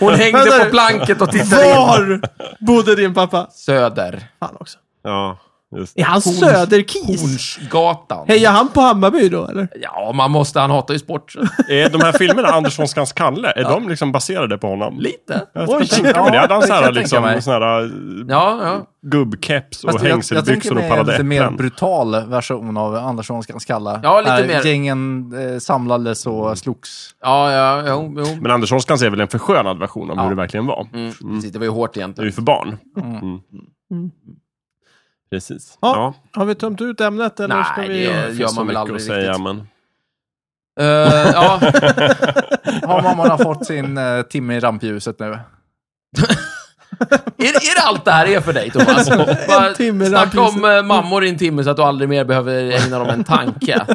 [SPEAKER 2] Hon hängde
[SPEAKER 1] Vänta.
[SPEAKER 2] på planket och tittade in.
[SPEAKER 1] Var bodde din pappa?
[SPEAKER 2] Söder.
[SPEAKER 1] Fan också.
[SPEAKER 3] Ja, just
[SPEAKER 1] Är han söderkis?
[SPEAKER 2] Hornsgatan.
[SPEAKER 1] Hejar han på Hammarby då, eller?
[SPEAKER 2] Ja, man måste. Han hatar ju sport. (laughs)
[SPEAKER 3] Är de här filmerna, Anderssonskans Kalle, är de liksom baserade på honom?
[SPEAKER 2] Lite.
[SPEAKER 3] Jag kan
[SPEAKER 1] Oj.
[SPEAKER 3] tänka mig det. Hade han så
[SPEAKER 4] Ja, det
[SPEAKER 3] här,
[SPEAKER 4] kan jag tänka mig.
[SPEAKER 3] liksom, sån här eh,
[SPEAKER 2] Ja, ja.
[SPEAKER 3] gubbkeps och
[SPEAKER 4] Fast jag, jag tänker
[SPEAKER 3] hängselbyxor och
[SPEAKER 4] mig en lite mer
[SPEAKER 3] paradäpplen?
[SPEAKER 4] brutal version av Anderssonskans Kalla.
[SPEAKER 2] Ja, lite
[SPEAKER 4] Där
[SPEAKER 2] mer.
[SPEAKER 4] Gängen eh, samlades
[SPEAKER 3] Mm.
[SPEAKER 4] och slogs.
[SPEAKER 2] Ja, ja, jo, jo.
[SPEAKER 3] Men Anderssonskans är väl en förskönad version av hur det verkligen var.
[SPEAKER 2] Mm, precis, det var ju hårt
[SPEAKER 3] Det är
[SPEAKER 2] egentligen.
[SPEAKER 3] ju för barn.
[SPEAKER 4] Mm.
[SPEAKER 3] Mm.
[SPEAKER 1] Mm.
[SPEAKER 3] Precis.
[SPEAKER 1] Ja,
[SPEAKER 3] Ja,
[SPEAKER 1] Har vi tömt ut ämnet, eller ska
[SPEAKER 2] Nej,
[SPEAKER 1] vi...
[SPEAKER 2] det
[SPEAKER 3] det
[SPEAKER 2] gör
[SPEAKER 3] finns så
[SPEAKER 2] man väl
[SPEAKER 3] mycket
[SPEAKER 2] aldrig
[SPEAKER 3] att säga,
[SPEAKER 2] riktigt.
[SPEAKER 3] men... (laughs)
[SPEAKER 2] Eh, ja.
[SPEAKER 4] Har mammorna fått sin eh, timme i rampljuset nu?
[SPEAKER 2] Är, är det allt det här är för dig, Thomas? Bara
[SPEAKER 1] timme
[SPEAKER 2] Snacka
[SPEAKER 1] raggelse.
[SPEAKER 2] om eh, mammor i en timme så att du aldrig mer behöver ägna dem en tanke.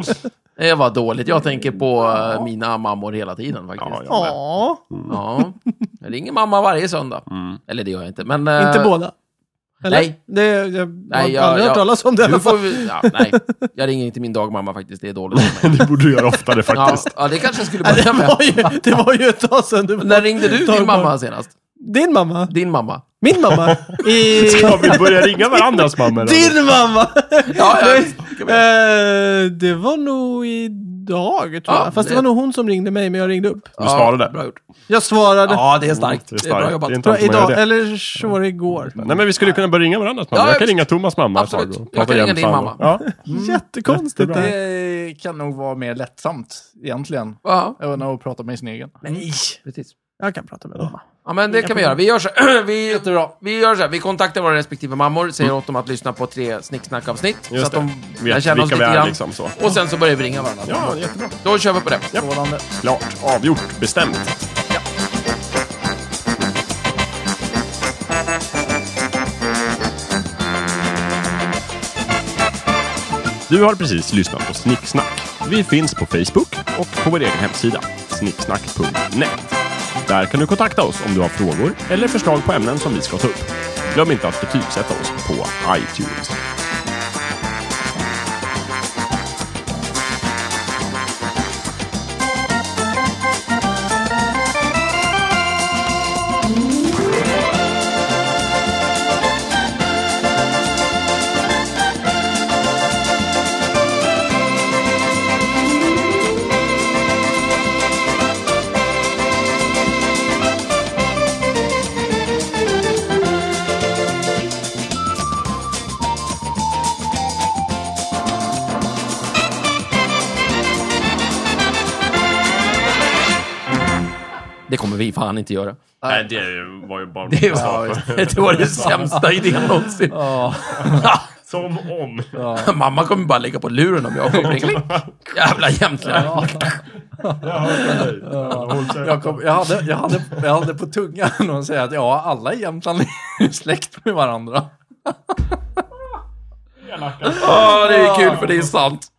[SPEAKER 2] Det var dåligt. Jag tänker på eh, mina mammor hela tiden faktiskt.
[SPEAKER 3] Ja, jag med.
[SPEAKER 1] Ja,
[SPEAKER 2] Ja. Jag ringer mamma varje söndag.
[SPEAKER 3] Mm.
[SPEAKER 2] Eller det gör jag inte, men... eh,
[SPEAKER 1] inte båda. Eller?
[SPEAKER 2] nej.
[SPEAKER 1] Det, jag jag
[SPEAKER 2] Nej,
[SPEAKER 1] har
[SPEAKER 2] jag-
[SPEAKER 1] aldrig
[SPEAKER 2] jag-
[SPEAKER 1] hört talas om det i alla
[SPEAKER 2] Du
[SPEAKER 1] fall.
[SPEAKER 2] får, vi- ja, nej, jag ringer inte min dagmamma faktiskt. Det är dåligt för mig.
[SPEAKER 3] Det borde du göra oftare
[SPEAKER 2] Ja,
[SPEAKER 3] (laughs) faktiskt.
[SPEAKER 2] ja, det kanske jag skulle
[SPEAKER 1] Nej, (laughs)
[SPEAKER 2] börja
[SPEAKER 1] (laughs) det, var ju, det
[SPEAKER 2] med.
[SPEAKER 1] var ju ett tag sedan du var-
[SPEAKER 2] När ringde du
[SPEAKER 1] Dagmamma.
[SPEAKER 2] din mamma senast?
[SPEAKER 1] Din mamma?
[SPEAKER 2] Din mamma?
[SPEAKER 1] Min
[SPEAKER 2] (laughs)
[SPEAKER 1] mamma? I...
[SPEAKER 3] Ska vi börja ringa varandras mammor?
[SPEAKER 1] Din mamma!
[SPEAKER 2] Ja, ja,
[SPEAKER 1] Nej,
[SPEAKER 2] visst.
[SPEAKER 1] eh, det var nog idag, tror
[SPEAKER 2] Ja,
[SPEAKER 1] jag. Fast det
[SPEAKER 2] det-
[SPEAKER 1] var nog hon som ringde mig, men jag ringde upp.
[SPEAKER 3] Du svarade.
[SPEAKER 2] Bra gjort.
[SPEAKER 1] Jag svarade.
[SPEAKER 2] Ja, det är starkt.
[SPEAKER 3] Det är
[SPEAKER 2] Det är bra
[SPEAKER 3] starkt.
[SPEAKER 2] jobbat.
[SPEAKER 3] Det är inte
[SPEAKER 1] tror
[SPEAKER 3] alltid
[SPEAKER 1] jag,
[SPEAKER 3] man gör
[SPEAKER 1] idag,
[SPEAKER 3] det.
[SPEAKER 1] eller så var det igår.
[SPEAKER 3] Nej, men vi skulle kunna börja ringa varandras mammor.
[SPEAKER 2] Ja,
[SPEAKER 3] jag kan
[SPEAKER 2] visst.
[SPEAKER 3] ringa Thomas mamma ett tag
[SPEAKER 2] Absolut.
[SPEAKER 3] och
[SPEAKER 2] Jag
[SPEAKER 3] prata
[SPEAKER 2] kan ringa
[SPEAKER 3] jämt
[SPEAKER 2] din
[SPEAKER 3] samma.
[SPEAKER 2] mamma.
[SPEAKER 3] Ja.
[SPEAKER 1] Jättekonstigt det här.
[SPEAKER 4] Det kan nog vara mer lättsamt egentligen.
[SPEAKER 2] Ja.
[SPEAKER 4] Än att prata med sin egen.
[SPEAKER 2] Nej, precis.
[SPEAKER 1] Jag kan prata med mamma.
[SPEAKER 2] Ja, men det kan vi göra. Vi gör så (clears throat) vi, vi gör så här. Vi kontaktar våra respektive mammor, säger åt dem att lyssna på tre snicksnackavsnitt. Så
[SPEAKER 3] Mm.
[SPEAKER 2] att
[SPEAKER 3] Just
[SPEAKER 2] de
[SPEAKER 3] det. Vet
[SPEAKER 2] lär känna oss
[SPEAKER 3] vilka vi
[SPEAKER 2] lite
[SPEAKER 3] är,
[SPEAKER 2] grann.
[SPEAKER 3] liksom, så.
[SPEAKER 2] Och sen så börjar vi ringa varandra.
[SPEAKER 3] Ja, jättebra.
[SPEAKER 2] Då kör vi på det.
[SPEAKER 4] Sådant.
[SPEAKER 3] Klart. Avgjort. Bestämt. Du har precis lyssnat på Snicksnack. Vi finns på Facebook och på vår egen hemsida, snicksnack.net. Där kan du kontakta oss om du har frågor eller förslag på ämnen som vi ska ta upp. Glöm inte att betygsätta oss på iTunes.
[SPEAKER 2] Det kommer vi fan inte göra.
[SPEAKER 3] Nej, det var ju
[SPEAKER 2] (laughs)
[SPEAKER 3] bara...
[SPEAKER 2] Det var, (laughs) det, var det sämsta idén någonsin.
[SPEAKER 3] Som om.
[SPEAKER 2] Mamma kommer bara lägga på luren om jag kommer ringa.
[SPEAKER 3] (laughs)
[SPEAKER 2] Jävla jämtling.
[SPEAKER 4] Jag, kom, jag, hade, jag, hade, jag hade på tungan att säga att ja, alla i Jämtland är släkt med varandra.
[SPEAKER 2] Ja, det är kul för det är sant.